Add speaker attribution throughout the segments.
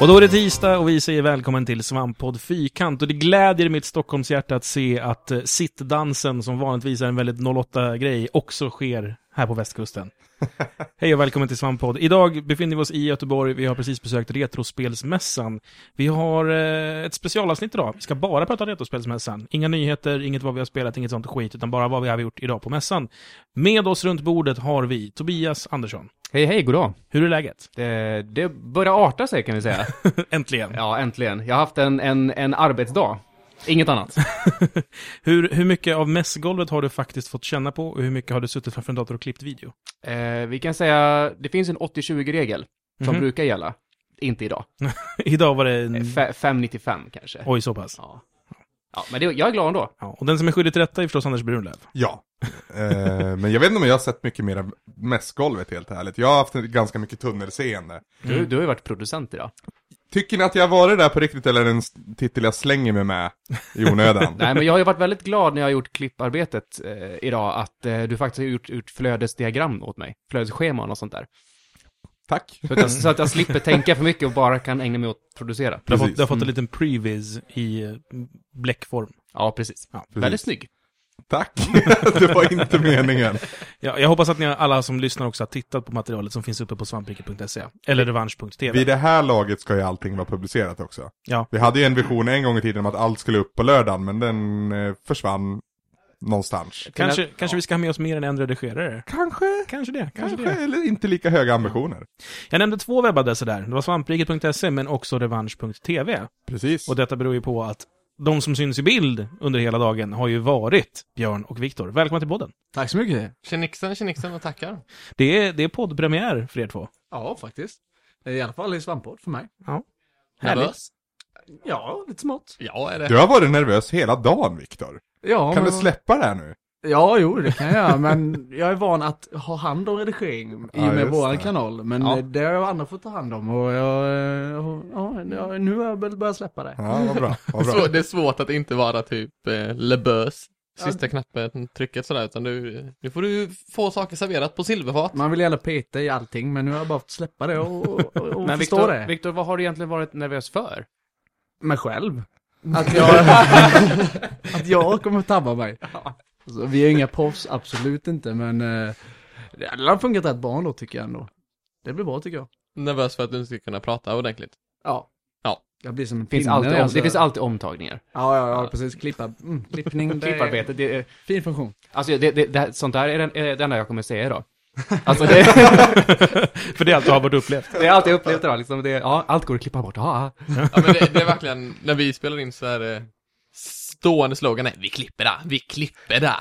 Speaker 1: Och då är det tisdag och vi säger välkommen till Svamppodd Fyrkant. Och det glädjer mitt Stockholmshjärta att se att eh, sittdansen, som vanligtvis är en väldigt 08-grej, också sker här på västkusten. Hej och välkommen till Svamppodd. Idag befinner vi oss i Göteborg. Vi har precis besökt Retrospelsmässan. Vi har eh, ett specialavsnitt idag. Vi ska bara prata Retrospelsmässan. Inga nyheter, inget vad vi har spelat, inget sånt skit, utan bara vad vi har gjort idag på mässan. Med oss runt bordet har vi Tobias Andersson.
Speaker 2: Hej, hej, goddag.
Speaker 1: Hur är läget?
Speaker 2: Det, det börjar arta sig kan vi säga.
Speaker 1: Äntligen!
Speaker 2: Ja, äntligen. Jag har haft en, en, en arbetsdag. Inget annat.
Speaker 1: Hur, hur mycket av mässgolvet har du faktiskt fått känna på och hur mycket har du suttit framför en dator och klippt video?
Speaker 2: Eh, vi kan säga, det finns en 80-20-regel som
Speaker 1: Mhm.
Speaker 2: brukar gälla. Inte idag.
Speaker 1: Idag var det... En...
Speaker 2: Eh, fe- 595 kanske.
Speaker 1: Oj, så pass.
Speaker 2: Ja. ja, men det, jag är glad ändå.
Speaker 1: Ja, och den som är skyldig till rätta är förstås Anders Brunlöv.
Speaker 3: Ja. Eh, men jag vet inte om jag har sett mycket mer av mässgolvet helt ärligt. Jag har haft en- ganska mycket tunnelseende.
Speaker 2: Du,
Speaker 1: Mm.
Speaker 2: du har ju varit producent idag.
Speaker 3: Tycker ni att jag har varit där på riktigt eller är det en s- titel jag slänger mig med i onödan?
Speaker 2: Nej, men jag har ju varit väldigt glad när jag har gjort klipparbetet eh, idag att eh, du faktiskt har gjort, gjort flödesdiagram åt mig. Flödesscheman och sånt där.
Speaker 3: Tack.
Speaker 2: Så att, jag, så att jag slipper tänka för mycket och bara kan ägna mig åt att producera.
Speaker 1: Du har, fått,
Speaker 3: Precis. Mm.
Speaker 1: du har fått en liten previs i eh, bläckform.
Speaker 2: Ja, precis.
Speaker 1: Ja,
Speaker 3: precis.
Speaker 2: Väldigt snygg.
Speaker 3: Tack. det var inte meningen.
Speaker 1: Ja, jag hoppas att ni alla som lyssnar också har tittat på materialet som finns uppe på svampriket.se eller revansch.tv.
Speaker 3: Vid det här laget ska ju allting vara publicerat också.
Speaker 1: Ja.
Speaker 3: Vi hade ju en vision en gång i tiden om att allt skulle upp på lördagen, men den eh, försvann någonstans.
Speaker 1: Kanske,
Speaker 2: Ja.
Speaker 1: kanske vi ska ha med oss mer än en redigerare.
Speaker 3: Kanske,
Speaker 1: Kanske det, kanske
Speaker 3: kanske,
Speaker 1: det.
Speaker 3: eller inte lika höga ambitioner.
Speaker 1: Jag nämnde två webbadresser där. Det var svampriket.se men också revansch.tv.
Speaker 3: Precis.
Speaker 1: Och detta beror ju på att de som syns i bild under hela dagen har ju varit Björn och Viktor. Välkomna till podden.
Speaker 4: Tack så mycket. Tjenixen, tjenixen och tackar.
Speaker 1: Det är, det är poddpremiär för er två.
Speaker 4: Ja, faktiskt. I alla fall i svamppodd för mig.
Speaker 1: Ja.
Speaker 4: Nervös? Ja, lite smått. Ja, är det.
Speaker 3: Du har varit nervös hela dagen, Viktor.
Speaker 4: Ja,
Speaker 3: Kan du
Speaker 4: men...
Speaker 3: släppa det här nu?
Speaker 4: Ja, jo, det kan jag göra, men jag är van att ha hand om redigering i
Speaker 3: Ja,
Speaker 4: och med
Speaker 3: just
Speaker 4: våran
Speaker 3: det.
Speaker 4: kanal. Men
Speaker 2: Ja.
Speaker 4: eh, det har jag andra fått ta hand om och jag, eh, ja, ja, nu har jag väl börjat släppa det.
Speaker 3: Ja, vad bra. Vad bra.
Speaker 5: Svå, det är svårt att inte vara typ eh, lebös, sista knappen, trycket sådär, utan du, nu får du få saker serverat på silverfat.
Speaker 4: Man vill gärna peta i allting, men nu har jag bara fått släppa det och, och, och- och
Speaker 2: Men
Speaker 4: förstå
Speaker 2: Viktor,
Speaker 4: det.
Speaker 2: Viktor, vad har du egentligen varit nervös för?
Speaker 4: Mig själv. Att jag, att jag kommer tabba mig. Alltså, vi är inga proffs, absolut inte, men eh, det har funkat rätt bra ändå tycker jag ändå. Det blir bra tycker jag.
Speaker 5: Nervös för att du inte ska kunna prata ordentligt.
Speaker 4: Ja.
Speaker 5: Ja.
Speaker 4: Jag blir som en
Speaker 2: Finns
Speaker 4: pinne
Speaker 2: alltid om,
Speaker 4: alltså.
Speaker 2: det finns alltid omtagningar.
Speaker 4: Ja, ja, ja, precis. Klippa, mm, klippning. det är-
Speaker 2: Klipparbete, det, är-
Speaker 4: Fin funktion.
Speaker 2: alltså det, det, det, här- sånt där är den- är det enda jag kommer säga idag. Alltså det,
Speaker 1: för det är allt du har varit upplevt.
Speaker 2: det är allt jag upplevt idag liksom. Det, ja, allt går att klippa bort. Ja, ja.
Speaker 5: Ja, men det, det är verkligen, när vi spelar in så är det stående slogan, nej, vi klipper det, vi klipper det.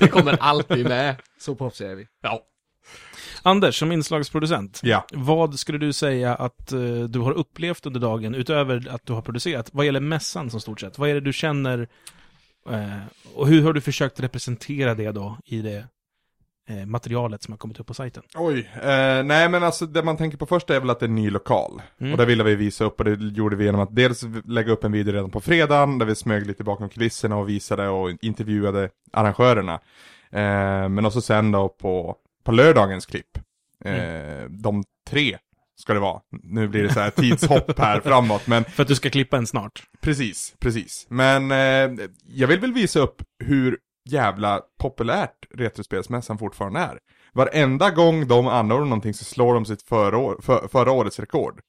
Speaker 5: Det kommer alltid med.
Speaker 4: Så proffsiga är vi.
Speaker 5: Ja.
Speaker 1: Anders, som inslagsproducent,
Speaker 3: Ja.
Speaker 1: vad skulle du säga att eh, du har upplevt under dagen, utöver att du har producerat, vad gäller mässan som stort sett? Vad är det du känner, eh, och hur har du försökt representera det då i det eh, materialet som har kommit upp på sajten?
Speaker 3: Oj, eh, nej men alltså det man tänker på först är väl att det är en ny lokal.
Speaker 1: Mm.
Speaker 3: Och det ville vi visa upp och det gjorde vi genom att dels lägga upp en video redan på fredagen där vi smög lite bakom kulisserna och visade och intervjuade arrangörerna. Eh, men också sen då på, på lördagens klipp. Eh, De tre ska det vara. Nu blir det så här tidshopp här framåt men
Speaker 1: För att du ska klippa en snart.
Speaker 3: Precis, precis. Men eh, jag vill väl visa upp hur jävla populärt Retrospelsmässan fortfarande är. Varenda gång de anordnar någonting så slår de sitt förra, år, för, förra årets rekord.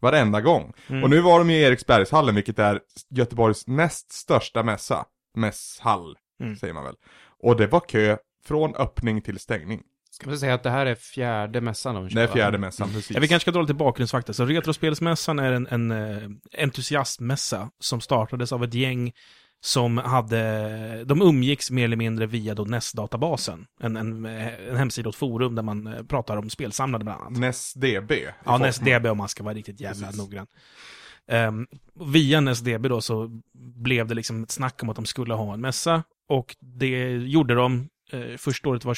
Speaker 3: Varenda gång.
Speaker 1: Mm.
Speaker 3: Och nu var de ju i Eriksbergshallen, vilket är Göteborgs näst största mässa. Mässhall,
Speaker 1: Mm.
Speaker 3: säger man väl. Och det var kö från öppning till stängning.
Speaker 2: Ska man säga att det här är fjärde mässan de
Speaker 3: Det
Speaker 2: kör,
Speaker 3: är
Speaker 2: va?
Speaker 3: fjärde mässan, precis.
Speaker 1: Mm. Ja, vi kanske ska dra lite bakgrundsfakta. Så Retrospelsmässan är en, en eh, entusiastmässa som startades av ett gäng som hade, de umgicks mer eller mindre via då NES-databasen. En, en, eh, en hemsida och ett forum där man eh, pratar om spelsamlande bland annat.
Speaker 3: NäsDB.
Speaker 1: Ja, E NestDB om man ska vara riktigt jävla
Speaker 3: Mm. Precis.
Speaker 1: noggrann. Um, via NestDB då så blev det liksom ett snack om att de skulle ha en mässa. Och det gjorde de. Eh, första året var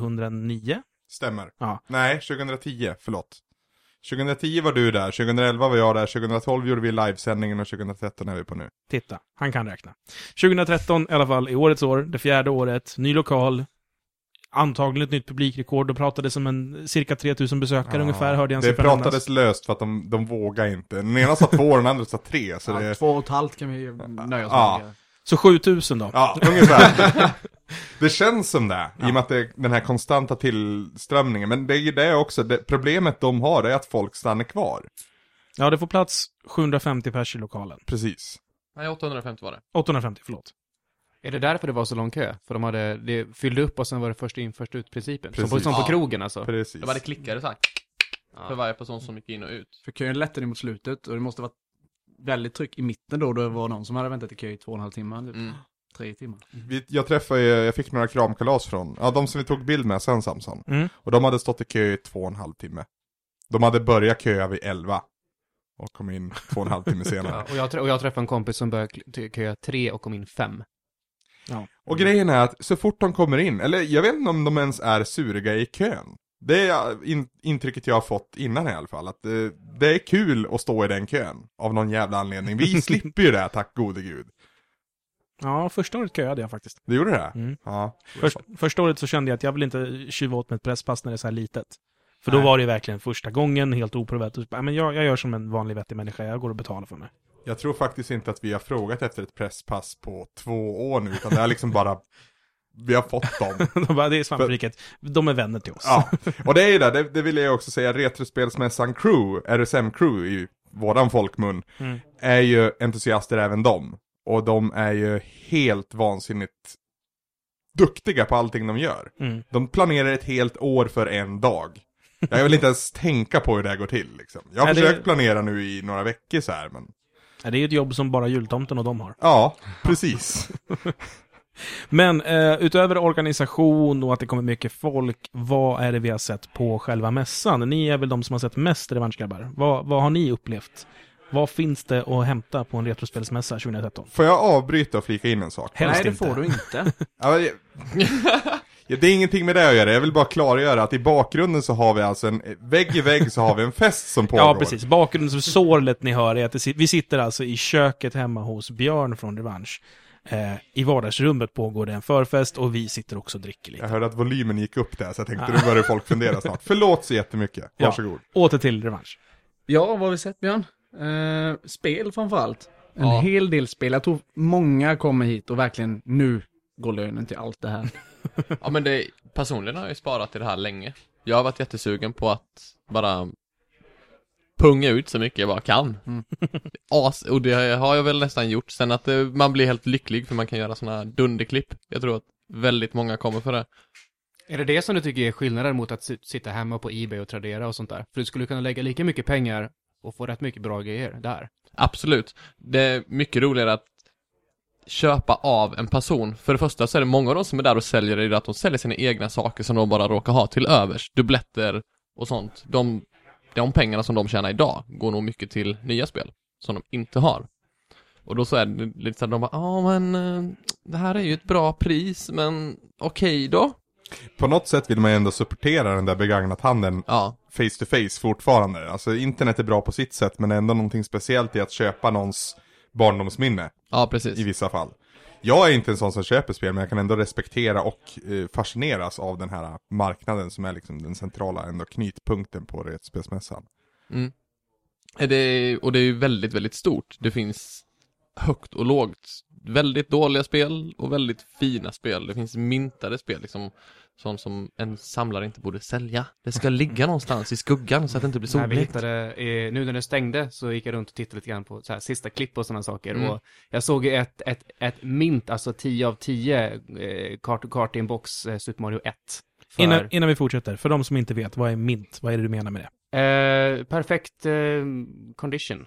Speaker 1: 2009.
Speaker 3: Stämmer.
Speaker 1: Ja.
Speaker 3: Nej, 2010, förlåt. 2010 var du där, 2011 var jag där, 2012 gjorde vi livesändningen och 2013 är vi på nu.
Speaker 1: Titta, han kan räkna. 2013 i alla fall, i årets år, det fjärde året, ny lokal. antagligen ett nytt publikrekord och pratades om en cirka 3000 besökare ungefär, hörde jag en
Speaker 3: Det
Speaker 1: siffra nämnas.
Speaker 3: pratades löst för att de, de vågade inte. Den ena sa två och den andra sa tre. Så det,
Speaker 4: Två och ett halvt kan vi nöja oss
Speaker 3: Ja.
Speaker 4: med.
Speaker 1: Så 7000 då.
Speaker 3: ja, ungefär. Det känns som det, i och med att det är den här konstanta tillströmningen. Men det är ju det också, det, problemet de har är att folk stannar kvar.
Speaker 1: Ja, det får plats 750 pers i lokalen.
Speaker 3: Precis.
Speaker 5: Nej, 850 var det.
Speaker 1: 850, förlåt.
Speaker 2: Är det därför det var så lång kö? För de hade, det fyllde upp och sen var det först in, först ut-principen. Som på,
Speaker 3: Precis.
Speaker 2: som på
Speaker 5: Ja.
Speaker 2: krogen alltså.
Speaker 3: Precis.
Speaker 5: Det bara klickade så här. För
Speaker 2: Ja.
Speaker 5: varje person som gick in och ut.
Speaker 4: För kön lättade mot slutet och det måste varit väldigt tryck i mitten då. Då det var någon som hade väntat i kö i två och en halv timme. Typ.
Speaker 5: Mm.
Speaker 4: Tre timmar.
Speaker 3: Vi, jag träffade ju, jag fick några kramkalas från, ja de som vi tog bild med sen Samson.
Speaker 1: Mm.
Speaker 3: Och de hade stått i kö i två och en halv timme. De hade börjat köa vid elva. Och kom in två och en halv timme senare.
Speaker 2: Ja, och, jag, trä- och jag träffade en kompis som började kl- ty- köa tre och kom in fem.
Speaker 3: Och grejen är att så fort de kommer in, eller jag vet inte om de ens är suriga i kön. Det är in, intrycket jag har fått innan i alla fall, att det, det är kul att stå i den kön. Av någon jävla anledning. Vi slipper ju det, tack gode gud.
Speaker 1: Ja, första året köade jag faktiskt.
Speaker 3: Du gjorde det?
Speaker 1: Mm.
Speaker 3: Ja.
Speaker 1: Först, första året så kände jag att jag vill inte tjuva åt mig ett presspass när det är så här litet. För då var det ju verkligen första gången, helt oprovat. Och så bara, "Nej, Men jag, jag gör som en vanlig vettig människa, jag går och betalar för mig.
Speaker 3: Jag tror faktiskt inte att vi har frågat efter ett presspass på två år nu, utan det har liksom bara, vi har fått dem.
Speaker 1: De bara, det är svampriket, de är vänner till oss.
Speaker 3: Ja, och det är ju det, det, det vill jag också säga, Retrospelsmässan Crew, RSM Crew i våran folkmun,
Speaker 1: Mm.
Speaker 3: är ju entusiaster även de. Och de är ju helt vansinnigt duktiga på allting de gör.
Speaker 1: Mm.
Speaker 3: De planerar ett helt år för en dag. Jag vill inte ens tänka på hur det här går till liksom. Jag har
Speaker 1: Nej, det-
Speaker 3: försökt planera nu i några veckor så här, men
Speaker 1: Ja, Det är ju ett jobb som bara jultomten och de har.
Speaker 3: ja, precis.
Speaker 1: Men eh, utöver organisation och att det kommer mycket folk, vad är det vi har sett på själva mässan? Ni är väl de som har sett mest revanschgrabbar? Vad, vad har ni upplevt? Vad finns det att hämta på en retrospelsmässa 2013?
Speaker 3: Får jag avbryta och flika in en sak?
Speaker 1: Helst
Speaker 4: Nej, det
Speaker 1: inte.
Speaker 4: får du inte.
Speaker 3: Ja, men jag- Ja, det är ingenting med det att göra, jag vill bara klargöra att i bakgrunden så har vi alltså en, vägg i vägg så har vi en fest som pågår.
Speaker 1: Ja, precis. Bakgrunden som sorlet ni hör är att det, sit- vi sitter alltså i köket hemma hos Björn från Revansch. Eh, I vardagsrummet pågår det en förfest och vi sitter också och dricker lite.
Speaker 3: Jag hörde att volymen gick upp där, så jag tänkte nu börjar folk fundera snart. Förlåt så jättemycket,
Speaker 1: Ja.
Speaker 3: varsågod.
Speaker 1: Åter till Revansch.
Speaker 4: Ja, vad har vi sett Björn? Eh, spel framförallt. En
Speaker 5: Ja.
Speaker 4: hel del spel. Jag tror många kommer hit och verkligen nu går lönen till allt det här.
Speaker 5: Ja men det, personligen har jag ju sparat till det här länge. Jag har varit jättesugen på att bara punga ut så mycket jag bara kan. As, och det har jag väl nästan gjort. Sen att eh, man blir helt lycklig för man kan göra sådana dunderklipp. Jag tror att väldigt många kommer för det.
Speaker 2: Är det det som du tycker är skillnaden mot att si- sitta hemma på Ebay och Tradera och sånt där? För du skulle kunna lägga lika mycket pengar och få rätt mycket bra grejer där.
Speaker 5: Absolut. Det är mycket roligare att köpa av en person. För det första så är det många av dem som är där och säljer det är att de säljer sina egna saker som de bara råkar ha till övers. Dubbletter och sånt. De, de pengarna som de tjänar idag går nog mycket till nya spel som de inte har. Och då så är det lite så här, de bara, ja men eh, det här är ju ett bra pris, men okej då?
Speaker 3: På något sätt vill man ju ändå supportera den där begagnathandeln
Speaker 5: Ja,
Speaker 3: face to face fortfarande. Alltså internet är bra på sitt sätt, men ändå någonting speciellt i att köpa någons barndomsminne
Speaker 5: ja
Speaker 3: i
Speaker 5: precis.
Speaker 3: vissa fall. Jag är inte en sån som köper spel, men jag kan ändå respektera och eh, fascineras av den här marknaden som är liksom den centrala ändå knytpunkten på retspelsmässan.
Speaker 5: Är Det, och det är ju väldigt, väldigt stort. Det finns högt och lågt. Väldigt dåliga spel och väldigt fina spel. Det finns mintade spel, liksom sånt som en samlare inte borde sälja. Det ska ligga någonstans i skuggan så att det inte blir
Speaker 2: När vi
Speaker 5: soligt.
Speaker 2: hittade, eh, nu när det stängde så gick jag runt och tittade lite grann på så här, sista klipp och sådana saker.
Speaker 5: Mm.
Speaker 2: Och jag såg ju ett, ett, ett mint, alltså 10 av 10, eh, kart, kart i en box, eh, Super Mario 1. För,
Speaker 1: Innan, innan vi fortsätter, för de som inte vet, vad är mint? Vad är det du menar med det?
Speaker 2: eh, perfekt eh, condition.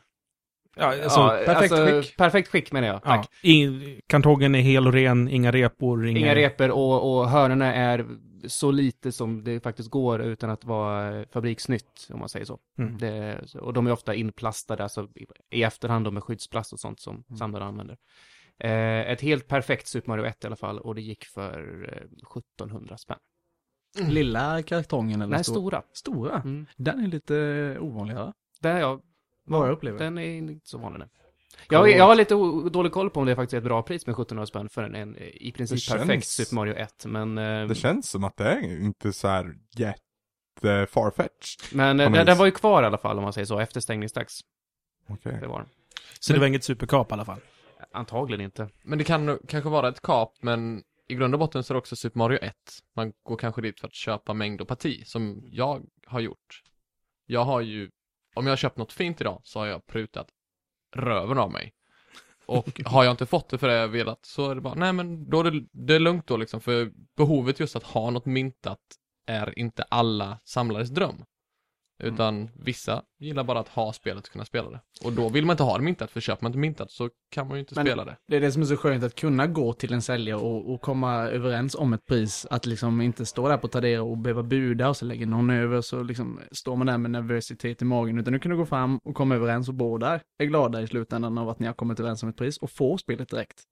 Speaker 1: Ja, alltså,
Speaker 4: perfekt skick.
Speaker 2: Perfekt skick menar jag.
Speaker 1: ja,
Speaker 2: Tack.
Speaker 1: i, kartongen är hel och ren, inga repor, inga...
Speaker 2: Inga repor och, och hörnorna är så lite som det faktiskt går utan att vara fabriksnytt, om man säger så.
Speaker 1: Mm.
Speaker 2: Det, och de är ofta inplastade, alltså i- i efterhand då med skyddsplast och sånt som samlare använder. Eh, ett helt perfekt Super Mario 1 i alla fall och det gick för eh, 1700 spänn.
Speaker 4: Lilla kartongen eller
Speaker 2: Nej,
Speaker 4: stor-
Speaker 2: stora.
Speaker 4: Stora?
Speaker 2: Mm.
Speaker 4: Den är lite ovanligare.
Speaker 2: Där jag,
Speaker 4: Vad jag upplever.
Speaker 2: den är inte så vanlig nu. Jag, jag har lite o- dålig koll på om det faktiskt är ett bra pris med 1700 spänn för en, en i princip
Speaker 3: Det
Speaker 2: perfekt
Speaker 3: känns-
Speaker 2: Super Mario 1. Men, eh,
Speaker 3: Det känns som att det är inte så här jätte farfetched.
Speaker 2: men eh,
Speaker 3: på något
Speaker 2: den,
Speaker 3: vis.
Speaker 2: den var ju kvar i alla fall om man säger så, efter stängningsdags.
Speaker 3: Okej.
Speaker 2: Det var den.
Speaker 1: Så det var inget superkap i alla fall.
Speaker 2: Antagligen inte.
Speaker 5: Men det kan nog- kanske vara ett kap, men i grund och botten så är det också Super Mario 1. Man går kanske dit för att köpa mängd och parti, som jag har gjort. Jag har ju, om jag har köpt något fint idag så har jag prutat röven av mig. Och har jag inte fått det för det jag velat så är det bara, nej men då är det, det är lugnt då liksom, för behovet just att ha något myntat är inte alla samlares dröm. Utan vissa gillar bara att ha spelet och kunna spela det. Och då vill man inte ha det myntat, för köper man inte myntat så kan man ju inte
Speaker 4: Men-
Speaker 5: spela det.
Speaker 4: Det är det som är så skönt, att kunna gå till en säljare och, och komma överens om ett pris. Att liksom inte stå där på Tradera och behöva buda och så lägger någon över så liksom står man där med nervositet i magen. Utan nu kan du gå fram och komma överens och båda är glada i slutändan av att ni har kommit överens om ett pris och får spelet direkt.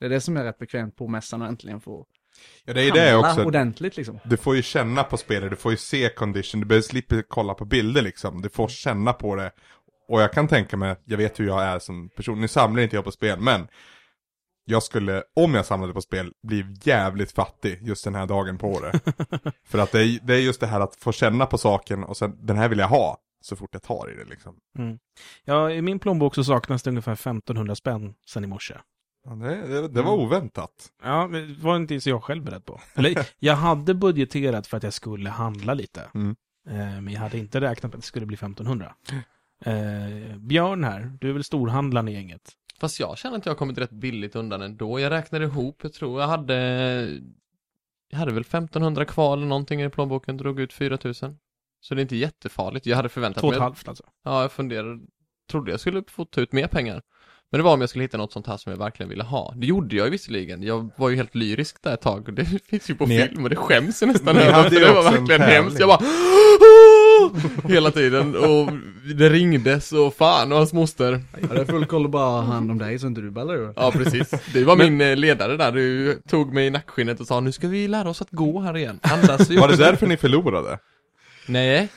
Speaker 4: Det är det som är rätt bekvämt på mässan och äntligen få
Speaker 3: Ja, det är det också.
Speaker 4: ordentligt liksom.
Speaker 3: Du får ju känna på spelet, du får ju se condition, du behöver slippa kolla på bilder liksom. Du får känna på det. Och jag kan tänka mig, jag vet hur jag är som person, nu samlar inte jag på spel, men jag skulle, om jag samlade på spel, bli jävligt fattig just den här dagen på året. För att det är, det är just det här att få känna på saken och sen, den här vill jag ha, så fort jag tar i det liksom.
Speaker 1: Ja, i min plånbok så saknas det ungefär 1500 spänn sen i morse.
Speaker 3: Ja, Det, det, det var
Speaker 5: Mm.
Speaker 3: oväntat.
Speaker 1: Ja, men det var inte så jag själv beredd på. Eller, jag hade budgeterat för att jag skulle handla lite.
Speaker 3: Mm.
Speaker 1: Eh, Men jag hade inte räknat med att det skulle bli 1500. Eh, Björn här, du är väl storhandlaren i gänget?
Speaker 5: Fast jag känner att jag har kommit rätt billigt undan ändå. Jag räknade ihop, jag tror jag hade Jag hade väl 1500 kvar eller någonting i plånboken, drog ut 4000. Så det är inte jättefarligt. Jag hade förväntat
Speaker 1: Två och
Speaker 5: mig
Speaker 1: ett halvt alltså.
Speaker 5: Ja, jag funderade Trodde jag skulle få ta ut mer pengar. Men det var om jag skulle hitta något sånt här som jag verkligen ville ha. Det gjorde jag ju visserligen. Jag var ju helt lyrisk där ett tag. och Det finns ju på
Speaker 3: Ni-
Speaker 5: film och det skäms jag nästan
Speaker 3: Ni
Speaker 5: över.
Speaker 3: hade
Speaker 5: för
Speaker 3: ju
Speaker 5: Det var
Speaker 3: också en
Speaker 5: verkligen
Speaker 3: tävling.
Speaker 5: hemskt. Jag bara Hela tiden och det ringdes och fan och hans moster.
Speaker 4: Ja, det är full koll att bara ha hand om dig så inte du ballar ur.
Speaker 5: Ja, precis. Du var min eh, ledare där. Du tog mig i nackskinnet och sa nu ska vi lära oss att gå här igen. Andas ju.
Speaker 3: Var det därför ni förlorade?
Speaker 5: Nej.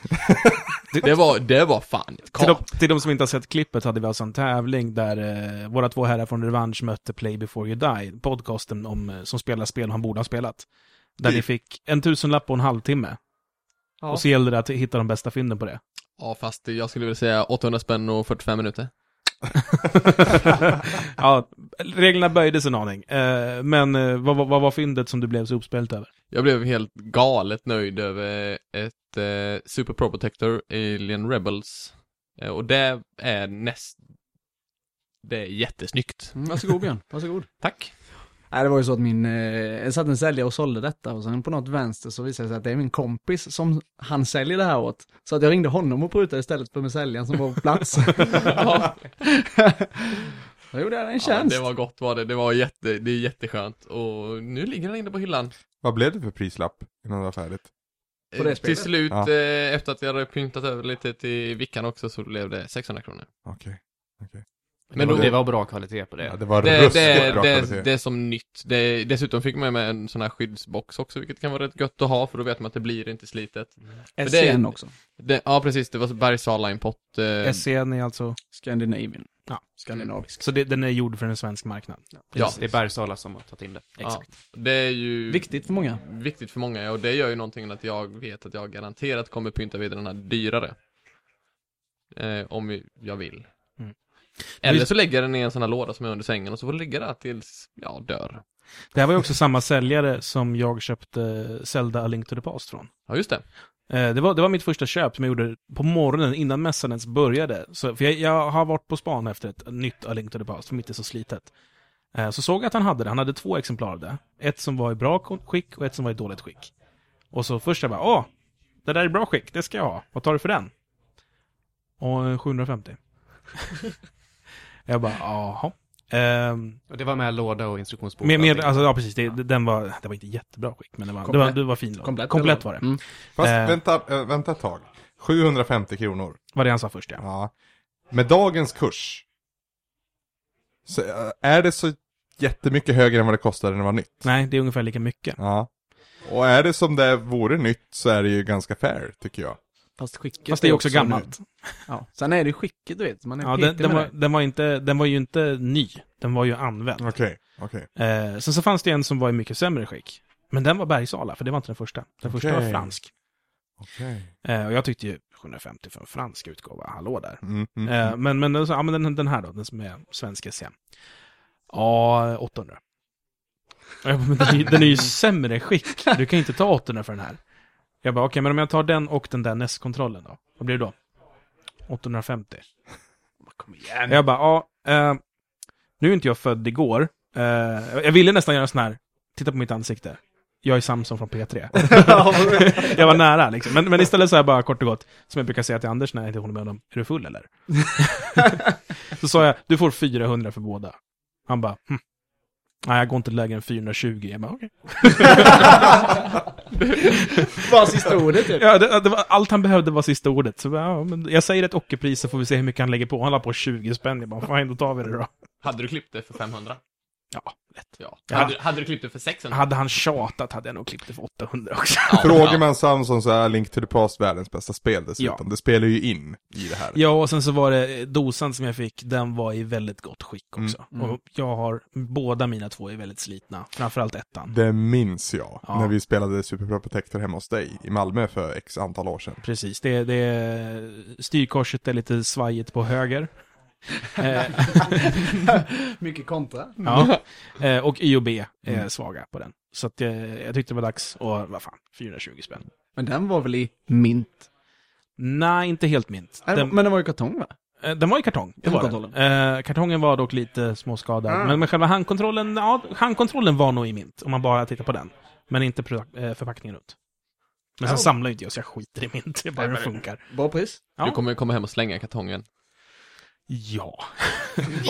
Speaker 5: Det var, det var fan ett
Speaker 1: Till
Speaker 5: kap.
Speaker 1: de, till de som inte har sett klippet hade vi alltså en tävling där eh, våra två herrar från Revanche mötte Play Before You Die, podcasten om, eh, som spelar spel han borde ha spelat. Där
Speaker 3: Det-
Speaker 1: ni fick en tusenlapp på en halvtimme.
Speaker 2: Ja.
Speaker 1: Och så gällde det att hitta de bästa fynden på det.
Speaker 5: Ja, fast jag skulle vilja säga 800 spänn och 45 minuter.
Speaker 1: ja, reglerna böjdes en aning. Eh, men eh, vad, vad, vad var fyndet som du blev så uppspelt över?
Speaker 5: Jag blev helt galet nöjd över ett eh, Super Pro Protector Alien Rebels. Eh, och det är näst... Det är jättesnyggt.
Speaker 4: Mm, varsågod Björn, varsågod.
Speaker 5: Tack.
Speaker 4: Nej, det var ju så att min, eh, jag satt en säljare och sålde detta och sen på något vänster så visade det sig att det är min kompis som han säljer det här åt. Så att jag ringde honom och prutade istället för med säljaren som var på plats.
Speaker 5: Ja.
Speaker 4: Då gjorde jag en
Speaker 5: Ja,
Speaker 4: tjänst.
Speaker 5: det var gott var det. Det var jätte, det är jätteskönt. Och nu ligger den inne på hyllan.
Speaker 3: Vad blev det för prislapp innan det var färdigt?
Speaker 4: På det
Speaker 5: Eh, Till
Speaker 4: spelet?
Speaker 5: slut,
Speaker 3: Ja.
Speaker 5: eh, efter att jag hade pyntat över lite till vickan också, så blev det 600 kronor.
Speaker 3: Okej.
Speaker 5: Men
Speaker 2: Men
Speaker 5: då-
Speaker 2: det var bra kvalitet på det.
Speaker 3: Ja, det var
Speaker 5: Det,
Speaker 3: ruskigt
Speaker 5: det,
Speaker 3: bra
Speaker 5: det,
Speaker 3: kvalitet.
Speaker 5: det är som nytt. Det, dessutom fick man ju med en sån här skyddsbox också, vilket kan vara rätt gött att ha, för då vet man att det blir inte slitet.
Speaker 4: SCN
Speaker 5: det är-
Speaker 4: också.
Speaker 5: Det, ja, precis. Det var så Bergsala import. Eh,
Speaker 1: SCN är alltså...
Speaker 4: Scandinavian.
Speaker 1: Ja.
Speaker 4: Skandinavisk.
Speaker 1: Så det, den är gjord för en svensk marknad.
Speaker 5: ja,
Speaker 2: Det är Bergsala som har tagit in det.
Speaker 5: ja, det är ju
Speaker 4: Mm. Viktigt för många.
Speaker 5: viktigt för många, ja, och det gör ju någonting att jag vet att jag garanterat kommer pynta vidare den här dyrare. Eh, om jag vill.
Speaker 1: Mm.
Speaker 5: Eller så lägger jag den i en sån här låda som är under sängen och så får den ligga där tills jag dör.
Speaker 1: Det här var ju också samma säljare som jag köpte eh, Zelda A Link to the Past från.
Speaker 5: Ja, just det.
Speaker 1: Eh, Det var, det var mitt första köp som jag gjorde på morgonen innan mässan ens började. Så, för jag, jag har varit på span efter ett nytt A Link to the Past, för mitt är så slitet. Eh, Så såg jag att han hade det. Han hade två exemplar av det. Ett som var i bra kon- skick och ett som var i dåligt skick. Och så först jag bara, åh, det där är i bra skick, det ska jag ha. Vad tar du för den? Och eh, 750. jag bara, jaha. Ehm,
Speaker 2: Och det var med låda och instruktionsbok.
Speaker 1: Mer, mer,
Speaker 2: Allting.
Speaker 1: alltså, ja, precis. Det, den var, det var inte jättebra skick, men det var, det var,
Speaker 4: Komplett.
Speaker 1: det var fin. låt.
Speaker 4: Komplett,
Speaker 1: Komplett
Speaker 4: eller?
Speaker 1: var det.
Speaker 4: Mm.
Speaker 3: Fast
Speaker 1: Eh.
Speaker 3: vänta, eh, vänta ett tag. 750 kronor.
Speaker 1: Var det han sa först, ja.
Speaker 3: Ja. Med dagens kurs. Så eh, är det så jättemycket högre än vad det kostade när det var nytt?
Speaker 1: Nej, det är ungefär lika mycket.
Speaker 3: Ja. Och är det som det vore nytt så är det ju ganska fair, tycker jag.
Speaker 2: Fast skicket
Speaker 1: Fast det är också gammalt.
Speaker 4: Ja. Sen är det skicket du vet, man är
Speaker 1: Ja,
Speaker 4: petig
Speaker 1: den, den,
Speaker 4: med
Speaker 1: var,
Speaker 4: det.
Speaker 1: den, var inte, den var ju inte ny. Den var ju använd.
Speaker 3: Okej, okej.
Speaker 1: Eh, sen så fanns det en som var i mycket sämre skick. Men den var Bergsala, för det var inte den första. Den första var
Speaker 3: Okej.
Speaker 1: fransk.
Speaker 3: Okej.
Speaker 1: Eh, och jag tyckte ju 750 för en fransk utgåva, hallå där.
Speaker 3: Mm, mm,
Speaker 1: Eh, men men, den, ja, men den, den här då, den som är svensk SCM. Ja, 800. Och jag bara, men den, är ju- den är ju i sämre skick. Du kan ju inte ta 800 för den här. Jag bara, okej, men om jag tar den och den där NES-kontrollen då? Vad blir det då? 850.
Speaker 4: Kom igen.
Speaker 1: Jag bara, ja, eh, nu är inte jag född igår. Eh, jag ville nästan göra en sån här, titta på mitt ansikte. Jag är Samson från P3. jag var nära liksom. Men, men istället så här bara kort och gott, som jag brukar säga till Anders när jag inte håller med honom, är du full eller? så sa jag, du får 400 för båda. Han bara, hm. Nej, jag går inte lägre än 420. Jag bara, okej.
Speaker 4: Bara sista ordet typ.
Speaker 1: Ja, det, det var, allt han behövde var sista ordet. Så, ja, men jag säger ett ockerpris så får vi se hur mycket han lägger på. Han la på 20 spänn. Jag bara, fine, då tar vi det då.
Speaker 5: Hade du klippt det för 500?
Speaker 1: Ja, lätt.
Speaker 5: Ja.
Speaker 1: Ja.
Speaker 5: Hade, hade du klippt det för 600?
Speaker 1: Hade han tjatat hade jag nog klippt det för 800 också.
Speaker 3: Frågar man Samson så är Link to the Past världens bästa spel dessutom.
Speaker 1: Ja.
Speaker 3: Det spelar ju in i det här.
Speaker 1: Ja, och sen så var det eh, dosan som jag fick, den var i väldigt gott skick också. Och jag har, båda mina två är väldigt slitna, framförallt ettan.
Speaker 3: Det minns jag,
Speaker 1: Ja.
Speaker 3: när vi spelade Super Pro Protector hemma hos dig i Malmö för x antal år sedan.
Speaker 1: Precis, det, det, styrkorset är lite svajigt på höger. Eh,
Speaker 4: Mycket kontra.
Speaker 1: ja. Eh, Och Y och B är
Speaker 5: Mm.
Speaker 1: svaga på den. Så att, eh, jag tyckte det var dags, och vad fan, 420 spänn.
Speaker 4: Men den var väl i mint?
Speaker 1: Nej, inte helt mint.
Speaker 4: Nej,
Speaker 1: Den-
Speaker 4: Men den var ju kartong va?
Speaker 1: Eh, Den var i kartong. Det
Speaker 4: Den
Speaker 1: var
Speaker 4: kontrollen.
Speaker 1: den. Eh, kartongen var dock lite småskadad.
Speaker 5: Ah.
Speaker 1: Men, men själva handkontrollen, ja, handkontrollen var nog i mint. Om man bara tittar på den. Men inte produk- eh, förpackningen runt. Men sen samlar ju inte jag så jag skiter i mint. Jag bara hur det funkar.
Speaker 4: Bra pris.
Speaker 1: Ja.
Speaker 5: Du kommer komma hem och slänga kartongen.
Speaker 1: Ja.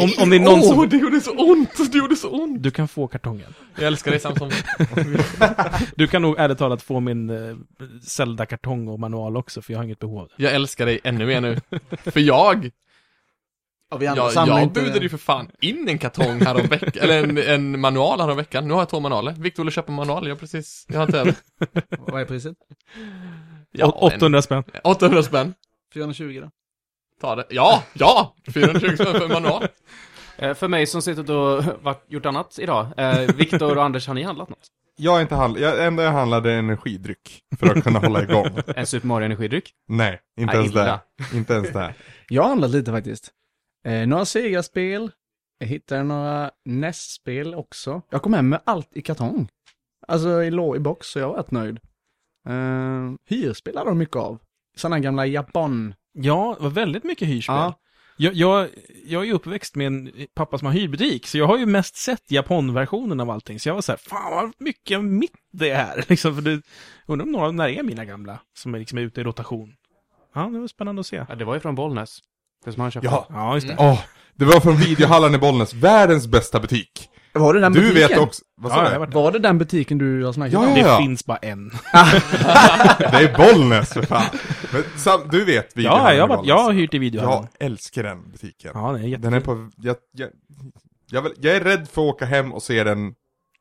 Speaker 1: om, om det är någon som...
Speaker 5: det gjorde så ont! Det gjorde så ont!
Speaker 1: Du kan få kartongen.
Speaker 5: Jag älskar dig Samson.
Speaker 1: Du kan nog ärligt talat få min eh, Zelda-kartong och manual också, för jag har inget behov av det.
Speaker 5: Jag älskar dig ännu mer nu. För jag,
Speaker 4: Ja, vi andra
Speaker 5: jag,
Speaker 4: samlar
Speaker 5: jag
Speaker 4: inte...
Speaker 5: budade ju för fan in en kartong häromveckan, eller en, en manual häromveckan. Nu har jag två manualer. Viktor ville köpa en manual, jag har precis, jag har inte över.
Speaker 4: Vad är priset?
Speaker 5: Ja,
Speaker 1: Å- 800 spänn.
Speaker 5: en- 800 spänn.
Speaker 4: 420 då?
Speaker 5: Ta det. Ja, ja! 420 spänn för en manual.
Speaker 2: Eh, För mig som suttit och varit, gjort annat idag, eh, Viktor och Anders, har ni handlat något?
Speaker 3: Jag har inte handlat, jag, enda jag handlade är energidryck för att kunna hålla igång.
Speaker 2: En Super Mario energidryck?
Speaker 3: Nej, inte
Speaker 2: Ah,
Speaker 3: ens
Speaker 2: illa.
Speaker 3: det. Inte ens det.
Speaker 4: Jag har handlat lite faktiskt. Eh, några Sega-spel. Jag hittade några NES-spel också. Jag kom hem med allt i kartong. Alltså i, lå- i box, så jag var rätt nöjd. Eh, hyrspel hade de mycket av. Sådana gamla japan...
Speaker 1: Ja, det var väldigt mycket hyrspel.
Speaker 4: Ja.
Speaker 1: Jag, jag, jag är ju uppväxt med en pappa som har hyrbutik, så jag har ju mest sett japonversionen av allting. Så jag var så här, fan vad mycket mitt det är. Liksom, för det, undrar om några av de där är mina gamla, som är liksom ute i rotation. Ja, det var spännande att se.
Speaker 2: Ja, det var ju från Bollnäs. Det som han köpte.
Speaker 3: Ja,
Speaker 1: Ja, just det.
Speaker 3: åh. det var från videohallen i Bollnäs, världens bästa butik.
Speaker 4: Var det den
Speaker 3: Du
Speaker 4: butiken?
Speaker 3: vet också, vad sa
Speaker 1: Ja, jag har
Speaker 3: du?
Speaker 1: varit där.
Speaker 4: Var det den butiken du har snackat
Speaker 3: Ja,
Speaker 4: om?
Speaker 1: Det
Speaker 3: ja.
Speaker 1: finns bara en.
Speaker 3: Det är Bollnäs för fan. Men, sam, du vet videohallen
Speaker 1: Ja,
Speaker 3: i
Speaker 1: jag har, varit,
Speaker 3: Bollnäs.
Speaker 1: jag har hyrt i
Speaker 3: Jag
Speaker 1: videohallen.
Speaker 3: älskar den butiken.
Speaker 1: Ja, det är jätte...
Speaker 3: liksom. Den är på, jag, jag, jag, vill, jag är rädd för att åka hem och se den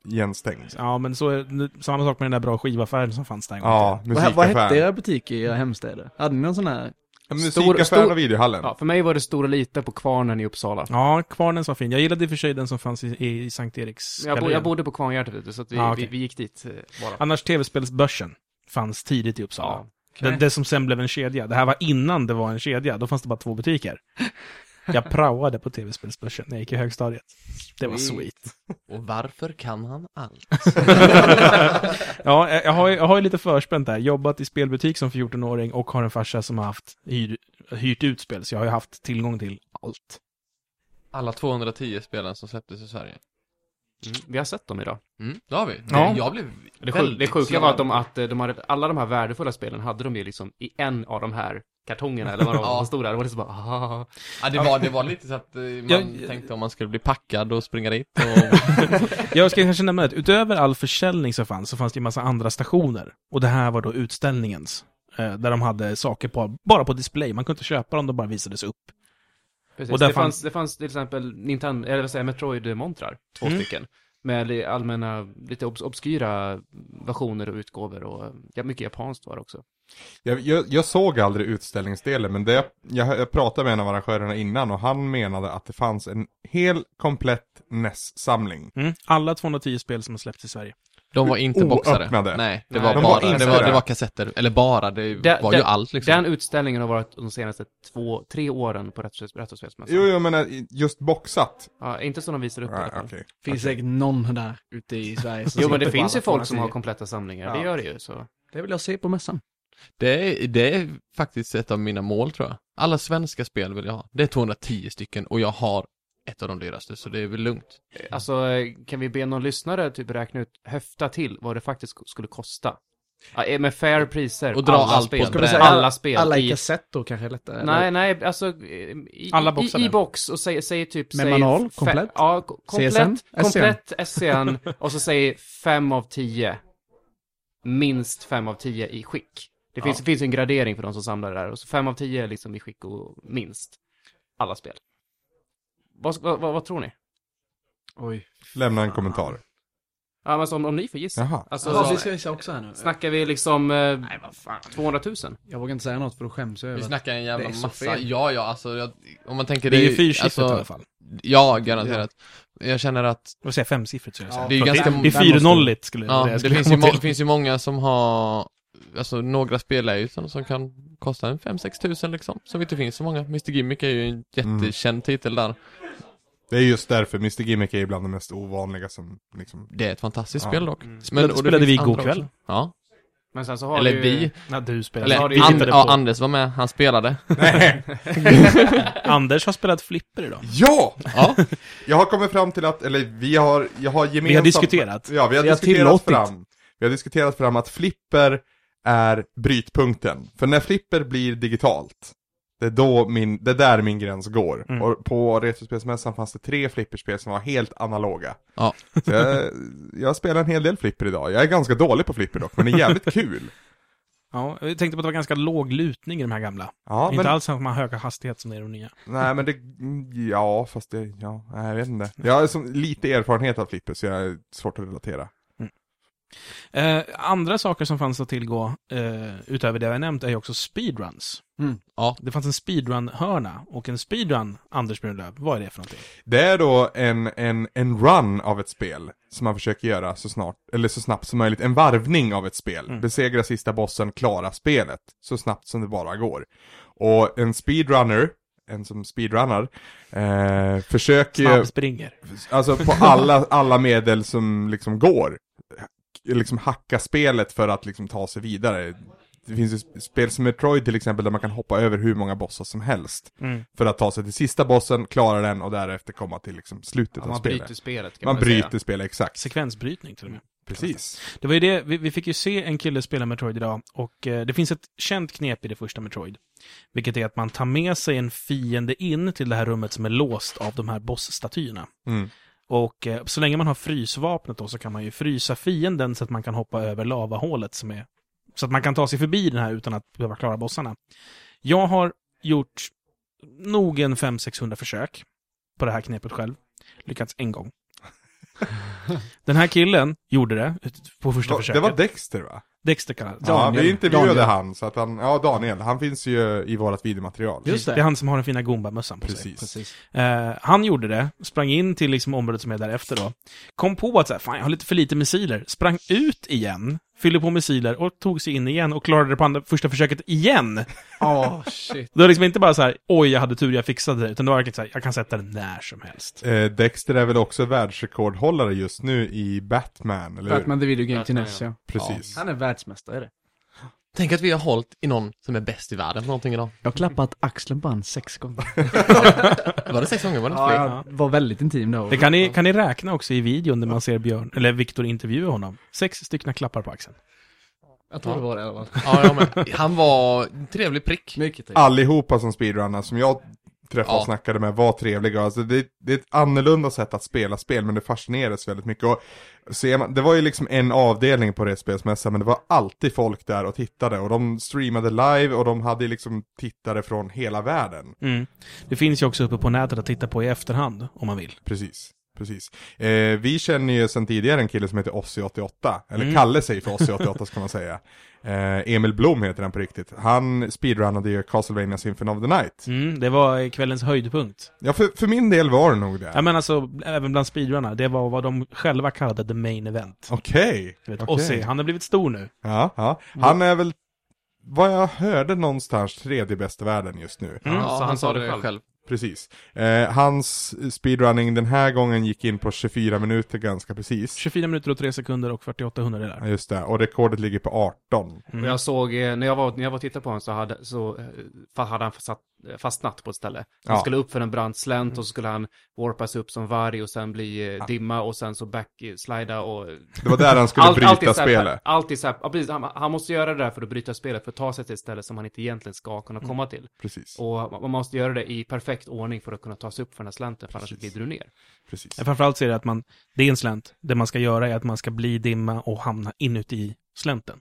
Speaker 3: igenstängd.
Speaker 1: Ja, men så är det, samma sak med den där bra skivaffären som fanns där en gång.
Speaker 3: Ja,
Speaker 4: Vad,
Speaker 3: musikaffären.
Speaker 4: vad hette era butiker i era hemstäder? Hade ni någon sån här?
Speaker 3: Ja,
Speaker 2: Stor-
Speaker 3: Musikaffären
Speaker 2: stor-
Speaker 3: och videohallen.
Speaker 2: Ja, för mig var det Stora Lite på Kvarnen i Uppsala.
Speaker 1: Ja, kvarnen som var fin. Jag gillade i och för sig den som fanns i, i Sankt Eriks
Speaker 2: Jag, bo, jag bodde på Kvarngärdet vet du, så att vi,
Speaker 1: Ja, okej.
Speaker 2: vi, vi gick dit eh, bara.
Speaker 1: Annars tv-spelsbörsen fanns tidigt i Uppsala.
Speaker 2: Ja,
Speaker 1: Det, det som sen blev en kedja. Det här var innan det var en kedja. Då fanns det bara två butiker. Jag praoade på tv-spelsbörsen när jag gick i högstadiet. Det var sweet.
Speaker 5: Och varför kan han allt?
Speaker 1: Ja, jag- jag har, ju- jag har ju lite förspänt där. Jobbat i spelbutik som 14-åring och har en farsa som har haft hyr, hyrt ut spel. Så jag har ju haft tillgång till allt.
Speaker 5: Alla 210 spelen som släpptes i Sverige.
Speaker 2: mm, vi har sett dem idag.
Speaker 5: Mm, det har vi.
Speaker 1: Ja.
Speaker 5: Det, jag blev
Speaker 2: Det, sjuk,
Speaker 5: väldigt
Speaker 2: det sjuka
Speaker 5: glad.
Speaker 2: var att, de, att eh, de hade, alla de här värdefulla spelen hade de ju liksom i en av de här kartongerna eller vad de
Speaker 5: Ja.
Speaker 2: ja. stod där. Det var liksom bara ah.
Speaker 5: Ja, det var, det var lite så att eh, man
Speaker 1: Jag-
Speaker 5: tänkte om man skulle bli packad och springa dit och...
Speaker 1: Jag ska kanske nämna att utöver all försäljning som fanns så fanns det ju massa andra stationer. Och det här var då utställningens. eh, Där de hade saker på, bara på display. Man kunde inte köpa dem, de bara visades upp.
Speaker 2: Precis.
Speaker 1: Och
Speaker 2: Och
Speaker 1: där
Speaker 2: det, fanns,
Speaker 1: fanns-
Speaker 2: det fanns till exempel Nintendo, eller vad säger jag, Metroid-montrar. Två
Speaker 1: Mm.
Speaker 2: stycken. Med li- allmänna, lite obs obskyra versioner och utgåvor och ja, mycket japanskt var det också.
Speaker 3: Jag, jag, jag såg aldrig utställningsdelen, men det, jag, jag, jag pratade med en av arrangörerna innan och han menade att det fanns en hel komplett E NES-samling.
Speaker 1: Mm. Alla 210 spel som har släppts i Sverige.
Speaker 5: De var inte boxade.
Speaker 3: Oöppnade.
Speaker 5: Nej, det
Speaker 2: Nej,
Speaker 5: var
Speaker 2: de
Speaker 3: var
Speaker 5: bara, det,
Speaker 3: inte
Speaker 5: var, det
Speaker 3: det.
Speaker 5: var kassetter, eller bara, det
Speaker 2: Den-
Speaker 5: var ju
Speaker 2: den-
Speaker 5: allt liksom.
Speaker 2: Den utställningen har varit de senaste två, tre åren på Retro-
Speaker 1: Alltså.
Speaker 2: Retrospelsmässan.
Speaker 3: Jo, jag menar just boxat.
Speaker 2: Ja, inte som de visar upp i alla
Speaker 3: Nej,
Speaker 2: fall.
Speaker 3: okej.
Speaker 4: Finns säkert någon där ute i Sverige som
Speaker 2: Alltså- Jo, men det
Speaker 4: sitter på
Speaker 2: finns
Speaker 4: alla
Speaker 2: ju folk som har
Speaker 4: 210.
Speaker 2: kompletta samlingar,
Speaker 3: Ja.
Speaker 2: det gör det ju. Så.
Speaker 4: Det vill jag se på mässan.
Speaker 5: Det, är, det är faktiskt ett av mina mål tror jag. Alla svenska spel vill jag ha. Det är 210 stycken och jag har ett av de dyraste, så det är väl lugnt.
Speaker 2: Alltså, eh, kan vi be någon lyssnare typ räkna ut, höfta till vad det faktiskt sk- skulle kosta? Ja, eh, med fair priser,
Speaker 5: Och dra
Speaker 2: alla
Speaker 5: allt på
Speaker 2: spel.
Speaker 5: en Ska vi säga
Speaker 2: alla spel.
Speaker 4: Alla i
Speaker 2: i,
Speaker 4: kassett då kanske är lättare.
Speaker 2: nej, nej, alltså eh, i,
Speaker 1: Alla
Speaker 2: i,
Speaker 1: boxar
Speaker 2: i
Speaker 1: det.
Speaker 2: box och säg, säg typ...
Speaker 4: Med
Speaker 2: säg
Speaker 4: manual,
Speaker 2: fe-
Speaker 4: komplett?
Speaker 2: Ja, ko- komplett,
Speaker 4: SCN.
Speaker 2: komplett SCN och så säg fem av tio Minst fem av tio i skick. Det finns, finns ju en gradering för de som samlar det där. Och så fem av tio liksom i skick och minst alla spel. Vad, vad, vad, vad tror ni?
Speaker 4: Oj.
Speaker 3: Lämna en kommentar.
Speaker 2: Ja, men alltså, om, om ni får gissa.
Speaker 3: Jaha.
Speaker 2: Alltså,
Speaker 4: Alltså, vi ska gissa också här nu.
Speaker 2: Snackar vi liksom eh,
Speaker 4: Nej, vad fan.
Speaker 2: 200 000?
Speaker 4: Jag vågar inte säga något för då skäms jag
Speaker 5: Vi
Speaker 4: över att-
Speaker 5: snackar en
Speaker 4: det
Speaker 5: jävla
Speaker 4: är så
Speaker 5: massa.
Speaker 4: fel.
Speaker 5: Ja, ja, alltså jag, om man tänker
Speaker 1: Det är ju
Speaker 5: det-
Speaker 1: fyrsiffrigt i alla
Speaker 5: alltså,
Speaker 1: fall.
Speaker 5: Ja, garanterat. Jag känner att
Speaker 1: Jag säger femsiffrigt skulle jag säga.
Speaker 5: det är ju
Speaker 1: För att
Speaker 5: ganska...
Speaker 1: det är fyrnolligt skulle
Speaker 5: Ja,
Speaker 1: jag
Speaker 5: det
Speaker 1: skulle
Speaker 5: finns ju,
Speaker 1: komma
Speaker 5: må-
Speaker 1: till.
Speaker 5: finns ju många som har, alltså några spel är ju sådana som kan kosta en 5-6 tusen liksom, som inte finns så många. Mr Gimmick är ju en jättekänd
Speaker 1: Mm.
Speaker 5: titel där.
Speaker 3: Det är just därför Mr Gimmick är bland de mest ovanliga som liksom...
Speaker 5: Det är ett fantastiskt
Speaker 3: Ja.
Speaker 5: spel dock. Men, och det
Speaker 1: Mm. spelade vi
Speaker 5: finns andra
Speaker 1: igår kväll.
Speaker 5: också. Ja,
Speaker 2: Men sen så har
Speaker 5: eller
Speaker 2: vi ju...
Speaker 5: vi.
Speaker 1: Nej, du spelar.
Speaker 5: Eller
Speaker 2: har
Speaker 1: vi
Speaker 2: ju-
Speaker 5: An-
Speaker 1: tittade
Speaker 5: ja,
Speaker 1: på.
Speaker 5: Anders var med, han spelade.
Speaker 3: Nej!
Speaker 1: Anders har spelat flipper idag.
Speaker 3: Ja!
Speaker 5: Ja,
Speaker 3: Jag har kommit fram till att, eller vi har, jag har gemensamt...
Speaker 1: Vi har diskuterat.
Speaker 3: Ja, vi har
Speaker 4: Vi har
Speaker 3: diskuterat
Speaker 4: tillåtit.
Speaker 3: fram. Vi har diskuterat fram att flipper är brytpunkten. För när flipper blir digitalt, det är då min, det är där min gräns går.
Speaker 1: Mm.
Speaker 3: Och på Retrospelsmässan fanns det tre flipperspel som var helt analoga.
Speaker 5: Ja.
Speaker 3: Så jag, jag spelar en hel del flipper idag. Jag är ganska dålig på flipper dock, men det är jävligt kul.
Speaker 1: Ja, jag tänkte på att det var ganska låg lutning i de här gamla.
Speaker 3: Ja,
Speaker 1: Inte
Speaker 3: men,
Speaker 1: alls samma höga hastighet som det är i de nya.
Speaker 3: nej men det, ja fast det, ja, nej, jag vet inte. Jag har som, lite erfarenhet av flipper så jag är svårt att relatera.
Speaker 1: Eh, andra saker som fanns att tillgå, eh, utöver det jag nämnt, är ju också speedruns.
Speaker 5: Mm. ja.
Speaker 1: Det fanns en speedrun-hörna, och en speedrun, Anders Brunlöv, vad är det för någonting?
Speaker 3: Det är då en, en, en run av ett spel som man försöker göra så snart, eller så snabbt som möjligt. En varvning av ett spel. Besegra sista bossen, klara spelet så snabbt som det bara går. Och en speedrunner, en som speedrunnar, eh, försöker ju,
Speaker 1: Snabbspringer.
Speaker 3: alltså på alla, alla medel som liksom går, liksom hacka spelet för att liksom ta sig vidare. Det finns ju sp- spel som Metroid till exempel där man kan hoppa över hur många bossar som helst.
Speaker 1: Mm.
Speaker 3: För att ta sig till sista bossen, klara den och därefter komma till liksom slutet
Speaker 2: Ja,
Speaker 3: av
Speaker 2: man
Speaker 3: spelet.
Speaker 2: bryter spelet kan
Speaker 3: man
Speaker 2: väl säga.
Speaker 3: bryter spelet, exakt.
Speaker 1: Sekvensbrytning till och med.
Speaker 3: Precis.
Speaker 1: Det var ju det, vi, vi fick ju se en kille spela Metroid idag, och eh, det finns ett känt knep i det första Metroid. Vilket är att man tar med sig en fiende in till det här rummet som är låst av de här bossstatyerna.
Speaker 3: Mm.
Speaker 1: Och eh, så länge man har frysvapnet då så kan man ju frysa fienden så att man kan hoppa över lavahålet som är... Så att man kan ta sig förbi den här utan att behöva klara bossarna. Jag har gjort nog en 500-600 försök på det här knepet själv. Lyckats en gång. Den här killen gjorde det på första
Speaker 3: Va-
Speaker 1: försöket.
Speaker 3: Det var Dexter va?
Speaker 1: Dexter kallar det.
Speaker 3: Ja,
Speaker 4: Daniel.
Speaker 3: vi intervjuade
Speaker 4: Daniel.
Speaker 3: han, så att han, ja Daniel, han finns ju i vårt videomaterial.
Speaker 4: Just
Speaker 1: Det är han som har den fina Goomba-mössan på sig.
Speaker 3: Precis.
Speaker 4: Precis.
Speaker 1: Eh, han gjorde det, sprang in till liksom området som är därefter då. Kom på att så här, fan jag har lite för lite missiler. Sprang ut igen, fyllde på missiler och tog sig in igen och klarade det på andra, första försöket igen.
Speaker 4: Åh, shit.
Speaker 1: Det var liksom inte bara så här, oj jag hade tur jag fixade det, utan det var verkligen så här, jag kan sätta den när som helst.
Speaker 3: Eh, Dexter är väl också världsrekordhållare just nu i Batman, eller hur?
Speaker 4: Batman the Video Game till
Speaker 2: Batman,
Speaker 4: nästa. ja.
Speaker 3: Precis.
Speaker 4: Han är världsmästare är det.
Speaker 5: Tänk att vi har hållit i någon som är bäst i världen på någonting idag.
Speaker 4: Jag har klappat axeln på han sex gånger.
Speaker 5: Var det sex gånger? Var det inte
Speaker 4: Ja,
Speaker 5: fler?
Speaker 4: jag var väldigt intim då.
Speaker 1: Det kan ni, kan ni räkna också i videon när man ser Björn, eller Viktor intervjua honom. Sex stycken klappar på axeln.
Speaker 4: Jag tror det var det i alla fall.
Speaker 5: Ja, ja, men han var en trevlig prick.
Speaker 4: Mycket typ. trevligt.
Speaker 3: Allihopa som speedrunnar som jag träffade
Speaker 5: Ja.
Speaker 3: och snackade med var trevliga. Alltså det, det är ett annorlunda sätt att spela spel, men det fascineras väldigt mycket. Och ser man, det var ju liksom en avdelning på Retspelsmässan, men det var alltid folk där och tittade. Och de streamade live och de hade liksom tittare från hela världen.
Speaker 1: Mm. Det finns ju också uppe på nätet att titta på i efterhand, om man vill.
Speaker 3: Precis. precis. Eh, vi känner ju sedan tidigare en kille som heter Ossi88, eller
Speaker 1: Mm.
Speaker 3: Kalle sig för Ossi88 ska man säga. Eh, Emil Blom heter han på riktigt. Han speedrunnade ju Castlevania Symphony of the Night.
Speaker 1: Mm, det var kvällens höjdpunkt.
Speaker 3: Ja, för, för min del var det nog det.
Speaker 1: Ja men alltså, även bland speedrunnar, det var vad de själva kallade the main event.
Speaker 3: Okej.
Speaker 1: Du vet,
Speaker 3: Okej.
Speaker 1: Ozzy, han har blivit stor nu.
Speaker 3: Ja, ja. Han är väl, vad jag hörde någonstans, tredje bäst i världen just nu.
Speaker 1: Mm.
Speaker 5: Ja,
Speaker 2: Så
Speaker 5: han,
Speaker 2: han
Speaker 5: sa
Speaker 2: sa det
Speaker 5: det
Speaker 2: själv.
Speaker 5: själv.
Speaker 3: Precis. Eh, hans speedrunning den här gången gick in på 24 minuter ganska precis.
Speaker 1: 24 minuter och 3 sekunder och 48 hundradelar.
Speaker 3: Ja, Just det, och rekordet ligger på 18.
Speaker 1: Mm.
Speaker 2: Och jag såg, eh, när jag var, när jag var och tittade på honom så hade, så, eh, fa- hade han satt, eh, fastnat på ett ställe. Han
Speaker 3: Ja. Mm.
Speaker 2: skulle upp för en brant slänt och så skulle han warpas upp som varg och sen bli eh, dimma och sen så backslida och...
Speaker 3: Det var där han skulle bryta
Speaker 2: är så här-
Speaker 3: spelet.
Speaker 2: Allt är så här, ja, precis, han, han måste göra det där för att bryta spelet, för att ta sig till ett ställe som han inte egentligen ska
Speaker 3: Mm.
Speaker 2: kunna komma till.
Speaker 3: Precis,
Speaker 2: Och man- man måste göra det i perfekt ordning för att kunna ta sig upp för den här slänten, för annars
Speaker 3: Precis.
Speaker 2: glider du ner.
Speaker 3: precis.
Speaker 1: Ja, Framförallt så är det att man, det är en slänt. Det man ska göra är att man ska bli dimma och hamna inuti slänten.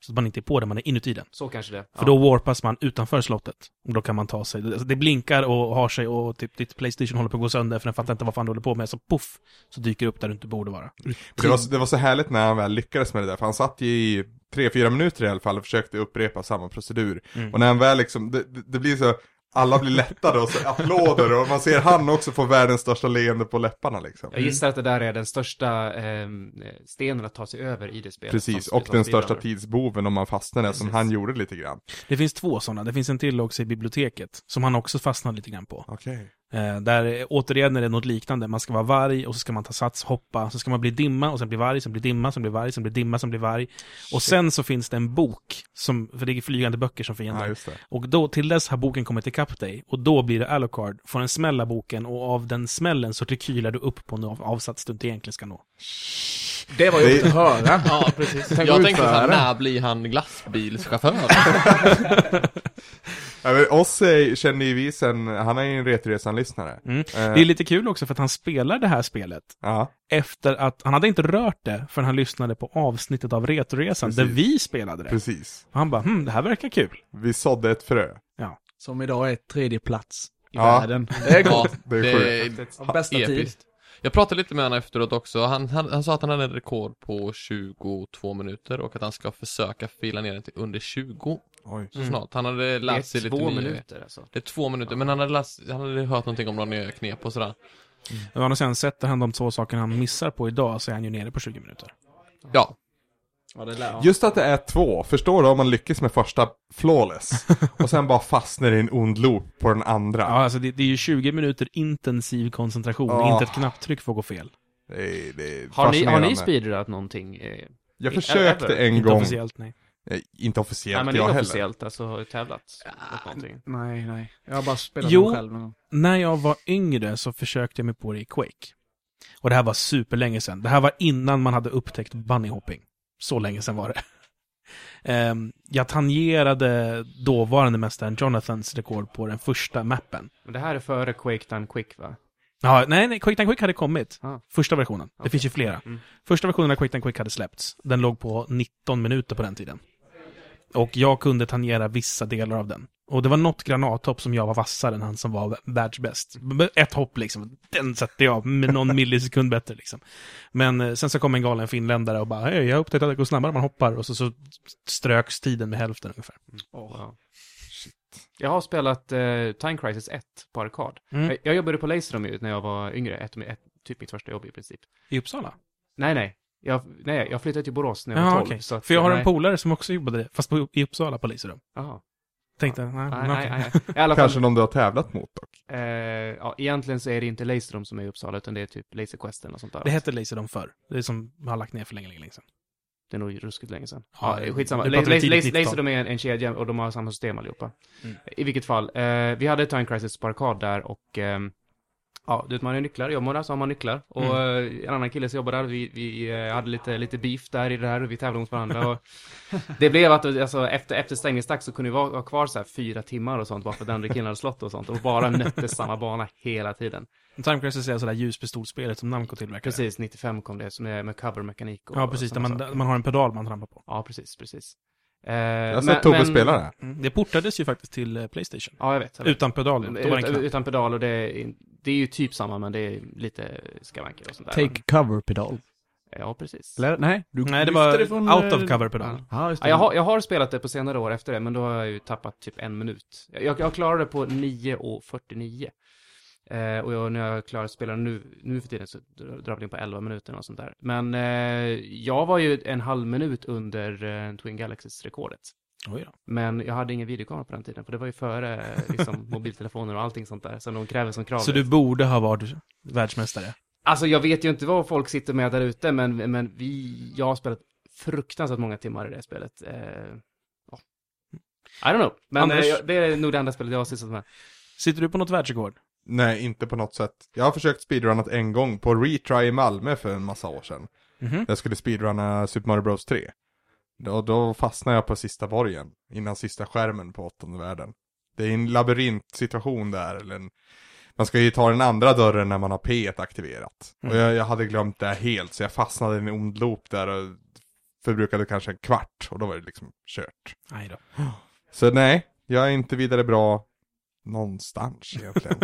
Speaker 1: Så att man inte är på den, man är inuti den.
Speaker 2: Så kanske det.
Speaker 1: För då warpas man utanför slottet. Och då kan man ta sig. alltså, Det det blinkar och har sig och typ ditt Playstation håller på att gå sönder för den fattar inte vad fan du håller på med. Så poff, så dyker det upp där du inte borde vara.
Speaker 3: Det var, det var så härligt när han väl lyckades med det där, för han satt ju i 3-4 minuter i alla fall och försökte upprepa samma procedur.
Speaker 1: Mm.
Speaker 3: Och när han väl liksom, det, det det blir så, alla blir lättade och så applåder och man ser han också få världens största leende på läpparna liksom.
Speaker 2: Jag gissar att det där är den största ehm, stenen att ta sig över i det spelet.
Speaker 3: Precis,
Speaker 2: Som-
Speaker 3: och
Speaker 2: som
Speaker 3: den
Speaker 2: speedrunner.
Speaker 3: största tidsboven om man fastnade som
Speaker 2: Precis.
Speaker 3: han gjorde lite grann.
Speaker 1: Det finns två sådana. Det finns en till också i biblioteket. Som han också fastnade lite grann på.
Speaker 3: Okej.
Speaker 1: Eh, där eh, återigen är det något liknande. Man ska vara varg och så ska man ta sats, hoppa. Så ska man bli dimma och sen bli varg, sen bli dimma, sen bli varg, sen bli dimma, sen bli varg. Och sen så finns det en bok. Som, för det är flygande böcker som
Speaker 3: Ja,
Speaker 1: fiender.
Speaker 3: just det.
Speaker 1: Och då, till dess har boken kommit ikapp dig. Och då blir det Alucard. Får en smäll av boken och av den smällen så rekylar du upp på en av- avsats du inte egentligen ska nå.
Speaker 4: Det var
Speaker 3: Det-
Speaker 4: jobbigt att höra.
Speaker 5: Ja, precis.
Speaker 4: Tänk
Speaker 5: jag
Speaker 4: att
Speaker 5: tänkte såhär,
Speaker 4: utföra.
Speaker 5: när blir han glassbilschaufför?
Speaker 3: Ja, men Ossi känner ju vi sen, han är ju en Retroresan-lyssnare.
Speaker 1: Mm.
Speaker 3: Eh,
Speaker 1: Det är lite kul också för att han spelar det här spelet
Speaker 3: ja,
Speaker 1: efter att, han hade inte rört det förrän han lyssnade på avsnittet av Retoresan där
Speaker 3: Precis.
Speaker 1: vi spelade det.
Speaker 3: precis.
Speaker 1: Och han bara, hm, det här verkar kul.
Speaker 3: Vi sådde ett frö.
Speaker 4: Som idag är tredje plats i
Speaker 3: Ja.
Speaker 4: världen. Det är
Speaker 5: ja,
Speaker 4: gott.
Speaker 3: Det är
Speaker 4: Av bästa tid.
Speaker 5: episkt. Jag pratade lite med honom efteråt också. Han, han, han sa att han hade en rekord på 22 minuter och att han ska försöka fila ner den till under 20
Speaker 3: Oj.
Speaker 5: så snart. Han hade
Speaker 2: Det är
Speaker 5: lärt sig lite
Speaker 2: två
Speaker 5: nya-
Speaker 2: minuter alltså.
Speaker 5: Det är två minuter, men han hade, läst, han hade hört någonting om några nya knep och sådär.
Speaker 1: Å andra sidan, sätter han de två sakerna han missar på idag så är han ju nere på 20 minuter.
Speaker 5: Ja,
Speaker 3: Just att det är två, förstår du om man lyckas med första flawless och sen bara fastnar i en ond loop på den andra.
Speaker 1: Ja, alltså det, det är ju 20 minuter intensiv koncentration,
Speaker 3: Ah.
Speaker 1: inte ett knapptryck får gå fel.
Speaker 3: Det är, det är
Speaker 2: Har ni, har
Speaker 3: fascinerande.
Speaker 2: ni speedrat någonting? Eh,
Speaker 3: Jag försökte en
Speaker 1: inte
Speaker 3: gång,
Speaker 1: officiellt, nej.
Speaker 3: Eh, inte officiellt
Speaker 2: nej, men
Speaker 3: jag
Speaker 2: inte
Speaker 3: heller.
Speaker 2: officiellt, alltså har tävlat mot någonting.
Speaker 4: Nej, nej. Jag har bara spelat
Speaker 1: Jo.
Speaker 4: mig själv någon gång.
Speaker 1: När jag var yngre så försökte jag mig på det i Quake. Och det här var superlänge sedan. Det här var innan man hade upptäckt bunnyhopping. Så länge sedan var det. Ehm, jag tangerade dåvarande mästaren Jonathans rekord på den första mappen.
Speaker 2: Men det här är före Quake Done Quick va?
Speaker 1: Ja, nej, nej, Quick Time Quick hade kommit.
Speaker 2: Ah.
Speaker 1: Första versionen. Det
Speaker 2: Okej.
Speaker 1: finns ju flera.
Speaker 2: Mm.
Speaker 1: Första versionen av Quick Time Quick hade släppts. Den låg på 19 minuter på den tiden. Och jag kunde tangera vissa delar av den. Och det var något granathopp som jag var vassare än han som var världsbäst. B- Ett hopp liksom, den satte jag med någon millisekund bättre liksom. Men eh, sen så kom en galen finländare och bara, "Hej, jag upptäckte att det går snabbare om man hoppar. Och så, så ströks tiden med hälften ungefär.
Speaker 2: Wow. Jag har spelat eh, Time Crisis 1 på arkad.
Speaker 1: Mm.
Speaker 2: Jag, jag jobbade på Laserham ju när jag var yngre, ett, ett, typ mitt första jobb i princip.
Speaker 1: I Uppsala?
Speaker 2: Nej, nej. Jag, nej, jag flyttade till Borås när jag var
Speaker 1: Ja,
Speaker 2: 12.
Speaker 1: okej.
Speaker 2: så att-
Speaker 1: För jag har
Speaker 2: nej.
Speaker 1: en polare som också jobbade det, fast på, i Uppsala polisrum.
Speaker 2: Jaha.
Speaker 1: Tänkte, nej,
Speaker 2: Nej,
Speaker 1: men
Speaker 2: nej,
Speaker 1: okej.
Speaker 2: nej. I alla fall,
Speaker 3: Kanske någon du har tävlat mot dock.
Speaker 2: eh, ja, egentligen så är det inte Laserham som är i Uppsala, utan det är typ Laserquest eller något sånt där.
Speaker 1: Det hette Laserdom förr. Det är som har lagt ner för länge, länge, länge sedan.
Speaker 2: Det är nog ruskigt länge sedan.
Speaker 1: Ja,
Speaker 2: Ja, skitsamma.
Speaker 1: det
Speaker 2: Laser,
Speaker 1: pratar vi
Speaker 2: laser,
Speaker 1: tidigt
Speaker 2: laser,
Speaker 1: 90-tal.
Speaker 2: är en, en kedja och de har samma system allihopa.
Speaker 1: Mm.
Speaker 2: I vilket fall, eh, vi hade Time Crisis på arkad där och ehm, ja, du vet man har ju nycklar, jobbar man där så har man nycklar. Och
Speaker 1: Mm.
Speaker 2: eh, en annan kille som jobbar där, vi, vi eh, hade lite, lite beef där i det här och vi tävlade mot varandra. Och det blev att alltså, efter, efter stängningsdags så kunde vi vara, vara kvar så här fyra timmar och sånt bara för att den andra killen hade slått och sånt och bara nötte samma bana hela tiden.
Speaker 1: Time Crisis är sådär ljuspistolspelet som Namco tillverkade.
Speaker 2: Precis, 95 kom det som är med covermekanik och
Speaker 1: Ja, precis. Där
Speaker 2: såna
Speaker 1: man,
Speaker 2: saker.
Speaker 1: där man har en pedal man trampar på.
Speaker 2: Ja, precis, precis. Eh, jag
Speaker 3: har sett Tobbe spela det. här.
Speaker 1: Mm. Det portades ju faktiskt till eh, Playstation.
Speaker 2: Ja, jag vet. Jag vet.
Speaker 1: Utan pedaler. Då var det en
Speaker 2: Utan,
Speaker 1: knapp.
Speaker 2: utan pedal och det är, det är ju typ samma men det är lite skavanker och sånt där.
Speaker 4: Take cover-pedal.
Speaker 2: Ja, precis.
Speaker 4: Eller? Nej, du
Speaker 1: Nej, det
Speaker 4: lyfter
Speaker 1: var
Speaker 4: från,
Speaker 1: out
Speaker 4: eh,
Speaker 1: of cover-pedal.
Speaker 4: Ja, just
Speaker 2: Ja,
Speaker 4: det.
Speaker 2: jag, har, jag har spelat det på senare år efter det, men då har jag ju tappat typ en minut. Jag, jag klarade det på 9 och 49. Eh, och jag, när jag klarar att spela nu, nu för tiden så drar drar jag in på 11 minuter och sånt där. Men eh, jag var ju en halv minut under eh, Twin Galaxies-rekordet.
Speaker 1: Oj då.
Speaker 2: Men jag hade ingen videokamera på den tiden, för det var ju före eh, liksom, mobiltelefoner och allting sånt där, som de kräver som krav.
Speaker 1: Så du borde ha varit världsmästare.
Speaker 2: Alltså jag vet ju inte vad folk sitter med där ute, men, men vi, jag har spelat fruktansvärt många timmar i det spelet. Eh, ja. I don't know, men
Speaker 1: Anders?
Speaker 2: eh, jag- det är nog det enda spelet jag har sysslat med.
Speaker 1: Sitter du på något världsrekord?
Speaker 3: Nej, inte på något sätt. Jag har försökt speedrunnat en gång på retry i Malmö för en massa år sedan.
Speaker 1: Mhm.
Speaker 3: Jag skulle speedrunna Super Mario Bros 3. Då, då fastnade jag på sista borgen, innan sista skärmen på åttonde världen. Det är en labyrintsituation där, eller en... Man ska ju ta den andra dörren när man har P1 aktiverat.
Speaker 1: Mm.
Speaker 3: Och jag, jag hade glömt det här helt, så jag fastnade i en ond loop där och förbrukade kanske en kvart, och då var det liksom kört.
Speaker 1: Nej då.
Speaker 3: Så nej, jag är inte vidare bra någonstans egentligen.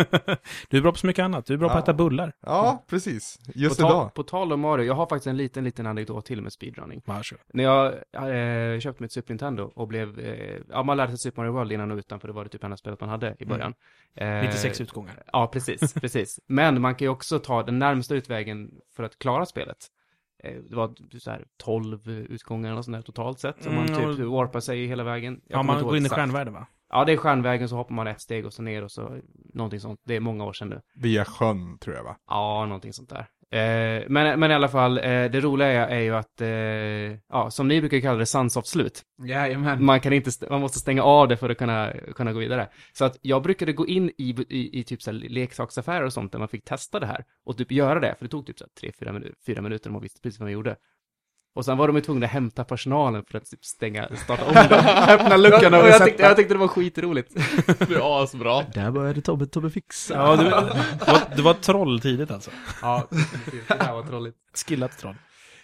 Speaker 1: du är bra på så mycket annat. Du är bra på att
Speaker 3: Ja.
Speaker 1: äta bullar.
Speaker 3: ja, precis. Just
Speaker 2: på,
Speaker 3: idag.
Speaker 2: Tal, på tal om Mario, jag har faktiskt en liten, liten anekdot till med speedrunning.
Speaker 1: Varsågod.
Speaker 2: När jag eh, köpte mitt Super Nintendo och blev, eh, ja man lärde sig Super Mario World innan och utan, för det var det typ enda spelet man hade
Speaker 1: Mm.
Speaker 2: i början. Eh,
Speaker 1: 96 utgångar.
Speaker 2: Ja, precis, precis. Men man kan ju också ta den närmsta utvägen för att klara spelet. Eh, Det var så här 12 utgångar eller sånt där totalt sett. Om man
Speaker 1: Mm,
Speaker 2: typ
Speaker 1: och-
Speaker 2: warpar sig hela vägen.
Speaker 1: Ja,
Speaker 2: Jag kommer
Speaker 1: man
Speaker 2: inte ihåg
Speaker 1: går in i
Speaker 2: exakt.
Speaker 1: stjärnvärlden va?
Speaker 2: Ja, det är stjärnvägen så hoppar man ett steg och så ner och så någonting sånt. Det är många år sedan nu.
Speaker 3: Via sjön, tror jag va?
Speaker 2: Ja, någonting sånt där. Eh, men, men i alla fall, eh, det roliga är, är ju att, eh, ja, som ni brukar kalla det, sunsoft-slut.
Speaker 4: Jajamän.
Speaker 2: Man, kan inte, st- man måste stänga av det för att kunna, kunna gå vidare. Så att jag brukade gå in i, i, i typ så här leksaksaffärer och sånt där man fick testa det här och typ göra det, för det tog typ så här tre, fyra, minu- fyra minuter om man visste precis vad man gjorde. Och sen var de ju tvungna att hämta personalen för att typ stänga, starta om dem, öppna luckan och, jag, tyckte, jag tyckte det var skitroligt.
Speaker 5: Det är asbra.
Speaker 4: Där började Tobbe, Tobbe fixa.
Speaker 1: Ja, du, du, var, du var troll tidigt alltså.
Speaker 2: Ja, det där var trolligt.
Speaker 1: Skillat troll.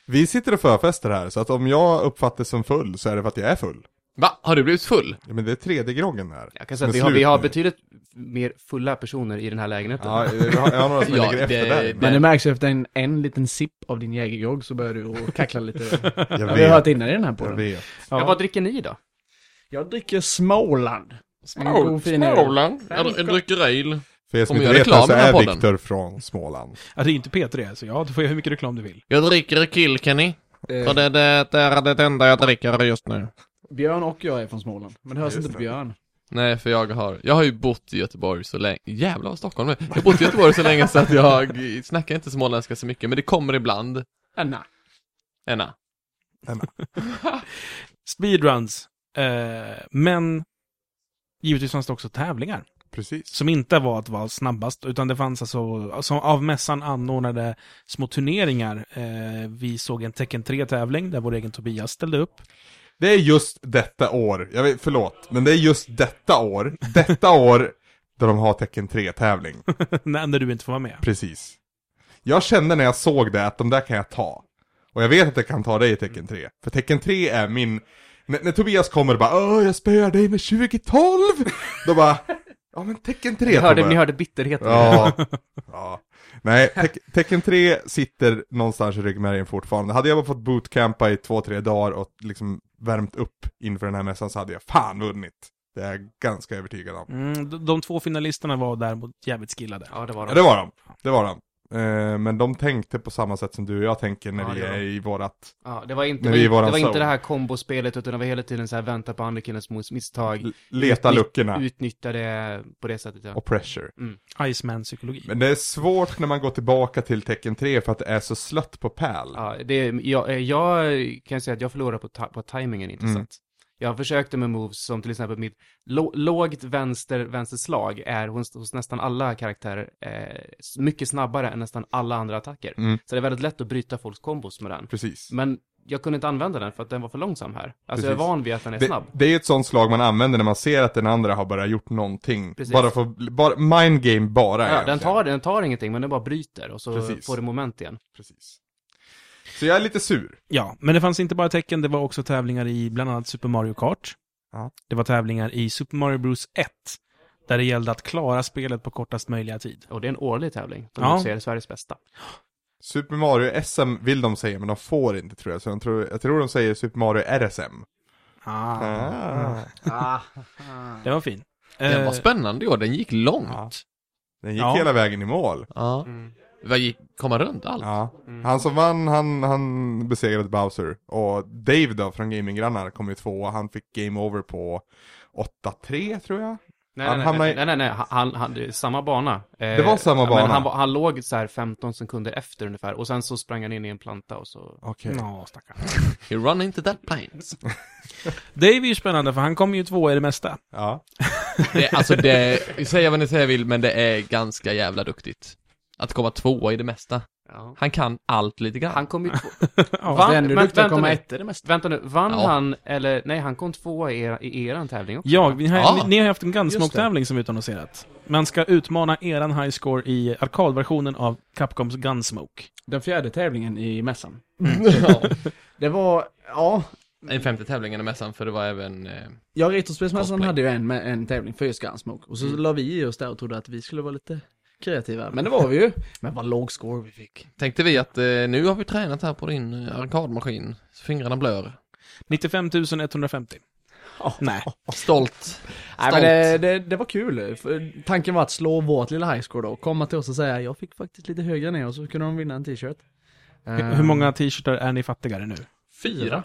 Speaker 3: Vi sitter och förfester här, så att om jag uppfattas som full så är det för att jag är full.
Speaker 5: Va? Har du blivit full?
Speaker 3: Ja, men det är tredje groggen här.
Speaker 2: Jag kan säga att vi
Speaker 3: Som är
Speaker 2: har,
Speaker 3: slut
Speaker 2: vi har
Speaker 3: nu.
Speaker 2: betydligt mer fulla personer i den här lägenheten.
Speaker 3: Ja, jag har, jag har några som
Speaker 5: Ja,
Speaker 3: ligger efter där.
Speaker 5: det-
Speaker 4: Men det märks ju efter en, en liten sipp av din jägergrogg så börjar du att kackla lite.
Speaker 3: Jag
Speaker 4: Vi har hört
Speaker 3: vet,
Speaker 4: innan i den här
Speaker 3: jag
Speaker 4: podden.
Speaker 3: vet.
Speaker 2: Ja. vad dricker ni då?
Speaker 4: Jag dricker Småland. En god fin öl.
Speaker 5: Småland. Jag, jag dricker ale.
Speaker 3: För er som
Speaker 5: Kommer
Speaker 3: inte
Speaker 5: göra
Speaker 3: vet det
Speaker 5: reklam
Speaker 3: så
Speaker 5: i den här
Speaker 3: är
Speaker 5: podden.
Speaker 3: Viktor från Småland.
Speaker 1: Ja, Alltså, det är ju inte Peter det, så ja, du får göra hur mycket reklam du vill.
Speaker 5: Jag dricker Kilkenny.
Speaker 4: Eh,
Speaker 5: För det, det, det är det enda jag dricker just nu.
Speaker 4: Björn och jag är från Småland. Men det hörs inte på Björn.
Speaker 5: Nej, för jag har, jag har ju bott i Göteborg så länge, jävlar vad Stockholm är. Jag har bott i Göteborg så länge så att jag snackar inte småländska så mycket, men det kommer ibland.
Speaker 4: Anna.
Speaker 5: Enna.
Speaker 1: Speedruns. Eh, men givetvis fanns det också tävlingar.
Speaker 3: Precis.
Speaker 1: Som inte var att vara snabbast, utan det fanns alltså som av mässan anordnade små turneringar. Eh, vi såg en Tekken 3-tävling där vår egen Tobias ställde upp.
Speaker 3: Det är just detta år, jag vet, förlåt, men det är just detta år, detta år, där de har tecken 3-tävling.
Speaker 1: när när du inte får vara med.
Speaker 3: Precis. Jag kände när jag såg det att de där kan jag ta. Och jag vet att jag kan ta dig i tecken 3. För tecken 3 är min... N- när Tobias kommer och bara Åh, jag spöar dig med 2012! Då bara... Ja men tecken 3
Speaker 2: Ni hörde,
Speaker 3: Tobbe."
Speaker 2: ni hörde bitterheten.
Speaker 3: Ja. ja. Nej, tek- tecken 3 sitter någonstans i ryggmärgen fortfarande. Hade jag bara fått bootcampa i två, tre dagar och liksom värmt upp inför den här mässan så hade jag fan vunnit. Det är jag ganska övertygad om.
Speaker 1: Mm, de, de två finalisterna var däremot jävligt skillade.
Speaker 2: Ja, det var
Speaker 3: Ja,
Speaker 2: de.
Speaker 3: det var de. Det var de. Eh, men de tänkte på samma sätt som du och jag tänker när
Speaker 2: Ja,
Speaker 3: vi
Speaker 2: det gör
Speaker 3: är i vårat...
Speaker 2: Ja, det var inte,
Speaker 3: Men vi
Speaker 2: det,
Speaker 3: är i
Speaker 2: var
Speaker 3: våran
Speaker 2: inte- det var
Speaker 3: zone.
Speaker 2: inte det här kombospelet utan det var hela tiden så här vänta på andra killens mos- misstag,
Speaker 3: l- Leta
Speaker 2: Ut-
Speaker 3: luckorna
Speaker 2: utnyttja det på det sättet. Ja.
Speaker 3: och pressure.
Speaker 1: Iceman-psykologi.
Speaker 3: Men det är svårt när man går tillbaka till tecken 3 för att det är så slött på pärl.
Speaker 2: Ja, det, jag, eh, jag kan ju säga att jag förlorar på, ta- på tajmingen inte
Speaker 3: Mm.
Speaker 2: sant. Jag försökte med moves som till exempel mitt lo- lågt vänster vänsterslag är hos, hos nästan alla karaktärer eh, s- mycket snabbare än nästan alla andra attacker.
Speaker 3: Mm.
Speaker 2: Så det är väldigt lätt att bryta folks kombos med den.
Speaker 3: Precis.
Speaker 2: Men jag kunde inte använda den för att den var för långsam här. Alltså jag är
Speaker 3: Precis.
Speaker 2: van vid att den är
Speaker 3: Det,
Speaker 2: snabb.
Speaker 3: det är ju ett sånt slag man använder när man ser att den andra har bara gjort någonting.
Speaker 2: Precis.
Speaker 3: Bara för, bara, mind game bara
Speaker 2: Ja, den,
Speaker 3: egentligen.
Speaker 2: tar, den tar ingenting men den bara bryter och så
Speaker 3: Precis.
Speaker 2: får du moment igen.
Speaker 3: Precis. Så jag är lite sur.
Speaker 1: Ja, men det fanns inte bara tecken, det var också tävlingar i bland annat Super Mario Kart.
Speaker 3: Ja.
Speaker 1: Det var tävlingar i Super Mario Bros 1, där det gällde att klara spelet på kortast möjliga tid.
Speaker 2: Och det är en årlig tävling. De
Speaker 1: Ja.
Speaker 2: ja. ser Sveriges bästa.
Speaker 3: Super Mario SM vill de säga, men de får inte tror jag. Så de tror, jag tror de säger Super Mario RSM. Ah.
Speaker 1: Det var fin.
Speaker 5: Den
Speaker 1: Eh,
Speaker 5: var spännande i år, den gick långt.
Speaker 3: Den gick
Speaker 1: Ja.
Speaker 3: hela vägen i mål.
Speaker 5: Ja. Vad gick, kom han runt allt?
Speaker 3: Ja.
Speaker 4: Mm.
Speaker 3: Han som vann, han, han besegrade Bowser. Och Dave då, från Gaminggrannar, kom ju tvåa. Han fick game over på 8-3 tror jag.
Speaker 2: Nej, nej,
Speaker 3: Han
Speaker 2: nej,
Speaker 3: hamnar i-
Speaker 2: nej, nej, nej, nej, han, han, det är samma bana. Eh,
Speaker 3: Det var samma
Speaker 2: ja,
Speaker 3: bana.
Speaker 2: Men han, var- han låg så här 15 sekunder efter ungefär och sen så sprang han in i en planta och så...
Speaker 3: Okej.
Speaker 1: Ja, stackarn.
Speaker 5: You run into that planes.
Speaker 1: Dave är ju spännande, för han kom ju tvåa i det mesta.
Speaker 3: Ja.
Speaker 5: Det, alltså det, säga vad ni säger vill, men det är ganska jävla duktigt. Att komma tvåa i det mesta.
Speaker 2: Ja.
Speaker 5: Han kan allt lite grann.
Speaker 2: Han kom ju... två-
Speaker 1: Ja.
Speaker 2: Vann-
Speaker 4: Det är Alltså, ändå
Speaker 2: men
Speaker 4: duktigt att
Speaker 2: vänta
Speaker 4: komma
Speaker 2: nu.
Speaker 4: etta i det mesta.
Speaker 2: Vänta nu, vann
Speaker 5: Ja.
Speaker 2: han eller... Nej, han kom tvåa i, era, i eran tävling också.
Speaker 1: Ja, ni har,
Speaker 5: Ja.
Speaker 1: ni, ni har haft en Gunsmoke-tävling som vi utannonserat. Man ska utmana eran high score i arkadversionen av Capcoms Gunsmoke.
Speaker 4: Den fjärde tävlingen i mässan.
Speaker 5: Ja.
Speaker 4: Det var, ja,
Speaker 5: Den femte tävlingen i mässan, för det var även... Eh,
Speaker 4: Ja, Retrospelsmässan
Speaker 5: Cosplay.
Speaker 4: hade ju en, med en tävling för just Gunsmoke. Och så la vi i oss där och trodde att vi skulle vara lite kreativa. Men det var vi ju. Men vad låg score vi fick.
Speaker 5: tänkte vi att eh, nu har vi tränat här på din eh, arkadmaskin, så fingrarna blör.
Speaker 1: 95 150. Nej.
Speaker 5: Stolt.
Speaker 4: Nej, men det, det, det var kul. För tanken var att slå vårt lilla highscore då. Komma till oss och säga jag fick faktiskt lite högre än er och så kunde de vinna en t-shirt. Eh,
Speaker 1: Hur hur många t-shirtar är ni fattigare nu?
Speaker 5: Fyra.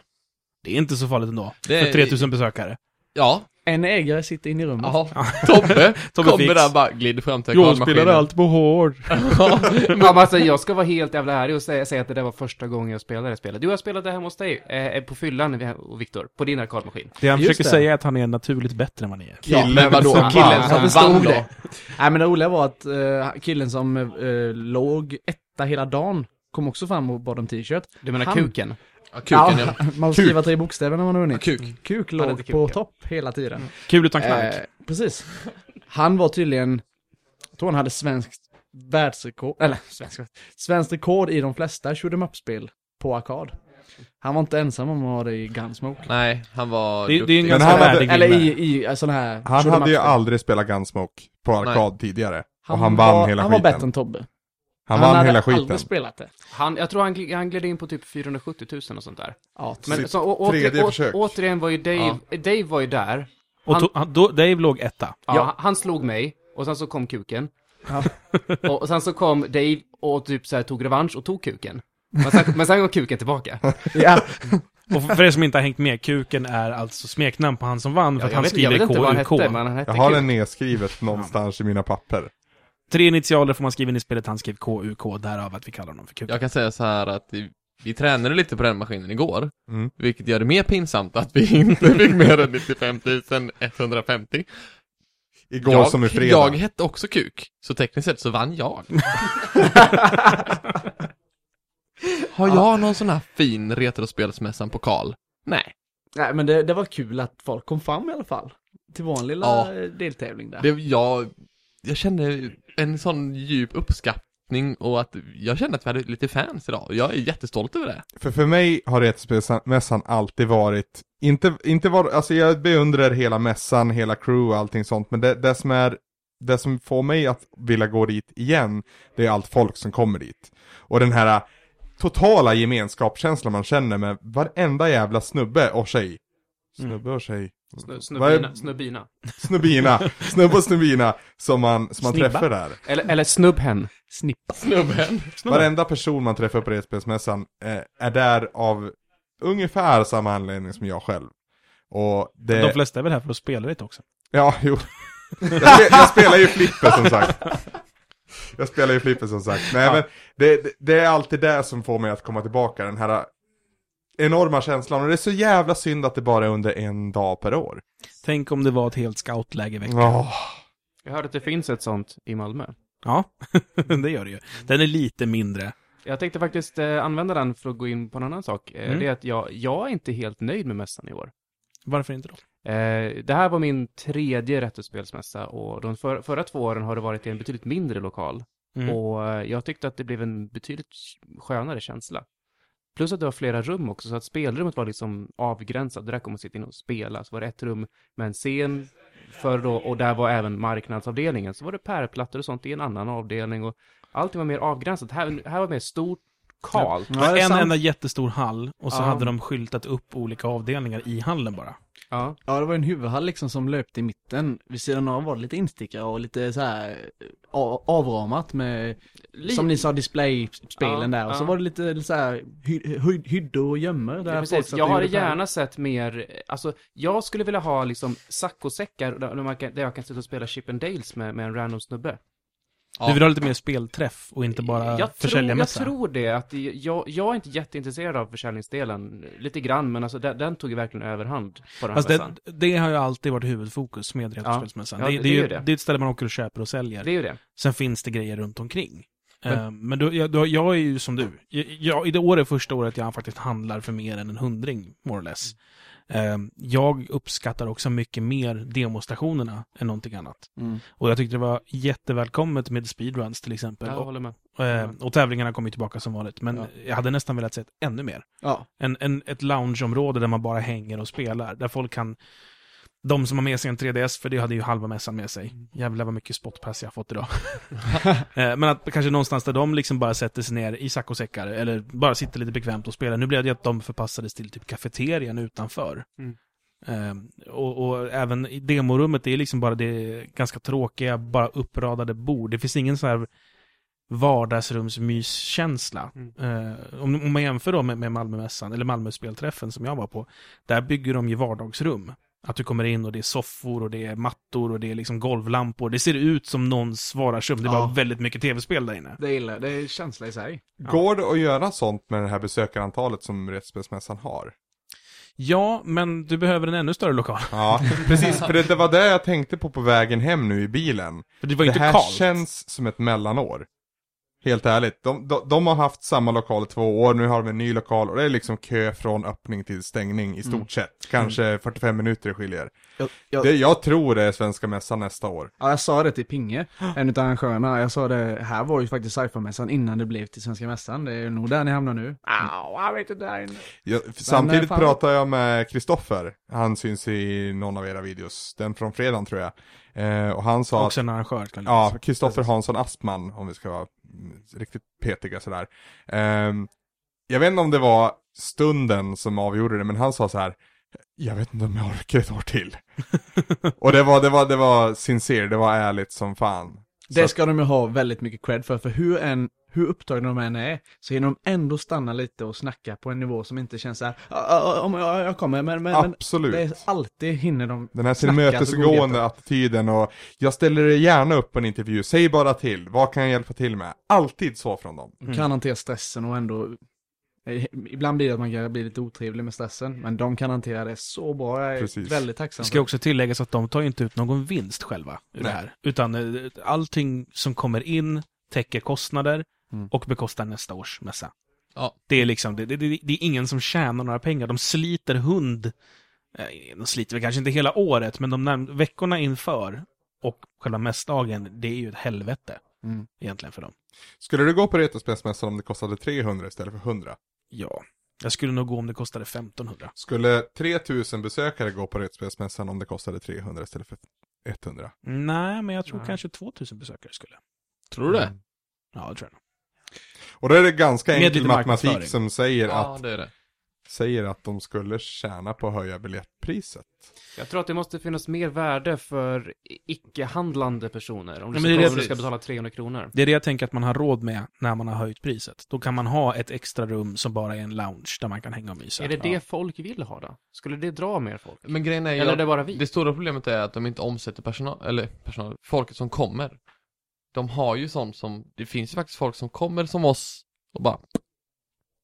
Speaker 1: Det är inte så farligt ändå.
Speaker 5: Det
Speaker 1: För 3000 besökare.
Speaker 5: Ja,
Speaker 4: En ägare sitter inne i rummet.
Speaker 5: jaha. Tobbe,
Speaker 1: Tobbe
Speaker 5: kommer
Speaker 1: Fix.
Speaker 5: där bara glider fram till arkadmaskinen.
Speaker 1: på hård.
Speaker 2: Ja, men alltså, jag ska vara helt jävla ärlig och säga, säga att det där var första gången jag spelade det här spelet. Jo, jag spelade det hemma hos dig, eh, på fyllan, vi- och Viktor, på din arkadmaskin.
Speaker 1: Det han
Speaker 4: Just
Speaker 1: försöker
Speaker 4: det.
Speaker 1: säga är att han är naturligt bättre än vad ni är.
Speaker 5: Ja, men
Speaker 3: Killen
Speaker 5: vadå?
Speaker 3: som
Speaker 5: Killen
Speaker 3: vann.
Speaker 5: som
Speaker 4: det stod
Speaker 5: vann då?
Speaker 4: det. Nej men det roliga var att eh, killen som eh, låg etta hela dagen kom också fram och bad om t-shirt.
Speaker 2: Du menar
Speaker 4: Han-
Speaker 2: kuken?
Speaker 5: Ja, kuken ja.
Speaker 4: Man får skriva tre bokstäver när man har
Speaker 5: ja.
Speaker 4: vunnit.
Speaker 5: Kuk.
Speaker 4: Kuk
Speaker 2: hade
Speaker 4: låg
Speaker 2: inte
Speaker 4: på
Speaker 2: kuk, ja.
Speaker 4: topp hela tiden.
Speaker 1: Kul utan knark.
Speaker 4: Eh, precis. Han var tydligen, jag tror han hade svenskt världsrekord, eller svenskt, svenskt rekord i de flesta shoot em up-spel på arkad. Han var inte ensam om att ha det i Gunsmoke.
Speaker 5: Nej, han var
Speaker 1: det, det är en
Speaker 5: duktig.
Speaker 3: Men
Speaker 1: ganska
Speaker 3: han hade-
Speaker 1: värdig
Speaker 4: Eller
Speaker 1: gubbe.
Speaker 4: i, i eh, sån här
Speaker 3: Han
Speaker 4: shoot 'em
Speaker 3: hade ju
Speaker 4: up-spel.
Speaker 3: aldrig spelat Gunsmoke på arkad tidigare. och han vann
Speaker 4: var,
Speaker 3: hela
Speaker 4: Han
Speaker 3: skiten.
Speaker 4: var bättre än Tobbe.
Speaker 3: Han vann
Speaker 4: hade
Speaker 3: hela skiten.
Speaker 4: aldrig spelat det.
Speaker 2: Han, jag tror han, gl- han gled in på typ 470 000 och sånt där.
Speaker 4: Ja,
Speaker 2: Men
Speaker 3: Sitt
Speaker 2: så, å,
Speaker 3: tredje
Speaker 2: åter, å,
Speaker 3: försök.
Speaker 2: återigen var ju Dave, Dave var ju där.
Speaker 1: Och to, han, då, Dave låg etta.
Speaker 2: Ja, Han slog mig, och sen så kom kuken.
Speaker 4: Ja.
Speaker 2: och, och sen så kom Dave och typ så här, tog revansch och tog kuken. Men sen, men sen kom kuken tillbaka.
Speaker 4: ja.
Speaker 1: Och för för er som inte har hängt med, Kuken är alltså smeknamn på han som vann, för att
Speaker 2: jag
Speaker 1: han
Speaker 2: vet, jag
Speaker 1: skriver
Speaker 2: vet inte vad han
Speaker 1: KUK.
Speaker 2: hette, men han hette
Speaker 3: Jag har
Speaker 2: kuk.
Speaker 3: det nedskrivet någonstans i mina papper.
Speaker 1: Tre initialer får man skriva in i spelet, han skrev KUK, därav att vi kallar honom för Kuken.
Speaker 5: Jag kan säga så här att vi, vi tränade lite på den maskinen igår,
Speaker 3: Mm.
Speaker 5: vilket gör det mer pinsamt att vi inte fick mer än 95 150.
Speaker 3: Igår
Speaker 5: jag,
Speaker 3: som i fredag.
Speaker 5: jag hette också Kuk, så tekniskt sett så vann jag. Har jag någon sån här fin retrospelsmässan-pokal? Nej.
Speaker 4: Nej, men det, det var kul att folk kom fram i alla fall. Till vår lilla
Speaker 5: Ja.
Speaker 4: eh, deltävling där.
Speaker 5: Det, jag, jag kände en sån djup uppskattning och att jag kände att vi hade lite fans idag. Jag är jättestolt över det.
Speaker 3: För för mig har retrospelsmässan alltid varit, inte, inte var, alltså jag beundrar hela mässan, hela crew och allting sånt, men det, det som är, det som får mig att vilja gå dit igen, det är allt folk som kommer dit. Och den här totala gemenskapskänslan man känner med varenda jävla snubbe och tjej. Snubbe och tjej.
Speaker 2: Snu-
Speaker 3: Vad är-
Speaker 2: Snubbina, snubbina.
Speaker 3: Snubbina, snubbe och snubbina som man, som man
Speaker 1: Snibba.
Speaker 3: träffar där.
Speaker 2: Eller, eller snubbhen.
Speaker 4: Snippa.
Speaker 5: Snubben.
Speaker 3: Varenda person man träffar på retrospelsmässan eh, är där av ungefär samma anledning som jag själv. Och det...
Speaker 1: De flesta är väl här för att spela lite också.
Speaker 3: Ja, jo. Jag, spe, jag spelar ju flipper som sagt. Jag spelar ju flipper som sagt. Nej, men det, det, det är alltid det som får mig att komma tillbaka, den här enorma känslan. Och det är så jävla synd att det bara är under en dag per år.
Speaker 1: Tänk om det var ett helt scoutläge i veckan.
Speaker 3: Åh,
Speaker 2: Jag hörde att det finns ett sånt i Malmö.
Speaker 1: Ja, det gör det ju. Den är lite mindre.
Speaker 2: Jag tänkte faktiskt eh, använda den för att gå in på en annan sak. Eh,
Speaker 1: Mm.
Speaker 2: Det är att jag, jag är inte helt nöjd med mässan i år.
Speaker 1: Varför inte då?
Speaker 2: Eh, det här var min tredje retrospelsmässa och de för, förra två åren har det varit i en betydligt mindre lokal.
Speaker 1: Mm.
Speaker 2: Och eh, jag tyckte att det blev en betydligt skönare känsla. Plus att det var flera rum också, så att spelrummet var liksom avgränsat. Det där kommer man sitta in och spela. Så var det ett rum med en scen för då, och där var även marknadsavdelningen. Så var det pärlplattor och sånt i en annan avdelning och allting var mer avgränsat. Här, här var det mer stort, kalt.
Speaker 1: Det var
Speaker 4: det är
Speaker 1: en
Speaker 4: sant.
Speaker 1: enda jättestor hall och så
Speaker 2: Ja.
Speaker 1: hade de skyltat upp olika avdelningar i hallen bara.
Speaker 2: Ja.
Speaker 4: Ja, det var en huvudhall liksom som löpte i mitten. Vid sidan av var det lite instickare och lite så här eh, a- avramat med, som ni sa, displayspelen
Speaker 2: Ja,
Speaker 4: där. Och så
Speaker 2: ja.
Speaker 4: var det lite, så här hy- hy- hyddor och gömmor där
Speaker 2: Ja,
Speaker 4: folk
Speaker 2: precis.
Speaker 4: satt
Speaker 2: Jag
Speaker 4: och
Speaker 2: hade
Speaker 4: gjorde färdigt.
Speaker 2: gärna sett mer, alltså jag skulle vilja ha liksom saccosäckar där, där, man kan- där jag kan sitta och spela Chip and Dales med, med en random snubbe.
Speaker 5: Ja.
Speaker 1: Du vill ha lite mer spelträff och inte bara
Speaker 2: jag, tror, jag
Speaker 1: försäljarmässa.
Speaker 2: tror det, att det- jag, jag är inte jätteintresserad av försäljningsdelen, lite grann, men alltså den, den tog ju verkligen överhand på den här
Speaker 1: Fast det,
Speaker 2: mässan.
Speaker 1: det har ju alltid varit huvudfokus med retrospelsmässan.
Speaker 2: Ja,
Speaker 1: det,
Speaker 2: det-
Speaker 1: det, är ju
Speaker 2: det är det.
Speaker 1: det är ett ställe man åker och köper och säljer.
Speaker 2: Det är ju det.
Speaker 1: Sen finns det grejer runt omkring.
Speaker 2: Men-
Speaker 1: Men, men då, jag, då, jag är ju som du. Jag, jag, i det året är första året jag faktiskt handlar för mer än en hundring, more or less. Ehm, jag uppskattar också mycket mer demonstrationerna än någonting annat.
Speaker 4: Mm.
Speaker 1: Och jag tyckte det var jättevälkommet med speedruns till exempel.
Speaker 2: Ja, Jag
Speaker 1: och,
Speaker 2: håller med.
Speaker 1: ehm, och tävlingarna kom ju tillbaka som vanligt. Men
Speaker 4: Ja.
Speaker 1: jag hade nästan velat se ett ännu mer.
Speaker 4: Ja,
Speaker 1: En, en, ett loungeområde där man bara hänger och spelar. Där folk kan... De som har med sig en 3DS, för det hade ju halva mässan med sig. Jävlar vad mycket spotpass jag har fått idag. Eh, Men att kanske någonstans där de liksom bara sätter sig ner i saccosäckar eller bara sitter lite bekvämt och spelar. Nu blev det ju att de förpassades till typ kafeterian utanför.
Speaker 2: Mm.
Speaker 1: Eh, och, och även i demorummet, det är liksom bara det ganska tråkiga, bara uppradade bord. Det finns ingen sån här vardagsrumsmyskänsla.
Speaker 3: Mm.
Speaker 1: Eh, om, om man jämför då med, med Malmömässan, eller Malmöspelträffen som jag var på, där bygger de ju vardagsrum. Att du kommer in och det är soffor och det är mattor och det är liksom golvlampor. Det ser ut som någons vardagsrum, det är
Speaker 4: Ja.
Speaker 1: bara väldigt mycket tv-spel där inne.
Speaker 4: det gillar jag. Det är känsla i sig.
Speaker 3: Går det att göra sånt med det här besökarantalet som Rättsspelsmässan har?
Speaker 1: Ja, men du behöver en ännu större lokal.
Speaker 3: Ja, precis. För det, det var det jag tänkte på på vägen hem nu i bilen.
Speaker 1: För det var ju
Speaker 3: Det
Speaker 1: inte
Speaker 3: här
Speaker 1: kallt.
Speaker 3: känns som ett mellanår. Helt ärligt. De, de, de har haft samma lokal i två år, nu har de en ny lokal och det är liksom kö från öppning till stängning i stort sett. Kanske 45 minuter skiljer.
Speaker 4: Mm. Jag, jag,
Speaker 3: Det, jag tror det är Svenska Mässan nästa år.
Speaker 4: Ja, jag sa det till Pinge, en utav arrangörerna. Jag sa det, här var ju faktiskt sci-fi-mässan innan det blev till Svenska Mässan. Det är nog där ni hamnar nu. Ah, jag vet inte där inne.
Speaker 3: Jag, samtidigt
Speaker 4: eh, fan-
Speaker 3: pratar jag med Kristoffer, han syns i någon av era videos, den från fredagen tror jag. Eh, och han sa att
Speaker 1: Också en arrangör.
Speaker 4: Mm.
Speaker 1: kan jag
Speaker 3: Ja,
Speaker 1: säga.
Speaker 3: Kristoffer Hansson Aspman, om vi ska vara mm, riktigt petiga sådär. Ehm, jag vet inte om det var stunden som avgjorde det, men han sa så här. Jag vet inte om jag orkar ett år till. och det var, det var, det var sincere, det var ärligt som fan. Så
Speaker 4: Det
Speaker 3: att-
Speaker 4: ska de ju ha väldigt mycket cred för, för hur, en, hur upptagna de än är så hinner de ändå stanna lite och snacka på en nivå som inte känns så här, "Ah, ah, ah, om jag, jag kommer, men, men, men
Speaker 3: Absolut.
Speaker 4: det är alltid hinner de.
Speaker 3: Den här
Speaker 4: Snacka, så går det
Speaker 3: tillmötesgående attityden och jag ställer dig gärna upp på en intervju, säg bara till, vad kan jag hjälpa till med? Alltid så från dem.
Speaker 4: De Mm. kan hantera stressen och ändå Eh, Ibland blir det att man kan bli lite otrevlig med stressen, men de kan hantera det så bra. Jag är
Speaker 3: Precis.
Speaker 4: väldigt tacksam.
Speaker 1: Det
Speaker 4: för
Speaker 1: ska också tilläggas att de tar ju inte ut någon vinst själva ur
Speaker 3: Nej.
Speaker 1: det här. Utan eh, allting som kommer in täcker kostnader
Speaker 4: Mm.
Speaker 1: och bekostar nästa års mässa.
Speaker 5: Ja.
Speaker 1: Det är liksom, det, det, det det är ingen som tjänar några pengar. De sliter hund, eh, de sliter väl kanske inte hela året, men de närm- veckorna inför och själva mässdagen, det är ju ett helvete
Speaker 4: Mm.
Speaker 1: egentligen för dem.
Speaker 3: Skulle du gå på Retrospelsmässan om det kostade 300 istället för 100?
Speaker 1: Ja. Jag skulle nog gå om det kostade 1500.
Speaker 3: Skulle 3000 besökare gå på Rättsspelsmässan om det kostade 300 istället för 100?
Speaker 1: Nej, men jag tror
Speaker 2: Nej.
Speaker 1: kanske 2000 besökare skulle.
Speaker 5: Tror du det?
Speaker 3: Mm.
Speaker 1: Ja, det tror jag.
Speaker 3: Och då är det ganska
Speaker 1: Med
Speaker 3: enkel
Speaker 1: lite
Speaker 3: matematik
Speaker 1: marknadsföring.
Speaker 3: som säger,
Speaker 5: Ja,
Speaker 3: att,
Speaker 5: det är det.
Speaker 3: säger att de skulle tjäna på att höja biljettpriset.
Speaker 2: Jag tror att det måste finnas mer värde för i- icke-handlande personer. Om du,
Speaker 1: Ja, men
Speaker 2: ska,
Speaker 1: det är det
Speaker 2: om du ska
Speaker 5: precis.
Speaker 2: betala 300 kronor.
Speaker 1: Det är det jag tänker att man har råd med när man har höjt priset. Då kan man ha ett extra rum som bara är en lounge där man kan hänga och mysa.
Speaker 2: Är det det
Speaker 1: Ja.
Speaker 2: folk vill ha då? Skulle det dra mer folk?
Speaker 5: Men grejen är ju
Speaker 2: Eller är
Speaker 5: att
Speaker 2: det bara vi?
Speaker 5: det stora problemet är att de inte omsätter personal, eller personal, folket som kommer. De har ju sånt som, det finns ju faktiskt folk som kommer som oss och bara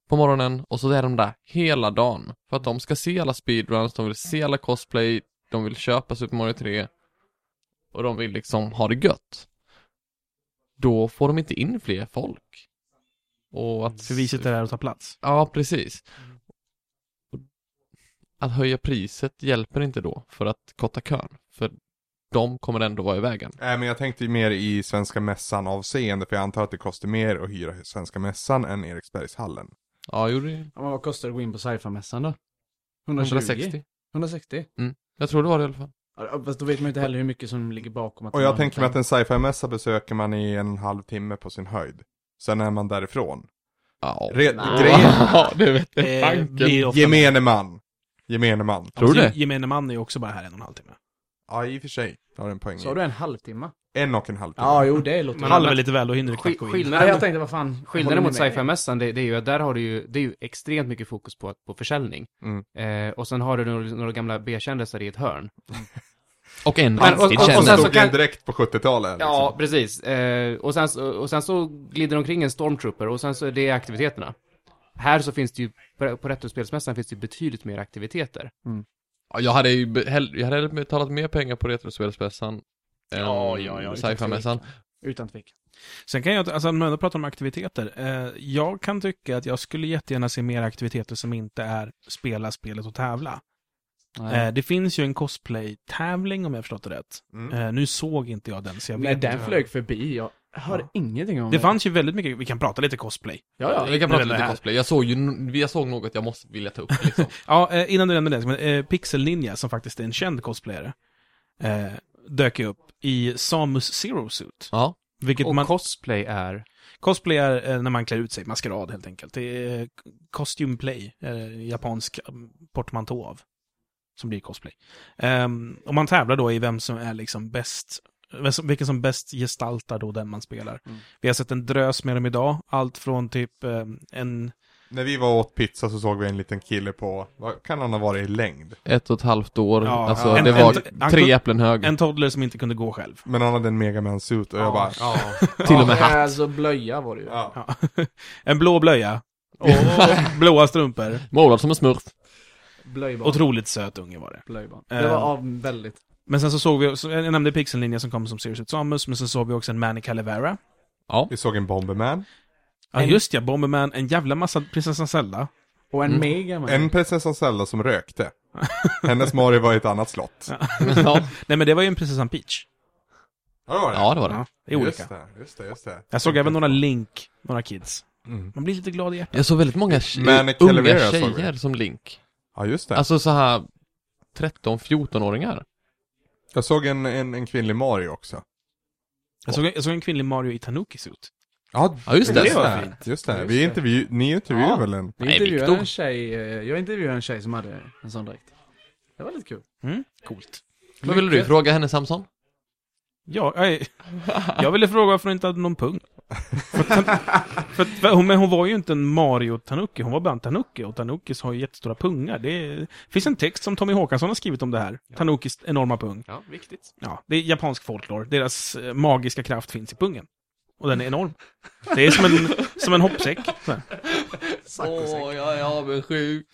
Speaker 5: på morgonen och så är de där hela dagen. För att de ska se alla speedruns, de vill se alla cosplay, de vill köpa Super Mario 3 och de vill liksom ha det gött. Då får de inte in fler folk. Och att...
Speaker 1: För vi sitter där och tar plats.
Speaker 5: Ja, precis. Att höja priset hjälper inte då för att korta kön. För de kommer ändå vara i vägen.
Speaker 3: Nej, Äh, men jag tänkte ju mer i Svenska Mässan avseende, för jag antar att det kostar mer att hyra Svenska Mässan än Eriksbergshallen.
Speaker 5: Ja, gjorde det.
Speaker 4: Ja, men vad kostar det att gå in på sci-fi-mässan då? 120?
Speaker 5: 160.
Speaker 4: 160?
Speaker 5: Jag tror det var det i alla fall.
Speaker 4: Ja, fast då vet man ju inte heller hur mycket som ligger bakom att
Speaker 3: Och
Speaker 4: de
Speaker 3: jag
Speaker 4: har
Speaker 3: tänker mig att
Speaker 4: hittat-
Speaker 3: en sci-fi-mässa besöker man i en halv timme på sin höjd. Sen är man därifrån.
Speaker 5: Ja.
Speaker 3: Re-
Speaker 5: Nej.
Speaker 3: grejen,
Speaker 5: Ja, det vet jag.
Speaker 1: Eh,
Speaker 5: Banken.
Speaker 1: blir ofta- Alltså,
Speaker 3: gemene man. Gemene man.
Speaker 5: Tror du det?
Speaker 1: Gemene man är ju också bara här en och en halv timme.
Speaker 3: Ja, i och för sig. Har en poäng. i.
Speaker 4: Sa du en halvtimme?
Speaker 3: En och en halv timme.
Speaker 4: Ja, jo det låter...
Speaker 2: Men
Speaker 1: halv är
Speaker 2: alla-
Speaker 1: lite väl, då hinner du
Speaker 2: Skill-
Speaker 1: knappt gå in.
Speaker 4: Nej, jag
Speaker 2: skillnaden,
Speaker 4: tänkte vad fan...
Speaker 2: skillnaden mot
Speaker 4: håller ni med?
Speaker 2: sci-fi-mässan, det, det är ju att där har du ju, det är ju extremt mycket fokus på, på försäljning.
Speaker 3: Mm.
Speaker 2: Eh, och sen har du några, några gamla B-kändisar i ett hörn.
Speaker 5: Och en
Speaker 2: Men- och- och-
Speaker 5: riktig
Speaker 2: och
Speaker 3: Och
Speaker 5: kändis.
Speaker 2: sen så
Speaker 3: stod
Speaker 2: kan-
Speaker 3: kan... direkt på 70-talet. Liksom.
Speaker 2: Ja, precis. Eh, och, sen, så- och sen så glider omkring en stormtrooper och sen så är det aktiviteterna. Här så finns det ju, på- på Retrospelsmässan finns det ju betydligt mer aktiviteter.
Speaker 5: Ja, Jag hade ju be- hell- jag hade hellre betalat mer pengar på Retrospelsmässan än
Speaker 4: Ja, ja, ja,
Speaker 5: sci-fi-mässan.
Speaker 4: Utan tvekan.
Speaker 1: Sen kan jag, alltså när man ändå pratar om aktiviteter, eh, jag kan tycka att jag skulle jättegärna se mer aktiviteter som inte är spela spelet och tävla.
Speaker 4: Nej.
Speaker 1: Eh, det finns ju en cosplay-tävling om jag förstått det rätt.
Speaker 3: Mm.
Speaker 1: Eh, nu såg inte jag den, så jag
Speaker 4: Nej,
Speaker 1: vet
Speaker 4: den
Speaker 1: inte.
Speaker 4: flög förbi. Jag hör
Speaker 1: Ja.
Speaker 4: ingenting om
Speaker 1: Det fanns ju väldigt mycket, vi kan prata lite cosplay.
Speaker 4: Ja, ja.
Speaker 5: Vi kan
Speaker 1: det är
Speaker 5: prata
Speaker 1: väl det
Speaker 5: lite
Speaker 1: här.
Speaker 5: cosplay. Jag såg ju, n- jag såg något jag måste vilja ta upp liksom.
Speaker 1: Ja, eh, innan du nämnde det, men, eh, Pixel Ninja, som faktiskt är en känd cosplayare, eh, dök ju upp i Samus Zero Suit.
Speaker 5: Ja.
Speaker 1: Vilket
Speaker 2: Och
Speaker 1: man,
Speaker 2: cosplay är...
Speaker 1: cosplay är eh, när man klär ut sig, maskerad helt enkelt. Det är eh, costume play, eh, japansk mm, portmantå av, som blir cosplay. Ehm, och man tävlar då i vem som är liksom bäst, vem som- vilken som bäst gestaltar då den man spelar.
Speaker 4: Mm.
Speaker 1: Vi har sett en drös med dem idag, allt från typ eh, en
Speaker 3: När vi var och åt pizza så såg vi en liten kille på, vad kan han ha varit i längd?
Speaker 5: Ett och ett halvt år.
Speaker 1: Ja,
Speaker 5: alltså
Speaker 1: ja.
Speaker 5: det
Speaker 1: En-
Speaker 5: var
Speaker 1: en-
Speaker 5: tre äpplen hög.
Speaker 1: En toddler som inte kunde gå själv.
Speaker 3: Men han hade en megaman-suit och jag bara, ja.
Speaker 5: till och med
Speaker 4: Ja,
Speaker 5: hatt.
Speaker 4: Alltså blöja var det ju.
Speaker 3: ja.
Speaker 1: Ja. En blå blöja. Och blåa strumpor.
Speaker 5: Målad som en smurf.
Speaker 4: Blöjbarn.
Speaker 1: Otroligt söt unge var det.
Speaker 4: Blöjbarn.
Speaker 1: Eh.
Speaker 4: Det var av väldigt...
Speaker 1: Men sen så såg vi, så jag nämnde pixellinjen som kom som Sirius ut Samus, men sen såg vi också en Manny Calavera.
Speaker 3: Vi såg en Bomberman,
Speaker 1: Ja
Speaker 4: En-
Speaker 1: just ja, Bomberman, en jävla massa prinsessan Zelda.
Speaker 4: Och en
Speaker 5: Mm.
Speaker 4: mega man.
Speaker 3: en prinsessan Zelda som rökte. Hennes Mario var i ett annat slott.
Speaker 1: Ja.
Speaker 5: ja,
Speaker 1: Nej men det var ju en prinsessan Peach.
Speaker 3: Ja, det var det.
Speaker 5: ja, det var det.
Speaker 1: Ja, det är olika.
Speaker 3: Just det, just det, just det.
Speaker 1: Jag såg även några Link, några kids.
Speaker 3: Mm.
Speaker 1: Man blir lite glad i hjärtat.
Speaker 5: Jag såg väldigt många tje-
Speaker 3: Men
Speaker 5: unga
Speaker 3: Calavera såg vi.
Speaker 5: tjejer som Link.
Speaker 3: Ja, just det.
Speaker 5: Alltså så här 13-14-åringar.
Speaker 3: Jag såg en, en, en kvinnlig Mario också.
Speaker 1: Jag såg, jag såg en kvinnlig Mario i Tanuki-suit.
Speaker 3: Ja,
Speaker 5: Ja, just det.
Speaker 3: Just
Speaker 1: var
Speaker 3: det, just det. Vi intervju, ni intervjuade
Speaker 4: Ja.
Speaker 3: väl en?
Speaker 4: Jag
Speaker 5: Nej,
Speaker 4: intervjuade
Speaker 5: Viktor.
Speaker 4: en tjej, eh, jag intervjuade en tjej som hade en sån dräkt. Det var lite kul.
Speaker 1: Mm? Coolt.
Speaker 5: Vad ville du fråga henne Samson?
Speaker 1: Ja, jag, jag ville fråga varför hon inte hade någon pung. För, för, hon, men hon var ju inte en Mario Tanuki, hon var bara en Tanuki. Och Tanukis har ju jättestora pungar. Det är, finns en text som Tommy Håkansson har skrivit om det här. Tanukis enorma pung.
Speaker 2: Ja, viktigt.
Speaker 1: Ja, det är japansk folklore. Deras eh, magiska kraft finns i pungen. Och den är enorm. Det är som en, som en hoppsäck. Så här.
Speaker 5: Åh, jag är avundsjuk.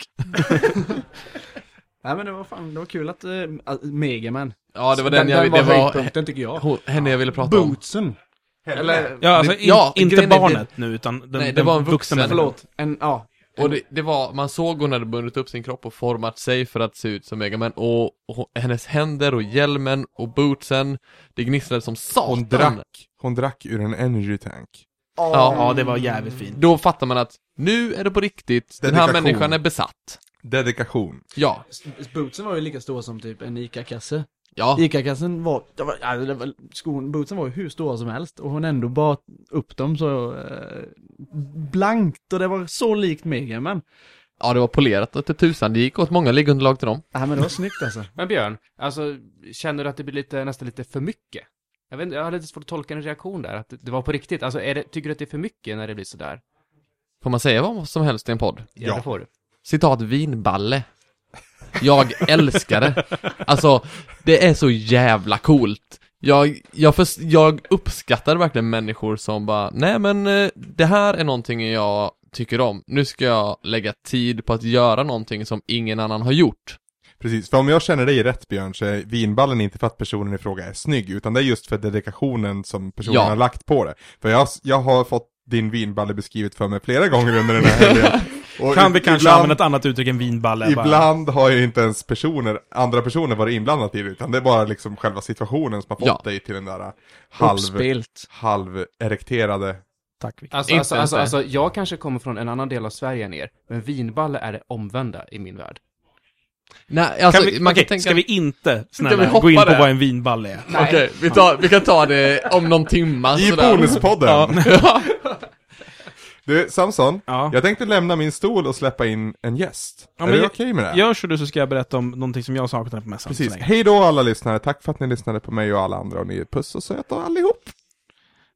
Speaker 4: Nej men det var fan, det var kul att, eh, att Mega man.
Speaker 5: Ja, det var den, jag
Speaker 4: den var
Speaker 5: ville... Det var
Speaker 4: höjdpunkten tycker jag.
Speaker 5: hon, henne jag ville prata om.
Speaker 4: Bootsen.
Speaker 3: Eller?
Speaker 1: Ja, alltså in,
Speaker 5: Ja,
Speaker 1: inte
Speaker 5: grejen är det-
Speaker 1: barnet nu, utan den,
Speaker 5: Nej, det
Speaker 1: den
Speaker 5: var en vuxen.
Speaker 1: vuxna människan.
Speaker 4: Förlåt, en, ja.
Speaker 5: Och det, det var, man såg hon hade bundit upp sin kropp och format sig för att se ut som Megaman och, och hennes händer och hjälmen och bootsen, det gnisslade som satan.
Speaker 3: Hon drack, hon drack ur en energy tank.
Speaker 1: Ja, det var jävligt fint.
Speaker 5: Då fattar man att nu är det på riktigt, den här
Speaker 3: Dedikation.
Speaker 5: människan är besatt.
Speaker 3: Dedikation.
Speaker 5: Ja,
Speaker 4: S- Bootsen var ju lika stor som typ en ICA-kasse.
Speaker 5: ja.
Speaker 4: ICA-kassen var, det var, ja, det var skon, bootsen var ju hur stora som helst och hon ändå bar upp dem så eh, blankt och det var så likt Mega man.
Speaker 5: Ja, det var polerat och till tusan, det gick åt många liggunderlag till dem.
Speaker 4: Nej men det var snyggt alltså.
Speaker 2: Men Björn, alltså, känner du att det blir lite, nästan lite för mycket? Jag, vet, inte, jag har lite svårt att tolka en reaktion där, att det- det var på riktigt. Alltså, är det, tycker du att det är för mycket när det blir sådär?
Speaker 5: Får man säga vad som helst i en podd?
Speaker 2: Ja. Det får du.
Speaker 5: Citat vinballe. Jag älskar det. Alltså, det är så jävla coolt. Jag, jag, först, jag uppskattar verkligen människor som bara, nej men eh, det här är någonting jag tycker om. Nu ska jag lägga tid på att göra någonting som ingen annan har gjort.
Speaker 3: Precis, för om jag känner dig rätt Björn så är vinballen inte för att personen i fråga är snygg utan det är just för dedikationen som personen
Speaker 5: Ja.
Speaker 3: har lagt på det. För jag, jag har fått din vinballe beskrivet för mig flera gånger under den här helgen. Och
Speaker 1: Kan vi
Speaker 3: i-
Speaker 1: kanske
Speaker 3: ibland,
Speaker 1: använda ett annat uttryck än vinballe? bara-
Speaker 3: Ibland har ju inte ens personer, andra personer varit inblandade i det utan det är bara liksom själva situationen som har fått
Speaker 5: Ja.
Speaker 3: dig till den där halv,
Speaker 4: Uppspelt.
Speaker 3: halv erekterade
Speaker 1: Tack Victor.
Speaker 2: Alltså,
Speaker 5: Inte
Speaker 2: alltså,
Speaker 5: ens
Speaker 2: alltså,
Speaker 5: det.
Speaker 2: alltså, jag kanske kommer från en annan del av Sverige än er, men vinballe är det omvända i min värld.
Speaker 5: Nej, alltså,
Speaker 1: kan vi,
Speaker 5: man
Speaker 1: okej,
Speaker 5: kan tänka...
Speaker 1: Ska vi inte,
Speaker 5: Ska vi
Speaker 1: snälla,
Speaker 5: hoppa
Speaker 1: gå in på
Speaker 5: det?
Speaker 1: vad en vinballe är?
Speaker 5: Okej, vi, tar, vi kan ta det om någon timma.
Speaker 3: I
Speaker 5: sådär.
Speaker 3: bonuspodden!
Speaker 5: Alltså Ja.
Speaker 3: Du, Samson.
Speaker 1: Ja.
Speaker 3: Jag tänkte lämna min stol och släppa in en gäst.
Speaker 1: Ja,
Speaker 3: är
Speaker 1: men
Speaker 3: du
Speaker 1: jag-
Speaker 3: okej med det?
Speaker 1: Gör så du så ska jag berätta om någonting som jag saknade på mässan.
Speaker 3: Precis.
Speaker 1: Så länge.
Speaker 3: Hej då alla lyssnare. Tack för att ni lyssnade på mig och alla andra. Och ni är puss och söta allihop.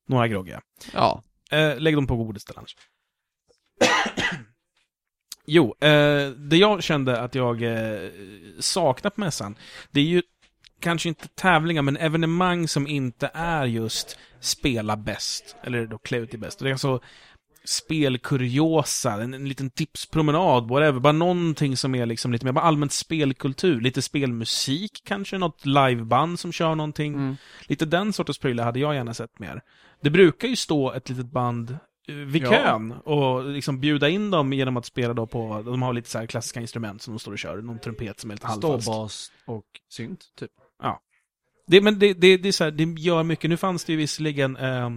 Speaker 1: Några groggiga.
Speaker 5: ja.
Speaker 1: Eh, lägg dem på bordet istället annars. jo, eh, det jag kände att jag eh, saknar på mässan, det är ju kanske inte tävlingar, men evenemang som inte är just spela bäst, eller då klä ut i bäst. Det är alltså spelkuriosa, en, en liten tipspromenad, whatever. Bara någonting som är liksom lite mer bara allmänt spelkultur, lite spelmusik kanske, något liveband som kör någonting. Lite den sortens prylar hade jag gärna sett mer. Det brukar ju stå ett litet band eh, vid
Speaker 4: Ja.
Speaker 1: kön och liksom bjuda in dem genom att spela då på, de har lite så här klassiska instrument som de står och kör, någon trumpet som är lite halvfast.
Speaker 4: Ståbas och synt, typ.
Speaker 1: Det, men det, det, det, är så här, det gör mycket. Nu fanns det ju visserligen eh,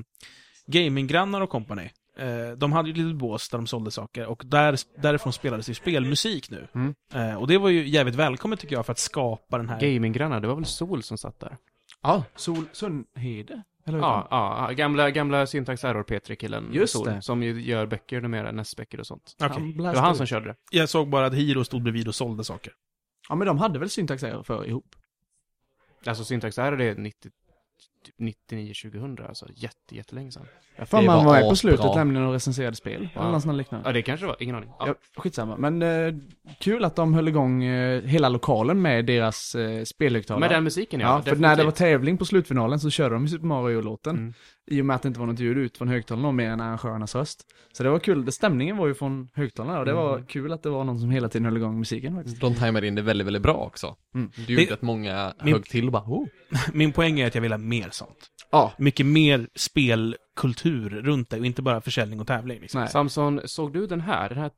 Speaker 1: gaminggrannar och company. Eh, de hade ju ett litet bås där de sålde saker och där, därifrån spelades ju spelmusik nu.
Speaker 2: Mm.
Speaker 1: Eh, och det var ju jävligt välkommet tycker jag för att skapa den här...
Speaker 2: Gaminggrannar, det var väl Sol som satt där?
Speaker 4: Ja. Sol, Sundhede? Eller hur
Speaker 2: Ja, ja, ja, gamla, gamla syntax error Petri killen
Speaker 4: Just
Speaker 2: Sol,
Speaker 4: det.
Speaker 2: som ju gör böcker numera, nästböcker och sånt.
Speaker 1: Okej.
Speaker 2: Det var han som körde det.
Speaker 1: Jag såg bara att Hiro stod bredvid och sålde saker.
Speaker 4: Ja, men de hade väl syntax error för ihop?
Speaker 2: Alltså syntax error det är 90, 99, 2000, alltså jätte, jättelänge sedan.
Speaker 4: Jag för
Speaker 5: Det
Speaker 4: mig han var
Speaker 5: var
Speaker 4: med på
Speaker 5: asbra.
Speaker 4: slutet nämligen och recenserade spel. Eller något sånt där liknande.
Speaker 2: Ja, det kanske det var, ingen aning. Ja.
Speaker 4: Ja, skitsamma. Men eh, kul att de höll igång eh, hela lokalen med deras eh, spelhögtalare.
Speaker 2: Med den musiken ja,
Speaker 4: Ja, för när det var
Speaker 2: definitivt.
Speaker 4: tävling på slutfinalen så körde de ju Super Mario-låten.
Speaker 2: Mm.
Speaker 4: I och med att det inte var något ljud ut från högtalarna och mer än arrangörernas röst. Så det var kul. Det- Stämningen var ju från högtalarna och det var kul att det var någon som hela tiden höll igång musiken faktiskt.
Speaker 5: De tajmade in det väldigt, väldigt bra också.
Speaker 4: Mm.
Speaker 5: Det gjorde
Speaker 1: Det-
Speaker 5: att många
Speaker 1: Min-
Speaker 5: högg till och bara oh.
Speaker 1: Min poäng är att jag vill ha mer sånt.
Speaker 4: Ja.
Speaker 1: Mycket mer spelkultur runt det och inte bara försäljning och tävling. Liksom.
Speaker 4: Nej.
Speaker 2: Samson, såg du den här? den här?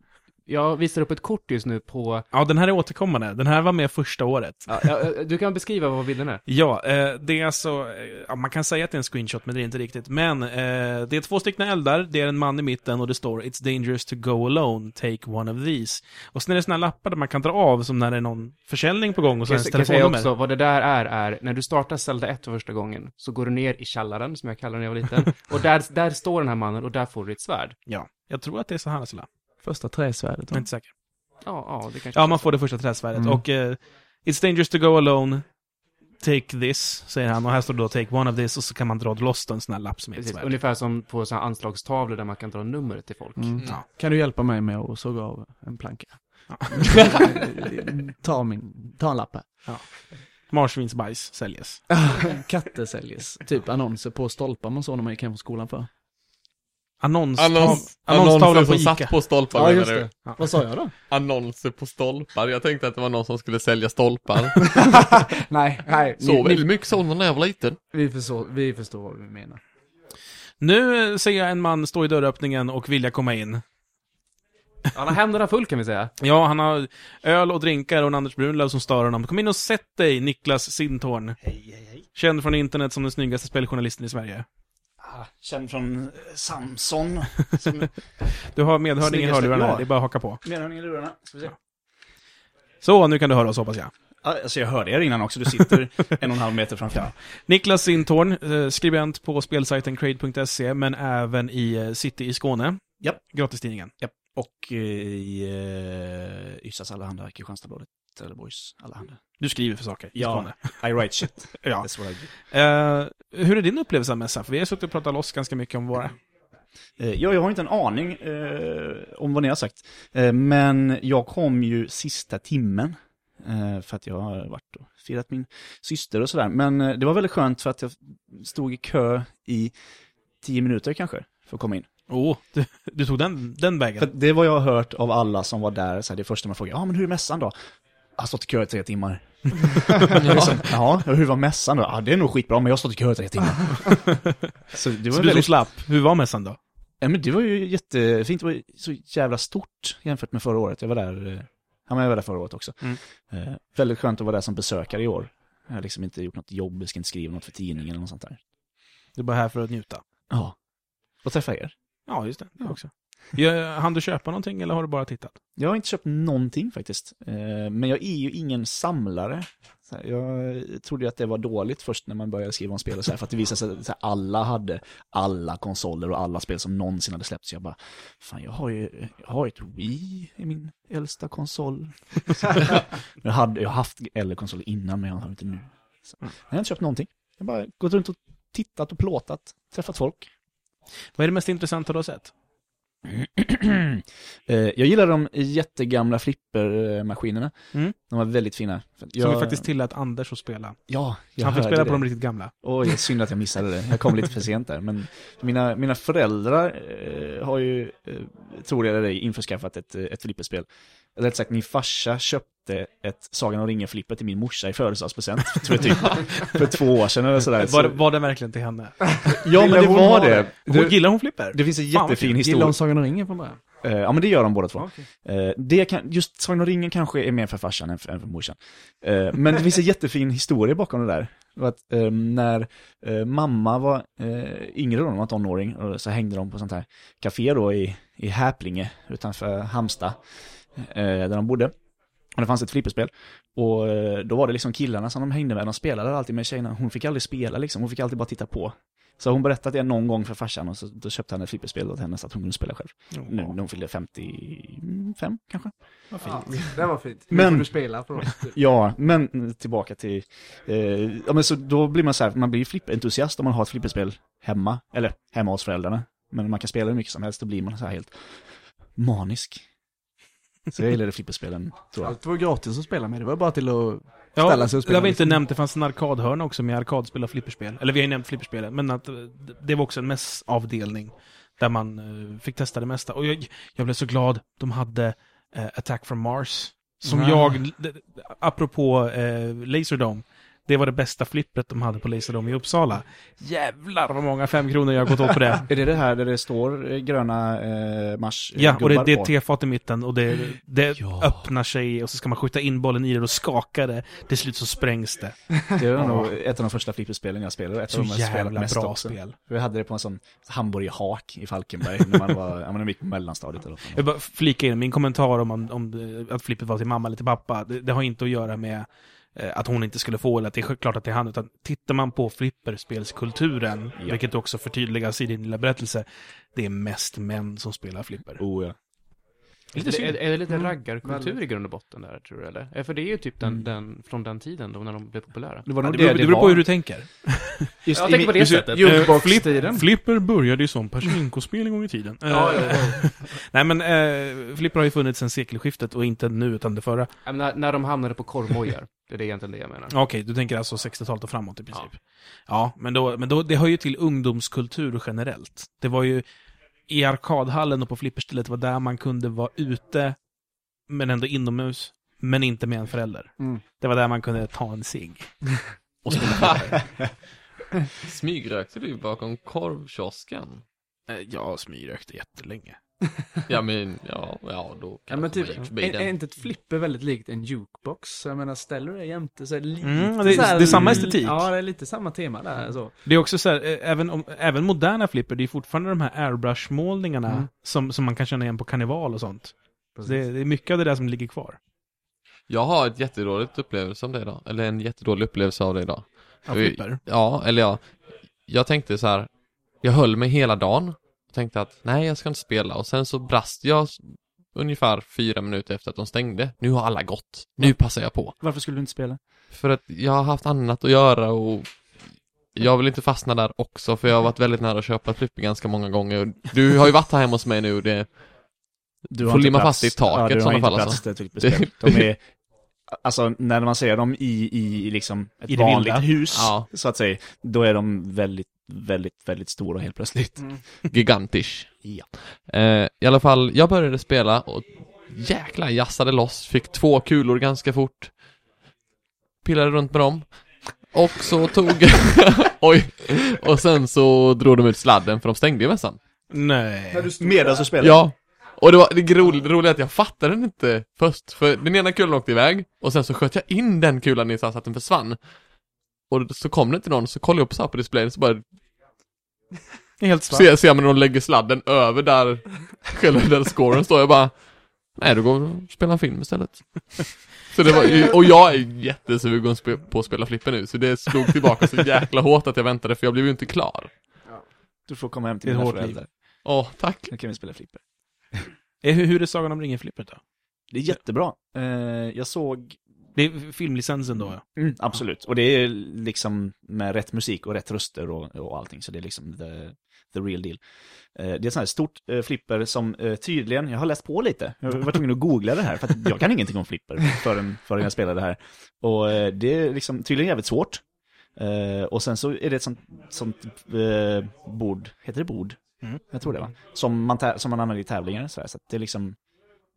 Speaker 2: Jag visar upp ett kort just nu på...
Speaker 1: Ja, den här är återkommande. Den här var med första året.
Speaker 2: Ja, ja, du kan beskriva vad bilden är.
Speaker 1: Ja, eh, det är alltså, eh, ja, man kan säga att det är en screenshot, men det är inte riktigt. Men eh, det är två stycken eldar, det är en man i mitten och det står “It's dangerous to go alone, take one of these”. Och sen är det såna här lappar där man kan dra av, som när det är någon försäljning på gång och så
Speaker 2: Kan
Speaker 1: ens
Speaker 2: kan jag säga
Speaker 1: telefonnummer.
Speaker 2: också, vad det där är, är när du startar Zelda 1 för första gången, så går du ner i källaren, som jag kallade när jag var liten, och där, där står den här mannen och där får du ditt svärd.
Speaker 1: Ja, jag tror att det är så här, Silla.
Speaker 4: Första träsvärdet.
Speaker 1: Jag är inte säker.
Speaker 2: Ja, ja, det kanske
Speaker 1: Ja, man får det första träsvärdet.
Speaker 4: Mm.
Speaker 1: Och eh, “It's dangerous to go alone, take this”, säger han. Och här står det då “Take one of this” och så kan man dra loss då en sån här lapp som är ett
Speaker 2: Precis,
Speaker 1: svärd.
Speaker 2: ungefär som på såna här anslagstavlor där man kan dra numret till folk.
Speaker 4: Mm.
Speaker 1: Ja.
Speaker 4: Kan du hjälpa mig med att såga av en planka? ta min, ta en lapp här.
Speaker 1: Marsvinsbajs säljes.
Speaker 4: Katter säljs. Typ annonser på stolpar man såg när man gick hem från skolan för.
Speaker 1: Annons,
Speaker 5: Annons,
Speaker 1: annonstavlan
Speaker 5: annonser
Speaker 1: på
Speaker 5: som
Speaker 1: Ica.
Speaker 5: satt på stolpar menar du?
Speaker 1: Ja.
Speaker 4: Vad sa jag då?
Speaker 5: Annonser på stolpar. Jag tänkte att det var någon som skulle sälja stolpar.
Speaker 4: nej, nej.
Speaker 5: Så väldigt mycket såg man när jag var liten.
Speaker 4: vi, förstår, vi förstår vad vi menar.
Speaker 1: Nu eh, ser jag en man stå i dörröppningen och vilja komma in.
Speaker 2: Han har händerna full kan vi säga.
Speaker 1: Ja, han har öl och drinkar och en Anders Brunlöv som stör honom. Kom in och sätt dig, Niklas Sintorn. Hej, hej, hej. Känd från internet som den snyggaste speljournalisten i Sverige.
Speaker 6: Ah, Känd från eh, Samson. Som
Speaker 1: Du har medhörning i
Speaker 6: Snyggaste
Speaker 1: hörlurarna,
Speaker 6: jag.
Speaker 1: det är bara att haka på.
Speaker 6: medhörning i lurarna. Ska vi se.
Speaker 1: Så, nu kan du höra oss hoppas jag.
Speaker 6: Ah, alltså jag hörde er innan också, du sitter en och en halv meter framför mig.
Speaker 1: Niklas Sintorn, eh, skribent på spelsajten Crade.se, E, men även i eh, City i Skåne.
Speaker 6: Japp.
Speaker 1: Gratistidningen.
Speaker 6: Och eh, i eh, Ystads Allehanda, Kristianstadsbladet, Trelleborgs Allehanda.
Speaker 1: Du skriver för saker i
Speaker 6: Ja.
Speaker 1: Skåne.
Speaker 6: I write shit.
Speaker 1: Ja.
Speaker 6: That's what I do.
Speaker 1: Eh, hur är din upplevelse av mässan? För vi har suttit och pratat loss ganska mycket om våra.
Speaker 6: Eh, Ja, jag har inte en aning eh, om vad ni har sagt. Eh, men jag kom ju sista timmen. Eh, för att jag har varit och firat min syster och sådär. Men eh, det var väldigt skönt för att jag stod i kö i tio minuter kanske för att komma in.
Speaker 1: Åh, Oh, du, du tog den, den vägen.
Speaker 6: För att det var jag har hört av alla som var där, så här, det första man frågar, ja ah, men hur är mässan då? Jag har stått i kö i tre timmar. liksom, ja, hur var mässan då? Ja, ah, det är nog skitbra, men jag har stått i kö i tre timmar. så det var,
Speaker 1: Så du som
Speaker 6: väldigt,
Speaker 1: slapp, hur var mässan då?
Speaker 6: ja, men det var ju jättefint, det var ju så jävla stort jämfört med förra året. Jag var där, eh, ja, men jag var där förra året också.
Speaker 1: Mm.
Speaker 6: Eh, väldigt skönt att vara där som besökare i år. Jag har liksom inte gjort något jobb, jag ska inte skriva något för tidningen eller något sånt där.
Speaker 1: Du är bara här för att njuta.
Speaker 6: Ja. Och träffa er.
Speaker 1: Ja, just det. det Också. Ja, hann du köpa någonting eller har du bara tittat?
Speaker 6: Jag har inte köpt någonting faktiskt. Eh, Men jag är ju ingen samlare. Så här, Jag trodde ju att det var dåligt först när man började skriva om spel och så här, för att det visade sig att så här, alla hade alla konsoler och alla spel som någonsin hade släppts. Jag bara, fan jag har ju jag har ett Wii i min äldsta konsol. jag, hade, jag har haft äldre konsoler innan men jag har inte nu. Så, jag har inte köpt någonting. Jag har bara gått runt och tittat och plåtat, träffat folk.
Speaker 1: Vad är det mest intressanta du har sett?
Speaker 6: Eh, Jag gillar de jättegamla flippermaskinerna.
Speaker 1: Mm.
Speaker 6: De var väldigt fina. För att
Speaker 1: Som
Speaker 6: jag-
Speaker 1: vi faktiskt tillät Anders att spela.
Speaker 6: Ja, jag
Speaker 1: Han fick
Speaker 6: hörde
Speaker 1: spela på
Speaker 6: det.
Speaker 1: de riktigt gamla.
Speaker 6: Oj, synd att jag missade det. Jag kom lite för sent där. Men mina, mina föräldrar eh, har ju, eh, tror jag eller ej, införskaffat ett, eh, ett flipperspel. Eller rätt sagt, min farsa köpte ett Sagan om ringen-flipper till min morsa i födelsedagspresent. Tror jag typ, för två år sedan eller sådär.
Speaker 1: Var,
Speaker 6: Så,
Speaker 1: var det verkligen till henne?
Speaker 6: ja, men
Speaker 4: ville
Speaker 6: det
Speaker 4: hon
Speaker 6: var
Speaker 4: ha
Speaker 6: det.
Speaker 1: Hon
Speaker 6: Du,
Speaker 1: gillar hon flipper?
Speaker 6: det finns en
Speaker 1: Fan, vad
Speaker 6: jättefin
Speaker 4: Gillar
Speaker 6: historia.
Speaker 4: hon Sagan om ringen från början?
Speaker 6: Eh, Ja, men det gör de båda två.
Speaker 4: okej.
Speaker 6: Eh, Det kan, just Sagan om ringen kanske är mer för farsan än för, än för morsan. Eh, Men det finns en jättefin historia bakom det där. Det var Att, eh, när eh, mamma var eh, yngre, då, hon var tonåring, och så hängde de på sånt här café då i, i Häplinge utanför Hamsta, eh, där de bodde. Och det fanns ett flipperspel. Och eh, då var det liksom killarna som de hängde med, de spelade alltid med tjejerna. Hon fick aldrig spela liksom, hon fick alltid bara titta på. Så hon berättade det någon gång för farsan och så, då köpte han ett flipperspel åt henne så att hon kunde spela själv. Nu när hon fyllde 55 kanske.
Speaker 4: Vad fint. det var fint.
Speaker 6: Men-
Speaker 4: Men... Du spela för oss. typ.
Speaker 6: Ja, men tillbaka till... Eh, ja, men så då blir man så här, man blir flippentusiast om man har ett flipperspel hemma. Eller hemma hos föräldrarna. Men man kan spela hur mycket som helst, då blir man så här helt manisk. Så jag gillade flipperspelen, tror jag.
Speaker 4: Allt var gratis att spela med, det var bara till att...
Speaker 1: Ja,
Speaker 4: ställa sig och
Speaker 1: det har
Speaker 4: spela
Speaker 1: vi
Speaker 4: liksom.
Speaker 1: inte nämnt, det fanns en arkadhörna också med arkadspel och flipperspel. Eller vi har ju nämnt flipperspelen, men att eh, det var också en mässavdelning. Där man eh, fick testa det mesta. Och jag, jag blev så glad, de hade eh, Attack from Mars. Som
Speaker 4: Ah.
Speaker 1: jag, d- d- apropå eh, Laserdome, det var det bästa flippret de hade på Laserdome i Uppsala. Jävlar vad många fem kronor jag har gått åt på det.
Speaker 6: Är det det här där det står eh, gröna eh, mars eh,
Speaker 1: Ja, och det,
Speaker 6: gubbar
Speaker 1: det är
Speaker 6: på?
Speaker 1: ett tefat i mitten och det, det
Speaker 6: Ja.
Speaker 1: öppnar sig och så ska man skjuta in bollen i det och skaka det. Till slut så sprängs det.
Speaker 6: Det var nog ett av de första flipperspelen jag spelade. och Ett
Speaker 1: Så
Speaker 6: av de jag spelat
Speaker 1: jävla
Speaker 6: mest
Speaker 1: bra
Speaker 6: också.
Speaker 1: spel.
Speaker 6: Vi hade det på en sån hamburgerhak i Falkenberg när man var, ja men när vi gick på mellanstadiet eller vad fan det var.
Speaker 1: Jag bara flika in min kommentar om, om, om det- att flippet var till mamma eller till pappa. Det, det har inte att göra med eh, att hon inte skulle få eller att det är klart att det är han. Utan tittar man på flipperspelskulturen,
Speaker 6: Ja.
Speaker 1: vilket också förtydligas i din lilla berättelse, det är mest män som spelar flipper.
Speaker 6: Oh, ja.
Speaker 1: Lite
Speaker 2: är,
Speaker 1: synd.
Speaker 2: det- är det lite
Speaker 4: Mm,
Speaker 2: raggarkultur
Speaker 4: väldigt.
Speaker 2: i grund och botten där, tror du eller? Eh, För det är ju typ den, den, från den tiden då när de blev populära.
Speaker 4: Det var nog
Speaker 1: Det beror, det beror på hur du tänker.
Speaker 6: Just
Speaker 2: Jag
Speaker 6: i
Speaker 2: tänker på
Speaker 6: min-
Speaker 2: det sättet.
Speaker 1: flipper, flipper började ju som Pachinko-spel en gång i tiden.
Speaker 2: Ja,
Speaker 1: Eh, Nej men, eh, flipper har ju funnits sedan sekelskiftet och inte nu utan det förra.
Speaker 2: Ja, men när, när de hamnade på korvmojar. Det är det egentligen det jag menar.
Speaker 1: Okej, du tänker alltså 60-talet och framåt i princip. Ja, men, då, men då, det hör ju till ungdomskultur generellt. Det var ju i arkadhallen och på flipperstället var där man kunde vara ute, men ändå inomhus, men inte med en förälder.
Speaker 4: Mm.
Speaker 1: Det var där man kunde ta en cigg.
Speaker 5: Smygrökte du bakom korvkiosken?
Speaker 1: Eh, Jag smygrökte jättelänge.
Speaker 5: Ja men, ja, ja då
Speaker 4: Ja
Speaker 5: kanske
Speaker 4: men typ,
Speaker 5: man gick
Speaker 4: är,
Speaker 5: förbi den.
Speaker 4: är inte ett flipper väldigt likt en jukebox? Jag menar, ställer du det jämte så är det lite
Speaker 1: Mm, det-
Speaker 4: så här,
Speaker 1: det är samma estetik.
Speaker 4: Ja, det är lite samma tema där alltså. så.
Speaker 1: Det är också så här, eh, även, om, även moderna flipper, det är fortfarande de här airbrush-målningarna
Speaker 4: Mm.
Speaker 1: som, som man kan känna igen på karneval och sånt. Det, det är mycket av det där som ligger kvar.
Speaker 5: Jag har ett jättedåligt upplevelse om det idag. Eller en jättedålig upplevelse av det idag.
Speaker 1: Ja, flipper.
Speaker 5: Ja, eller ja. Jag tänkte så här. Jag höll mig hela dagen. Och tänkte att nej, jag ska inte spela. Och sen så brast jag s- ungefär fyra minuter efter att de stängde. Nu har alla gått. Nu passar jag på.
Speaker 6: Varför skulle du inte spela?
Speaker 5: För att jag har haft annat att göra och jag vill inte fastna där också för jag har varit väldigt nära att köpa ett flipper ganska många gånger. Du har ju varit här hemma hos mig nu och det,
Speaker 6: Du
Speaker 5: Får
Speaker 6: inte
Speaker 5: limma
Speaker 6: plats-
Speaker 5: fast i taket
Speaker 6: ja,
Speaker 5: i
Speaker 6: du har
Speaker 5: sådana
Speaker 6: inte
Speaker 5: fall,
Speaker 6: plats
Speaker 5: alltså.
Speaker 6: där till exempel. De är, alltså när man ser dem i, i, i liksom ett
Speaker 1: I det
Speaker 6: vanligt
Speaker 1: vilda.
Speaker 6: hus,
Speaker 5: Ja.
Speaker 6: så att säga, då är de väldigt, väldigt, väldigt stora helt plötsligt.
Speaker 1: Mm.
Speaker 5: gigantisch.
Speaker 6: Ja.
Speaker 5: Eh, I alla fall, jag började spela och jäklar jassade loss, fick två kulor ganska fort. Pillade runt med dem. Och så tog... Oj! Och sen så drog de ut sladden för de stängde ju mässan.
Speaker 1: Nej.
Speaker 6: Medan du spelar?
Speaker 5: Ja. Och det var det roliga, det roliga är att jag fattade den inte först, för den ena kulan åkte iväg och sen så sköt jag in den kulan i så att den försvann. Och så kom det inte någon, så kollade jag upp så här på displayen så bara
Speaker 6: Det är helt svart.
Speaker 5: Ser, ser man när de lägger sladden över där själva den scoren står. Jag bara, nej du går och spelar en film istället. Så det var, ju- och jag är jättesugen spe- på att spela flipper nu, så det slog tillbaka så jäkla hårt att jag väntade för jag blev ju inte klar.
Speaker 6: Du får komma hem till
Speaker 1: Det är
Speaker 6: dina
Speaker 1: ett hårt liv.
Speaker 6: föräldrar.
Speaker 5: Åh, tack.
Speaker 6: Nu kan vi spela flipper.
Speaker 1: Eh, Hur, hur är Sagan om ringen-flippret då?
Speaker 6: Det är jättebra. Eh, jag såg,
Speaker 1: Det är filmlicensen
Speaker 6: Mm.
Speaker 1: då, Mm. ja.
Speaker 6: absolut, och det är liksom med rätt musik och rätt röster och, och allting, så det är liksom the, the real deal. Eh, det är ett sånt här stort eh, flipper som eh, tydligen, jag har läst på lite, jag var tvungen att googla det här, för att jag kan ingenting om flipper förrän, förrän jag spelade det här. Och eh, det är liksom tydligen jävligt svårt. Eh, och sen så är det ett sånt, sånt eh, bord, heter det bord?
Speaker 1: Mm.
Speaker 6: Jag tror det va? Som man, tä- som man använder i tävlingar och sådär, så att det är liksom...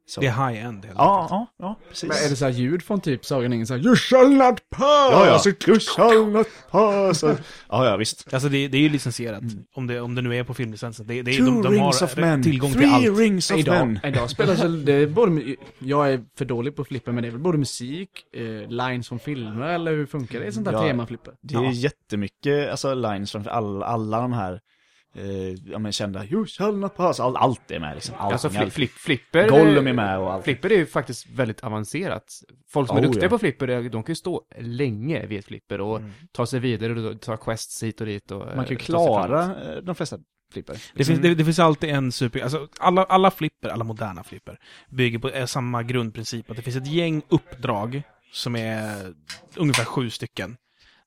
Speaker 6: Så.
Speaker 1: Det är high-end. helt
Speaker 6: Ja, ja, ja, precis.
Speaker 4: Men är det så här ljud från typ Sagan Ingen så här You shall not pass!
Speaker 6: You shall not pass. ja, Alltså, ja, visst.
Speaker 1: Alltså det, det är ju licensierat, om, det, om det nu är på filmlicensen. Det, det,
Speaker 6: Mm.
Speaker 1: de,
Speaker 6: Two
Speaker 1: de
Speaker 6: rings
Speaker 1: har eh,
Speaker 6: of men.
Speaker 1: tillgång
Speaker 6: Three
Speaker 1: till allt.
Speaker 6: rings of
Speaker 4: Idag,
Speaker 6: men.
Speaker 4: idag spelas väl, det är både, mu- jag är för dålig på flipper men det är väl både musik, eh, lines från filmer eller hur funkar det? i sånt där
Speaker 6: Ja.
Speaker 4: temaflipper?
Speaker 6: Det är jättemycket alltså, lines framför alla, alla de här eh, ja, men kända You shall not pass. All, allt är med liksom. Allt,
Speaker 2: Alltså fli-
Speaker 6: allt.
Speaker 2: fli- flipper...
Speaker 6: Gollum är med och allt.
Speaker 2: Flipper är ju faktiskt väldigt avancerat. Folk som är
Speaker 6: Oh,
Speaker 2: duktiga
Speaker 6: ja. Mm.
Speaker 2: på flipper, eh, de kan ju stå länge vid ett flipper och ta sig vidare och ta quests hit och dit och... eh,
Speaker 6: Man kan ju
Speaker 2: ta sig framåt.
Speaker 6: klara eh, de flesta flipper. Mm.
Speaker 1: Det finns, det, det finns alltid en super... Alltså, alla, alla flipper, alla moderna flipper, bygger på eh, samma grundprincip. Att det finns ett gäng uppdrag som är ungefär sju stycken.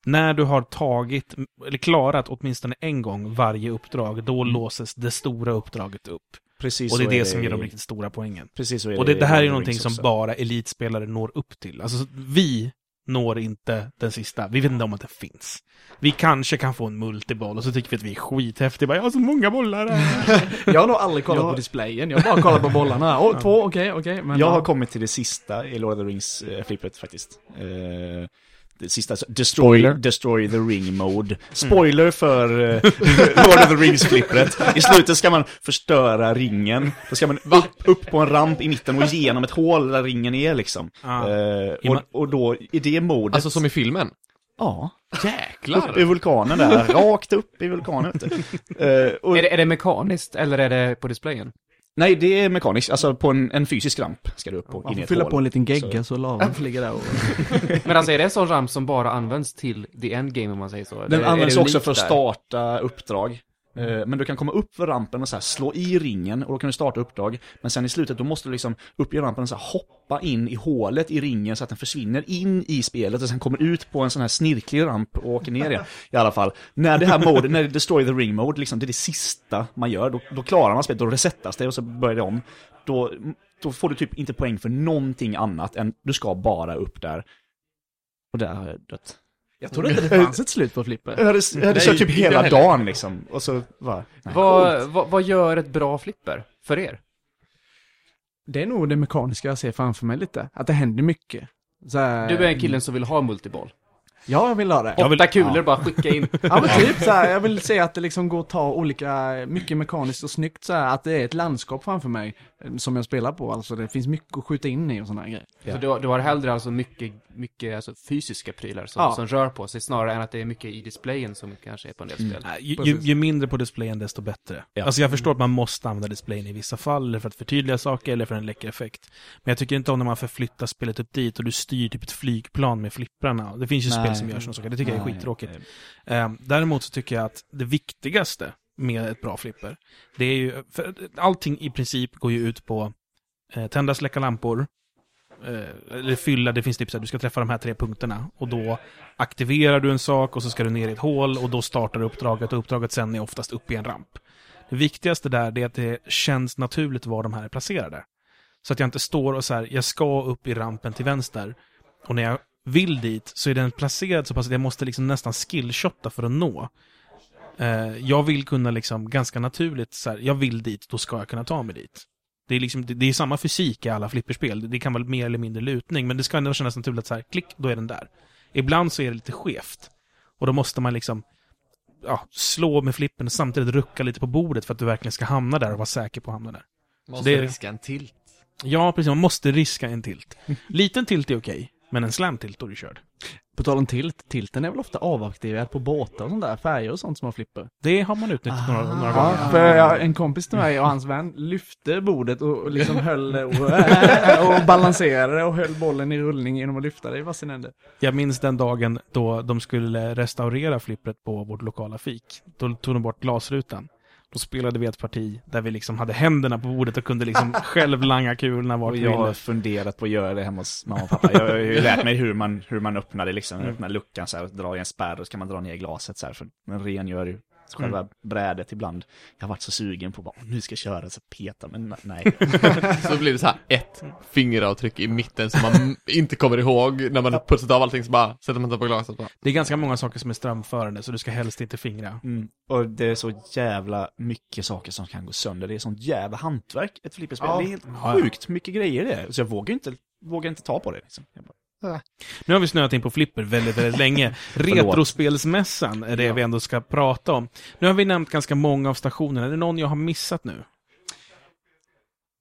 Speaker 1: När du har tagit, eller klarat åtminstone en gång varje uppdrag, då låses det stora uppdraget upp.
Speaker 6: Precis
Speaker 1: Och det är
Speaker 6: Mm. så
Speaker 1: det som ger de
Speaker 6: i-
Speaker 1: riktigt stora poängen.
Speaker 6: Precis så är
Speaker 1: Och det,
Speaker 6: i
Speaker 1: det här är ju
Speaker 6: Lord of the
Speaker 1: någonting
Speaker 6: Rings
Speaker 1: som
Speaker 6: också.
Speaker 1: bara elitspelare når upp till. Alltså, så- vi når inte den sista. Vi vet inte om att den finns. Vi kanske kan få en multiboll och så tycker vi att vi är skithäftiga. Bara, Jag har så många bollar här.
Speaker 4: Jag har nog aldrig kollat på displayen, jag har bara kollat på bollarna. Åh, två, okej, okej. men
Speaker 6: Jag
Speaker 4: ja.
Speaker 6: har kommit till det sista i Lord of the Rings eh, flippet faktiskt. Eh, det sista, så- destroy, destroy the ring
Speaker 4: Mm.
Speaker 6: mode. Spoiler för eh, Lord of the Rings flippret. I slutet ska man förstöra ringen. Då ska man upp, upp på en ramp i mitten och genom ett hål där ringen är liksom.
Speaker 1: Ah.
Speaker 6: Eh, och,
Speaker 1: Ima-
Speaker 6: och då i det modet.
Speaker 5: Alltså som i filmen.
Speaker 6: Ja, upp i
Speaker 5: Jäklar!
Speaker 6: vulkanen där. Rakt upp i vulkanen. vet du. Eh, och,
Speaker 2: Är det, är det mekaniskt eller är det på displayen?
Speaker 6: nej, det är mekaniskt. Alltså på en, en fysisk ramp ska du upp
Speaker 4: Man
Speaker 6: och in i ett
Speaker 4: får fylla
Speaker 6: hål.
Speaker 4: på en liten gegga så lavan får ligga där och...
Speaker 2: Men alltså är det en sån ramp som bara används till the endgame om man säger så? Eller är
Speaker 6: Den
Speaker 2: det
Speaker 6: används också
Speaker 2: unikt
Speaker 6: för att
Speaker 2: där?
Speaker 6: starta uppdrag. Eh, Men du kan komma upp för rampen och så här slå i ringen och då kan du starta uppdrag. Men sen i slutet då måste du liksom upp i rampen och så här hoppa in i hålet i ringen så att den försvinner in i spelet och sen kommer ut på en sån här snirklig ramp och åker ner igen. I alla fall, när det här mode, när det destroy the ring mode, liksom, det är det sista man gör, då, då klarar man spelet, då resetas det och så börjar det om. Då, då får du typ inte poäng för någonting annat än du ska bara upp där. Och där har jag dött.
Speaker 4: Jag trodde inte det fanns ett slut på flipper.
Speaker 6: Jag hade, jag hade kört typ
Speaker 5: inte jag
Speaker 6: hela
Speaker 5: heller.
Speaker 6: dagen liksom. Och så bara, nej.
Speaker 2: Vad, vad, vad gör ett bra flipper för er?
Speaker 4: Det är nog det mekaniska jag ser framför mig lite. Att det händer mycket. Så här,
Speaker 2: Du är en
Speaker 6: Ehm.
Speaker 2: killen som vill ha multiboll.
Speaker 4: Ja, jag vill ha det.
Speaker 2: Åtta kulor bara skicka in.
Speaker 4: Ja men typ så här, jag vill säga att det liksom går att ta olika, mycket mekaniskt och snyggt så här, att det är ett landskap framför mig eh, som jag spelar på, alltså det finns mycket att skjuta in i och sådana här grejer.
Speaker 2: Så du, har- du har hellre alltså mycket, mycket alltså fysiska prylar som,
Speaker 4: Ja.
Speaker 2: som rör på sig snarare än att det är mycket i displayen som kanske är på en
Speaker 6: Mm.
Speaker 2: del spel.
Speaker 1: Nej, Ju, ju,
Speaker 4: Precis.
Speaker 1: ju mindre på displayen desto bättre. Alltså jag förstår att man måste använda displayen i vissa fall, eller för att förtydliga saker eller för en läcker effekt. Men jag tycker inte om när man förflyttar spelet upp dit och du styr typ ett flygplan med flipprarna. Det finns ju
Speaker 6: Nej.
Speaker 1: spel som gör sådana saker, det tycker jag är
Speaker 6: Mm. Nej.
Speaker 1: skittråkigt. Ehm, däremot så tycker jag att det viktigaste med ett bra flipper, det är ju, för allting i princip går ju ut på eh, tända, släcka lampor, eh, eller fylla, det finns typ så här, du ska träffa de här tre punkterna. Och då aktiverar du en sak och så ska du ner i ett hål och då startar du uppdraget och uppdraget sen är oftast upp i en ramp. Det viktigaste där det är att det känns naturligt var de här är placerade. Så att jag inte står och så här, jag ska upp i rampen till vänster och när jag vill dit så är den placerad så pass att jag måste liksom nästan skillshotta för att nå. Eh, jag vill kunna liksom ganska naturligt så här, jag vill dit, då ska jag kunna ta mig dit. Det är, liksom, det, det är samma fysik i alla flipperspel. Det- Det kan vara mer eller mindre lutning, men det ska ändå kännas naturligt att så här, klick, då är den där. Ibland så är det lite skevt. Och då måste man liksom ja, slå med flippen och samtidigt rucka lite på bordet för att du verkligen ska hamna där och vara säker på att hamna där.
Speaker 5: Måste
Speaker 1: det-
Speaker 5: riska en till.
Speaker 1: Ja, precis. Man måste riska en tilt. Liten tilt är okej, men en slam tilt, då är du körd.
Speaker 4: På tal om tilt, tilten är väl ofta avaktiverad på båtar och sånt där, färger och sånt som man flipper.
Speaker 1: Det har man utnyttjat några, några gånger.
Speaker 4: Ja, för jag, en kompis till mig och hans vän lyfte bordet och, och liksom höll och, och balanserade och höll bollen i rullning genom att lyfta det i varsin ände.
Speaker 1: Jag minns den dagen då de skulle restaurera flippret på vårt lokala fik. Då tog de bort glasrutan. Då spelade vi ett parti där vi liksom hade händerna på bordet och kunde liksom själv langa kulorna vart
Speaker 6: Och
Speaker 1: vi
Speaker 6: jag har
Speaker 1: ville.
Speaker 6: funderat på att göra det hemma hos mamma och pappa. Jag har ju lärt mig hur man, hur man öppnar det liksom. Man öppnar luckan så här och drar i en spärr och så kan man dra ner glaset så här. För man rengör ju själva brädet ibland. Jag har varit så sugen på bara, nu ska jag köra så peta, men nej.
Speaker 5: Så blir det så här ett fingeravtryck i mitten som man inte kommer ihåg när man har putsat av allting så bara sätter man sig på glaset och bara,
Speaker 1: Det är ganska många saker som är strömförande så du ska helst inte fingra.
Speaker 6: Mm. Och det är så jävla mycket saker som kan gå sönder. Det är sånt jävla hantverk, ett flipperspel.
Speaker 3: Ja.
Speaker 6: Det är helt
Speaker 1: Ja, ja.
Speaker 6: sjukt mycket grejer det är. Så jag vågar ju inte, vågar inte ta på det liksom. Jag bara,
Speaker 1: Nu har vi snöat in på flipper väldigt, väldigt länge. Retrospelsmässan är det vi ändå ska prata om. Nu har vi nämnt ganska många av stationerna. Är det någon jag har missat nu?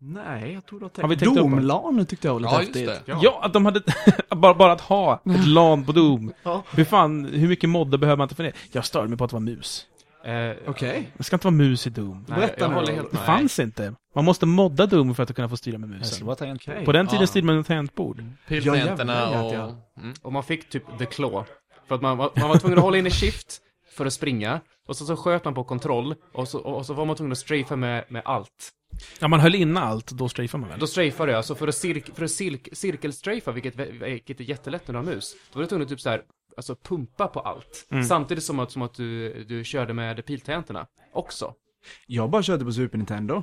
Speaker 4: Nej, jag tror du har
Speaker 1: Har vi
Speaker 4: tänkt...
Speaker 1: tänkt upp-
Speaker 4: Domlan tyckte jag var lite
Speaker 5: ja just
Speaker 4: häftigt.
Speaker 5: det.
Speaker 1: Ja, att de hade... bara, bara att ha ett LAN på Doom.
Speaker 6: Ja.
Speaker 1: Hur fan, hur mycket modder behöver man inte för det? Jag störde mig på att det var mus.
Speaker 2: Eh,
Speaker 4: Okej.
Speaker 1: Det ska inte vara mus i Doom.
Speaker 2: nej,
Speaker 4: berätta
Speaker 2: jag
Speaker 4: nu
Speaker 2: håller
Speaker 4: då.
Speaker 2: helt
Speaker 1: Det
Speaker 2: med.
Speaker 1: fanns inte. Man måste modda Doom för att kunna få styra med
Speaker 6: Jag
Speaker 1: musen.
Speaker 6: slår tangentbord.
Speaker 1: På den
Speaker 5: Ja.
Speaker 1: tiden styrde man med tangentbord.
Speaker 5: Piltangenterna
Speaker 4: jävlar,
Speaker 5: och...
Speaker 4: jäklar.
Speaker 5: Mm.
Speaker 2: Och man fick typ the claw. För att man, var- man var tvungen att hålla in i shift för att springa. Och så, så sköt man på kontroll. Och så, och så var man tvungen att strafa med, med allt.
Speaker 1: Ja, man höll inne allt, då strafade man väl?
Speaker 2: Då strafade jag, alltså för att, cirk, för att cirk, cirkelstrafa, vilket, vilket är jättelätt när du har mus, då var du tvungen att typ så här, alltså pumpa på allt. Samtidigt som att, som att du, du körde med piltangenterna också.
Speaker 4: Jag bara körde på Super Nintendo.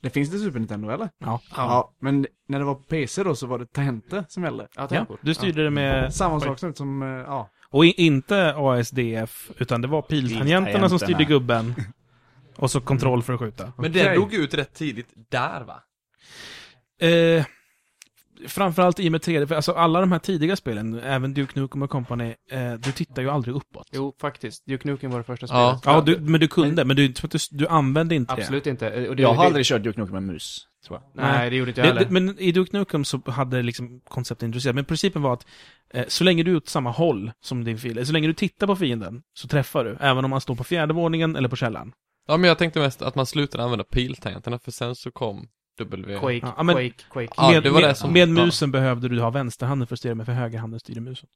Speaker 4: Det finns det Super Nintendo eller?
Speaker 1: Ja.
Speaker 4: Ja, men när det var på PC då så var det tangenter som gällde.
Speaker 2: Ja,
Speaker 1: Ja,
Speaker 2: tangentbord.
Speaker 1: du styrde det med...
Speaker 4: Samma sak som, som eh, ja.
Speaker 1: Och i- inte ASDF, utan det var piltangenterna som styrde gubben. Och så kontroll för att skjuta.
Speaker 5: Men
Speaker 4: Okej.
Speaker 5: den dog ut rätt tidigt där va?
Speaker 1: Eh, framförallt i och med 3D, för alltså alla de här tidiga spelen, även Duke Nukem och Company, eh, du tittar ju aldrig uppåt.
Speaker 2: Jo, faktiskt. Duke Nukem var det första spelet.
Speaker 5: Ja.
Speaker 1: Ja, du, men du kunde, men du, du, du använde inte det.
Speaker 2: Absolut inte. Och det,
Speaker 6: Jag har
Speaker 2: det-
Speaker 6: aldrig kört Duke Nukem med mus, tror jag.
Speaker 2: Nej, det gjorde inte jag
Speaker 1: Det,
Speaker 2: heller.
Speaker 1: det, men i Duke Nukem så hade liksom konceptet intresserat, men principen var att eh, så länge du är åt samma håll som din fiende, så länge du tittar på fienden så träffar du, även om man står på fjärde våningen eller på källaren.
Speaker 5: Ja men jag tänkte mest att man slutade använda piltangenterna för sen så kom W...
Speaker 2: Quake,
Speaker 1: Ja, men-
Speaker 2: Quake, Quake.
Speaker 5: Ja,
Speaker 1: med,
Speaker 5: det var det
Speaker 1: med,
Speaker 5: som-
Speaker 1: med
Speaker 5: ja.
Speaker 1: musen behövde du ha vänsterhanden för att styra, men för högerhanden styrde musen.